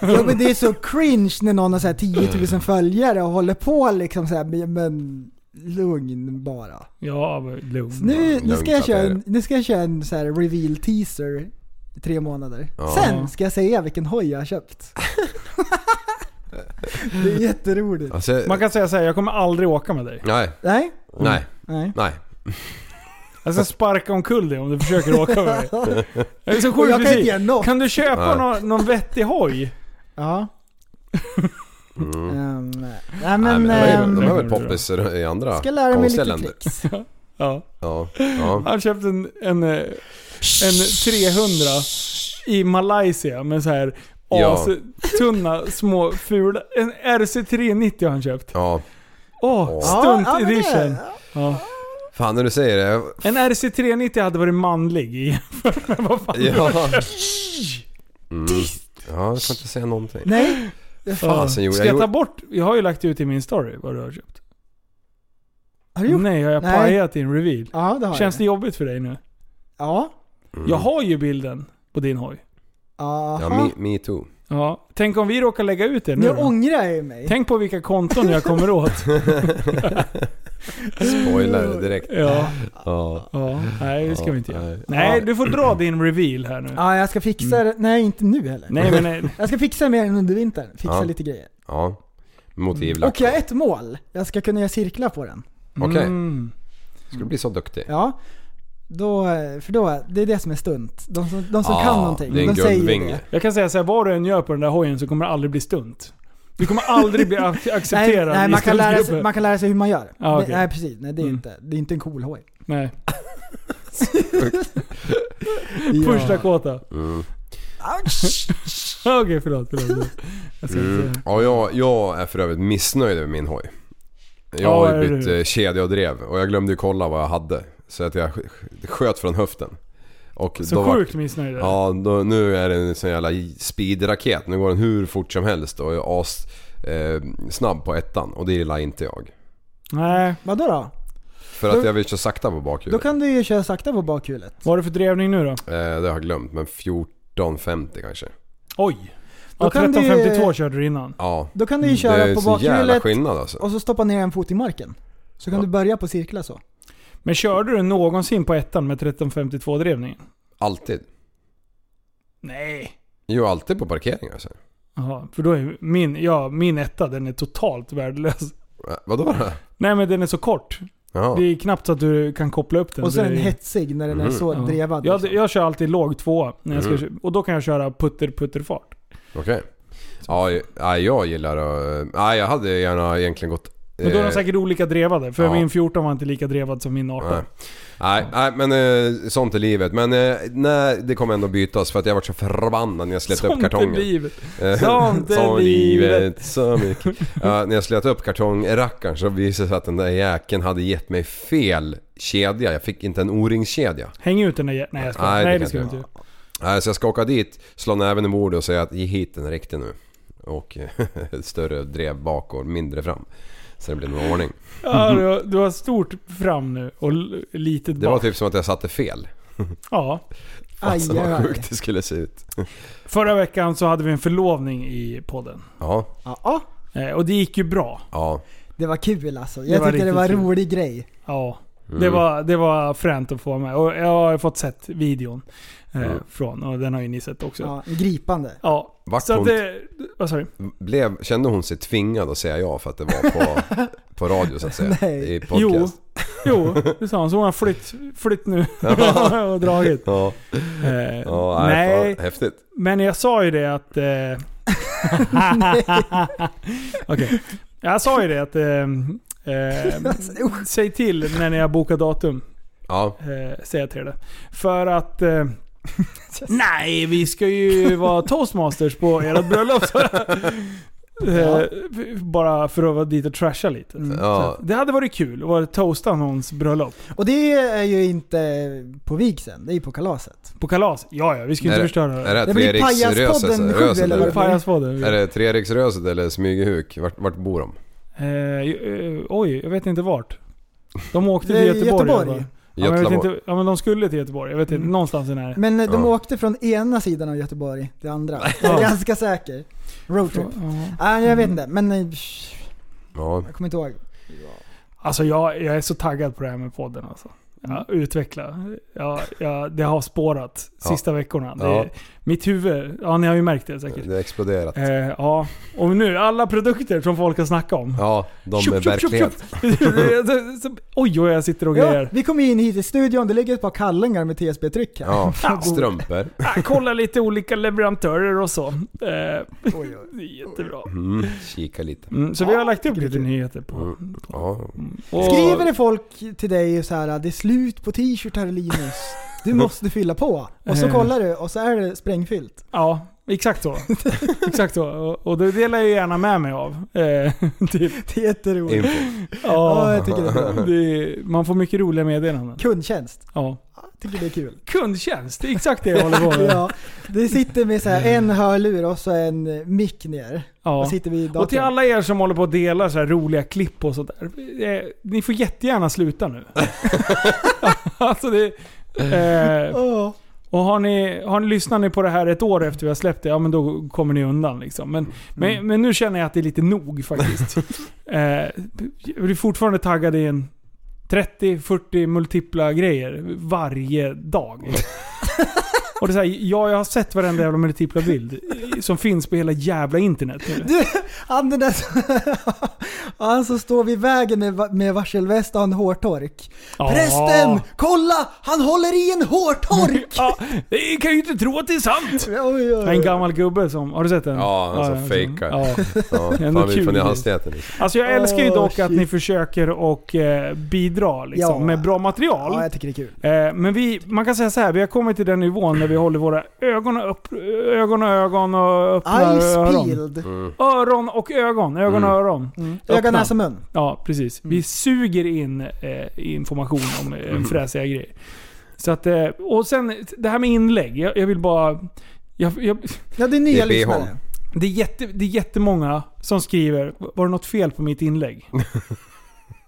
Ja men det är så cringe när någon har så här 10 000 följare och håller på liksom så här, men- men lugn bara.
Ja, men lugn.
Nu, nu, ska, jag
Lugnt,
köra
att det är
en, nu ska jag köra en så här reveal teaser i tre månader.
Ja.
Sen ska jag säga vilken hoj jag har köpt. det är jätteroligt.
Alltså,
Man Mm. kan säga så här, jag kommer aldrig åka med dig.
nej.
Nej?
Nej.
Nej.
Nej.
Jag ska sparka omkull dig om du försöker åka med mig. Jag är så
Och
sjuk
jag kan
fysik.
inte göra något.
Kan du köpa
Nej.
någon, någon vettig hoj?
Ja.
Mm.
Um, nej
Nej,
men...
men de
eh,
är väl-
ehm,
de är väl poppis i andra
ska lära mig
konstiga
lite
länder.
tricks.
Ja.
Ja. ja.
Han köpte en, en, eh, en 300 i Malaysia med så här
Ja.
astunna små fula... En RC390 har han köpt.
Ja.
Åh,
Ja.
stunt
Ja, men det-
edition. Ja.
Fan när du säger det. jag-
En RC390 hade varit manlig i jämfört med vad fan
Ja.
du har köpt.
Mm. Ja, jag får inte säga någonting.
Nej.
Fasen gjorde
Ska
jag?
jag ta
gjorde-
bort? Jag har ju lagt ut i min story vad du har köpt.
Har du gjort?
Nej, har jag
Nej.
pajat din reveal?
Ja, det har
Känns
jag.
det jobbigt för dig nu?
Ja.
Mm.
Jag har ju bilden på din hoj.
Aha.
Ja, me, me too.
Ja. Tänk om vi råkar lägga ut det nu
nu
då?
ångrar jag ju mig.
Tänk på vilka konton jag kommer åt.
Spoiler direkt.
Ja.
Ja.
Ja, nej det ska
Ja,
vi inte göra.
nej.
Nej, du får dra din reveal här nu.
Ja, jag ska fixa
Mm.
det. Nej, inte nu heller.
Nej, men eh, nej.
Jag ska fixa mer än under vintern. Fixa
Ja.
lite grejer.
Ja. Motivlack.
Och jag har ett mål. Jag ska kunna göra cirklar på den.
Okej.
Mm.
Ska du bli så duktig?
Ja. Då, eh, för då, det är det som är stunt. De som, de som
Ja,
kan någonting,
det är
de
en
säger
guldvinge.
det.
Jag kan säga så här, vad du än gör på den där hojen så kommer det aldrig bli stunt. Du kommer aldrig bli ac- accepterad
nej,
i
man, kan lära sig,
stuntgruppen.
man kan lära sig hur man gör.
Ja, okej.
nej, nej precis, nej, det, är
Mm.
inte, det är inte en cool hoj.
Nej.
Ja.
Första kåta.
Mm.
Okej, förlåt. förlåt. Jag ska inte
Mm.
säga.
Ja, jag, jag är för övrigt missnöjd med min hoj. Jag
Ja,
har
är
ju
du?
bytt eh, kedja och drev och jag glömde ju kolla vad jag hade. Så att jag sk- sköt från höften. Och
Så
då vart-
sjukt missnöjd är du.
Ja, då, nu är det en sån jävla speedraket. Nu går den hur fort som helst och är as, eh, snabb på ettan och det gillar inte jag.
Nej.
Vadå då?
För att
Då-
jag vill köra sakta på
Då
bakhjulet.
kan du ju köra sakta på bakhjulet.
Vad har du för drevning nu då?
Eh, det har jag glömt, men 14.50 kanske.
Oj.
Då
Ja,
kan du ju-
13.52 körde du innan.
Ja.
Då kan du ju
Mm, det
köra
är
på
så jävla
bakhjulet
skillnad alltså.
och så stoppa ner en fot i marken. Så kan
Ja.
du börja på cirklar så.
Men körde du någonsin på ettan med 13.52 drevningen?
Alltid.
Nej.
Jo, alltid på parkeringar alltså.
Jaha, för då är min, ja, min etta den är totalt värdelös.
Eh, Vadå då?
Nej men den är så kort.
Jaha.
Det är knappt så att du kan koppla upp den.
Och så är
det
den
är-
hetsig när den är
Mm.
så
Ja.
drevad.
Jag,
liksom.
jag kör alltid låg tvåa. När jag ska,
Mm.
kö- Och då kan jag köra putter-putter-fart.
Okej. Ja, jag- ja, jag gillar att... Nej, jag hade gärna egentligen gått...
Men då är de
eh,
säkert olika drevade. För
ja.
min 14 var inte lika drevad som min 18.
Nej. Nej, nej men eh, sånt är livet. Men eh, nej, det kommer ändå bytas för att jag varit så förbannad när jag slet upp
Sånt är
kartongen.
livet.
Eh,
Sånt är
sånt
livet.
Så mycket. Ja, när jag slet upp kartongrackaren så visade det sig att den där jäkeln hade gett mig fel kedja. Jag fick inte en O-ringskedja.
Häng ut den där jä- Nej jag skojar. Nej, det
kan
ska du
jag
inte göra.
göra. Nej, så jag ska åka dit, slå näven i bordet och säga att ge hit den riktig nu. Och eh, större drev bak och mindre fram. Så det blir någon ordning.
Ja, du, har, du har stort fram nu och l- litet
Det var
bak.
typ som att jag satte fel.
Ja.
Fasen
Aj, aj,
vad
aj.
sjukt det skulle se ut.
Förra veckan så hade vi en förlovning i podden.
Ja,
Ja, ja,
Eh, och det gick ju bra.
ja.
det var kul alltså.
Det
Jag
var
tyckte det
riktigt
var en
kul.
rolig grej.
Ja.
Mm.
Det, var, det var fränt att få vara med. Och jag har fått sett videon eh,
Mm.
från. Och den har ju ni sett också. Ja.
Ja, gripande.
Vart
så att
hon-
det... Vad sa du?
Blev, kände hon sig tvingad att säga ja för att det var på, på radio så att säga?
Nej.
I podcast?
Jo, det sa hon. Så hon har flytt, flytt nu och dragit.
Ja.
Eh,
ja nej.
nej,
Fan, häftigt.
men jag sa ju det att... Eh, Okej. Jag sa ju det att... Eh, eh, säg till när ni har bokat datum.
Ja.
Eh, säga till det. För att... Eh, nej, vi ska ju vara toastmasters på ert bröllop. sa jag. Eh, f- Bara för att vara dit och trasha lite. Så
Ja.
att Det hade varit kul att vara toasta någons bröllop.
Och det är ju inte på vigseln, det är ju på kalaset.
På kalas? Ja, ja. Vi ska ju inte förstöra
är
det.
det
Det blir
treriksröset?
Pajaspodden sju,
Röset,
eller
Eller
eller?
vad
pajasfader.
Är det treriksröset eller smygehuk? Vart, vart bor de?
Eh, eh, oj, jag vet inte vart. De åkte
Det är
till Göteborg.
Göteborg.
Göteborg. Ja, men jag vet
Götlaborg?
inte, ja men de skulle till Göteborg. Jag vet inte, någonstans i närheten.
Men eh, de
Ja.
åkte från ena sidan av Göteborg till andra. Jag
Ja.
är ganska säker. Roadtrip. Ah, jag
Mm.
vet inte, men eh,
Ja.
jag kommer inte ihåg.
Alltså jag, jag är så taggad på det här med podden alltså. Ja,
Mm.
utveckla. Ja, ja, det har spårat sista veckorna. Det,
Ja.
Mitt huvud, ja ni har ju märkt det säkert.
Det har exploderat.
Eh, ja, och nu alla produkter som folk har snackat om.
Ja, de
Tjup,
är
tjup, tjup,
verkligen...
tjup. Det- det- det- oj, oj, jag sitter och
Ja,
grejer.
vi kom in hit i studion, det ligger ett par kallingar med TSB-tryck här.
Ja, strumpor.
Ah, kolla lite olika leverantörer och så. Eh,
Oj, oj.
det är jättebra.
Mm, kika lite.
Mm, så vi har lagt upp lite nyheter på...
Mm. Ja.
Och-
Skriver det folk till dig så här det är slut på t-shirtar Linus, du måste fylla på. Och så
Eh.
kollar du och så är det sprängfyllt.
Ja, exakt så. exakt så. Och, och det delar jag gärna med mig av. Eh, typ.
Det är jätteroligt.
Info.
Ja,
Ja,
jag tycker det är bra.
det, man får mycket roliga meddelanden.
Kundtjänst.
Ja.
Tycker det är kul.
Kundtjänst, det är exakt det jag håller på med.
ja, det sitter med så här en hörlur och så en eh, mick ner.
Ja.
Och sitter vid datorn.
Och till alla er som håller på och delar så här roliga klipp och sådär. Eh, ni får jättegärna sluta nu. alltså det... Eh, och har ni, har ni, lyssnar ni på det här ett år efter vi har släppt det, ja men då kommer ni undan liksom. Men, men, men nu känner jag att det är lite nog faktiskt. eh, jag blir fortfarande taggad i en 30-40 multipla grejer varje dag. Och det är så här, ja, jag har sett varenda jävla multipla bild som finns på hela jävla internet nu.
Du, han den där som, han som står vid vägen med, va- med varselväst och en hårtork.
Ja.
Prästen! Kolla! Han håller i en hårtork!
ja, jag kan ju inte tro att det är sant!
oj, oj.
En gammal gubbe som... Har du sett den?
Ja, han som
jag har sett
fejkar.
den.
Ja.
Ändå
fan, vi
kul.
får ner hastigheten. liksom.
Alltså jag älskar ju
Åh,
dock att
shit.
ni försöker och eh, bidra liksom,
Ja.
med bra material.
Ja, jag tycker det är kul.
Eh, Men vi, man kan säga så här, vi har kommit till den nivån där vi håller våra ögon och upp, ögon, och ögon och öppnar
Eyes
öron.
peeled.
Öron och ögon. Ögon och öron.
Ögon,
Öppna.
Mm. näsa, Mm. mun.
Ja, precis. Vi suger in eh, information om eh, fräsiga grejer. Så att, eh, och sen det här med inlägg. Jag, jag vill bara... Jag, jag,
Ja, det är
Det
nya
är BH.
lyssnare.
det, är jätte, det är jättemånga som skriver “Var det något fel på mitt inlägg?”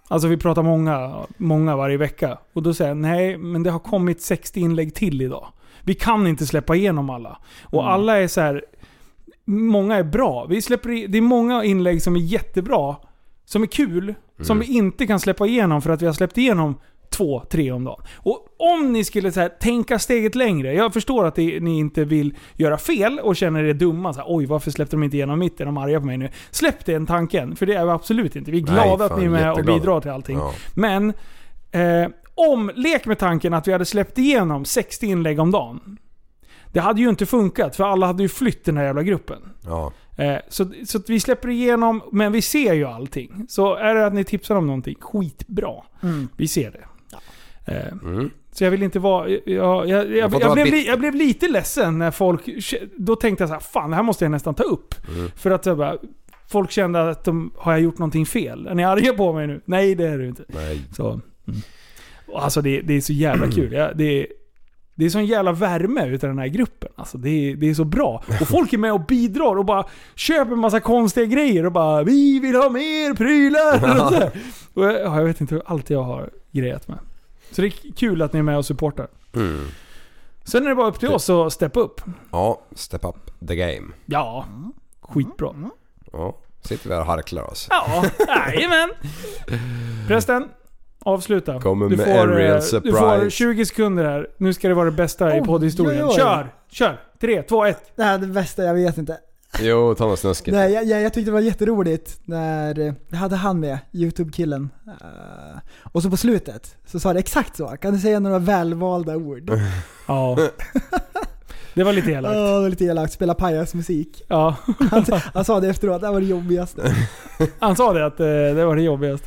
Alltså vi pratar många, många varje vecka. Och då säger jag “Nej, men det har kommit 60 inlägg till idag. Vi kan inte släppa igenom alla.” Och alla är så här. Många är bra. Vi släpper, i- det är många inlägg som är jättebra, som är kul, som vi
Mm.
inte kan släppa igenom för att vi har släppt igenom två, tre om dagen. Och om ni skulle så här, tänka steget längre. Jag förstår att det, ni inte vill göra fel och känner er dumma. Så här, Oj, varför släppte de inte igenom mitt? Är de arga på mig nu? Släpp den tanken, för det är vi absolut inte. Vi är
Nej,
glada att
fan,
ni är med och
jätteglada.
bidrar till allting.
Ja.
Men, eh, om, lek med tanken att vi hade släppt igenom 60 inlägg om dagen. Det hade ju inte funkat, för alla hade ju flytt den här jävla gruppen.
Ja.
Eh, Så, så att vi släpper igenom, men vi ser ju allting. Så är det att ni tipsar om någonting, skitbra. Vi ser det. Eh,
Mm.
Så jag vill inte vara... Jag, jag, jag,
Man får
jag,
inte vara
blev, li,
bitter.
jag blev lite ledsen när folk... Då tänkte jag så här, fan det här måste jag nästan ta upp.
Mm.
För att jag bara, folk kände att de, har jag gjort någonting fel? Är ni arga på mig nu? Nej det är du inte.
Nej.
Så. Och Alltså det, det är så jävla kul. Jag, det, är- det är sån jävla värme utav den här gruppen. Alltså det, är- det är så bra. Och folk är med och bidrar och bara köper en massa konstiga grejer och bara “Vi vill ha mer prylar!” och, så här. och jag, ja, jag vet inte hur allt jag har grejat med. Så det är kul att ni är med och supportar.
Mm.
Sen är det bara upp till oss att steppa upp.
Ja, step up the game.
Ja, skitbra.
Ja. Sitter vi här och harklar oss.
Ja, jajamän. Prästen, avsluta.
Kommer med
får,
en real
eh, Du får
surprise.
20 sekunder här. Nu ska det vara det bästa i
Oj,
poddhistorien.
oj, oj.
Kör! Kör! 3, 2, 1.
Det här är det bästa, jag vet inte.
Jo, ta något snuskigt.
Nej, jag, jag, jag tyckte det var jätteroligt när, eh, det hade han med, YouTube-killen. Eh, och så på slutet så sa det exakt så. Kan du säga några välvalda ord?
Ja. Det var lite
Åh,
elakt.
det var lite elakt. Spela pajasmusik.
Ja.
Han, han sa det efteråt, det här var det jobbigaste.
Mm.
Han sa det att eh, det var det jobbigaste.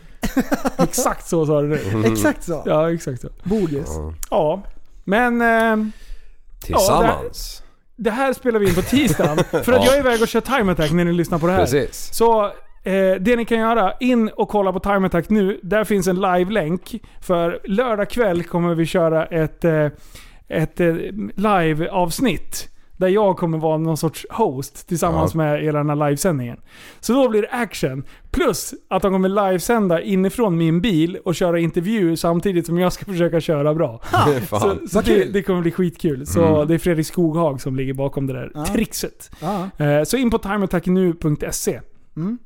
Exakt så sa du det.
Mm.
Exakt så.
Ja, exakt så.
Bogus.
Ja. Men eh,
Tillsammans.
det här spelar vi in på tisdagen. För att
Ja.
jag är iväg och kör time attack när ni lyssnar på det här.
Precis.
Så eh, det ni kan göra, in och kolla på Time Attack nu. Där finns en live-länk. För lördag kväll kommer vi köra ett, eh, ett eh, live-avsnitt. Där jag kommer vara någon sorts host tillsammans
Ja.
med hela den här livesändningen. Så då blir det action. Plus att de kommer livesända inifrån min bil och köra intervju samtidigt som jag ska försöka köra bra. Så,
Fan.
så det, det kommer bli skitkul. Så det är Fredrik Skoghag som ligger bakom det där
Mm. Ja.
trixet.
Ja.
Eh, Så in på timeattacknu.se.
Mm.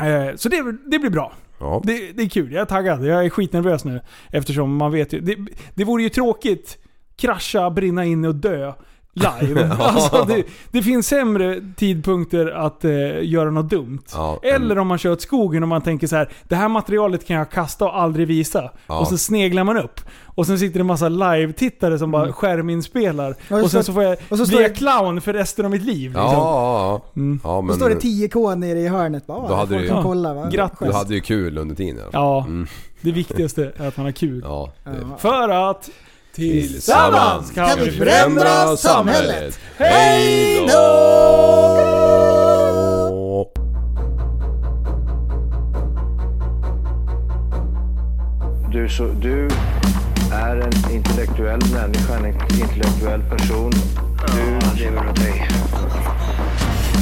Eh, Så det, det blir bra.
Ja.
Det, det är kul. Jag är taggad. Jag är skitnervös nu. Eftersom man vet ju. Det, det vore ju tråkigt. Krascha, brinna in och dö. Live. alltså, det, det finns sämre tidpunkter att eh, göra något dumt.
Ja,
Eller om man kör åt skogen och man tänker så här. Det här materialet kan jag kasta och aldrig visa.
Ja.
Och så sneglar man upp. Och sen sitter det en massa live-tittare som bara skärminspelar.
Ja, just
Och sen
det.
så får jag
Och Mm. så står
blir jag
det-
clown för resten av mitt liv.
Ja,
liksom.
ja, ja. ja men
Mm.
eh,
Då står det 10K nere i hörnet. Bara,
Då hade
folk
du-
som
Ja.
kollar, va?
Grattis.
du hade ju kul under tiden. i alla fall.
Ja,
Mm.
det viktigaste är att man har kul.
Ja, det.
För att
Tillsammans
kan vi förändra samhället.
Hej då!
Du, så, du är en intellektuell människa, en intellektuell person. Du lever åt dig.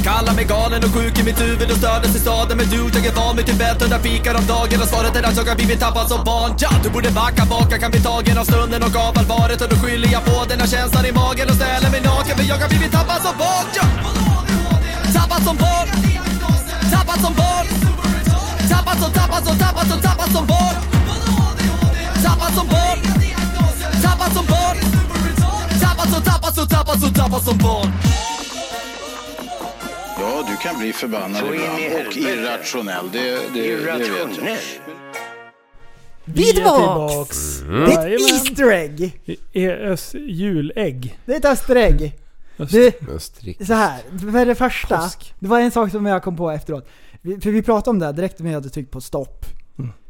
Kallar mig galen och sjuk i mitt huvud och stördes i staden Men du, jag är van vid Tibet under fikar om dagen Och svaret är att jag har blivit tappad som barn ja, Du borde backa bak, jag kan bli tagen av stunden och av allvaret Och då skyller jag på den här känslan i magen och ställer mig naken För jag har blivit tappad som barn ja. Tappad som barn Tappad som barn Tappad som, tappad som, tappad som, tappad som barn Tappad som barn Tappad som barn Tappad som, tappad som, tappad som, tappad som barn
Ja, du kan bli förbannad
Så in i
ibland och
helvete.
irrationell. Det, det, det vet jag.
Irrationell.
Vi är tillbaks!
Mm.
Det är ett
Jajamän.
Easter egg!
ES julägg.
Det är ett Easter egg. Du,
Österrike.
så här, för det första, det var en sak som jag kom på efteråt. Vi, för vi pratade om det här direkt när jag hade tryckt på stopp.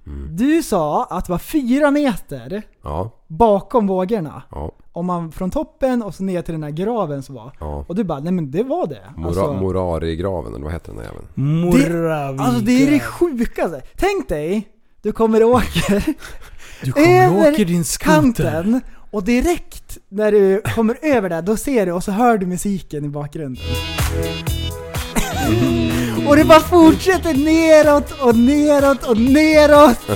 Mm.
Du sa att det var fyra meter
Ja,
bakom vågorna.
ja,
Om man från toppen och så ner till den här graven som var.
ja.
Och du bara, nej men det var det.
Mora,
Alltså- Mm.
Morarigraven, eller vad heter den där jäveln?
Morravika.
Alltså det är det sjukaste. Tänk dig, du kommer och åker
Du kommer och åker din skoter.
kanten och direkt när du kommer över där, då ser du och så hör du musiken i bakgrunden.
Mm.
Och det bara fortsätter neråt och neråt och neråt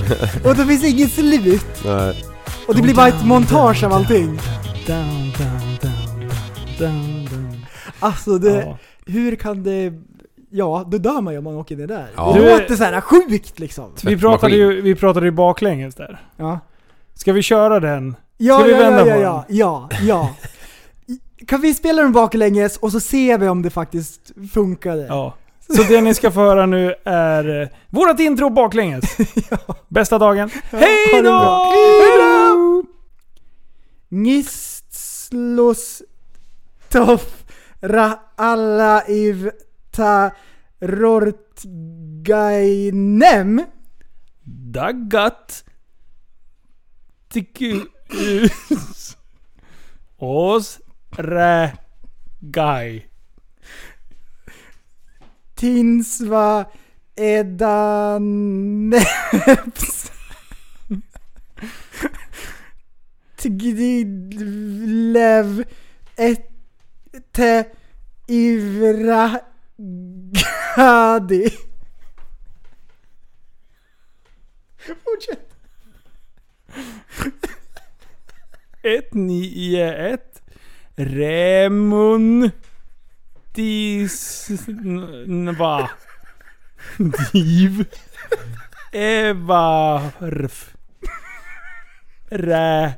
och det finns inget slut.
Nej.
Och det blir bara ett montage av allting.
Down, down, down, down, down.
Alltså det,
Ja.
hur kan det... Ja, då dör man ju om man åker ner där.
Ja.
Det låter såhär sjukt liksom.
Vi pratade, ju, vi pratade ju baklänges där.
Ja.
Ska vi köra den?
Ja,
Ska vi
ja,
vända
ja,
på
ja, ja, ja, ja. I- Kan vi spela den baklänges och så ser vi om det faktiskt funkade?
Ja. Så det ni ska få höra nu är eh, vårat intro baklänges. Bästa dagen. Hej
ha det
då!
bra.
Hej
Nistlos toff ra alla iv ta rortgainem.
Daggat. Tiku... Ås... Rä... Gai.
Tinsva edaneps. Tgidlev ette ivra gadi. Fortsätt.
Ett, nio, ett. Remun... Dis... n- Va... Div... Evarf... Rä...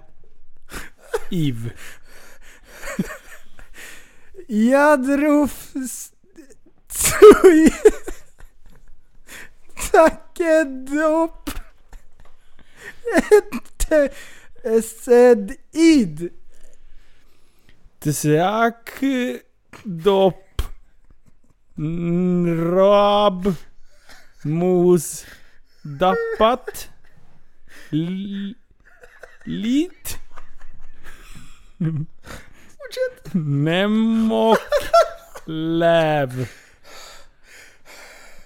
Iv...
Jadruf s- tsui. Takedop. Ette sed id.
Tsak... Dopp... Nrab... Mos... Dappat... L- lit... Nemok... Läv...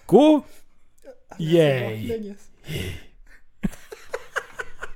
Gå... Yay.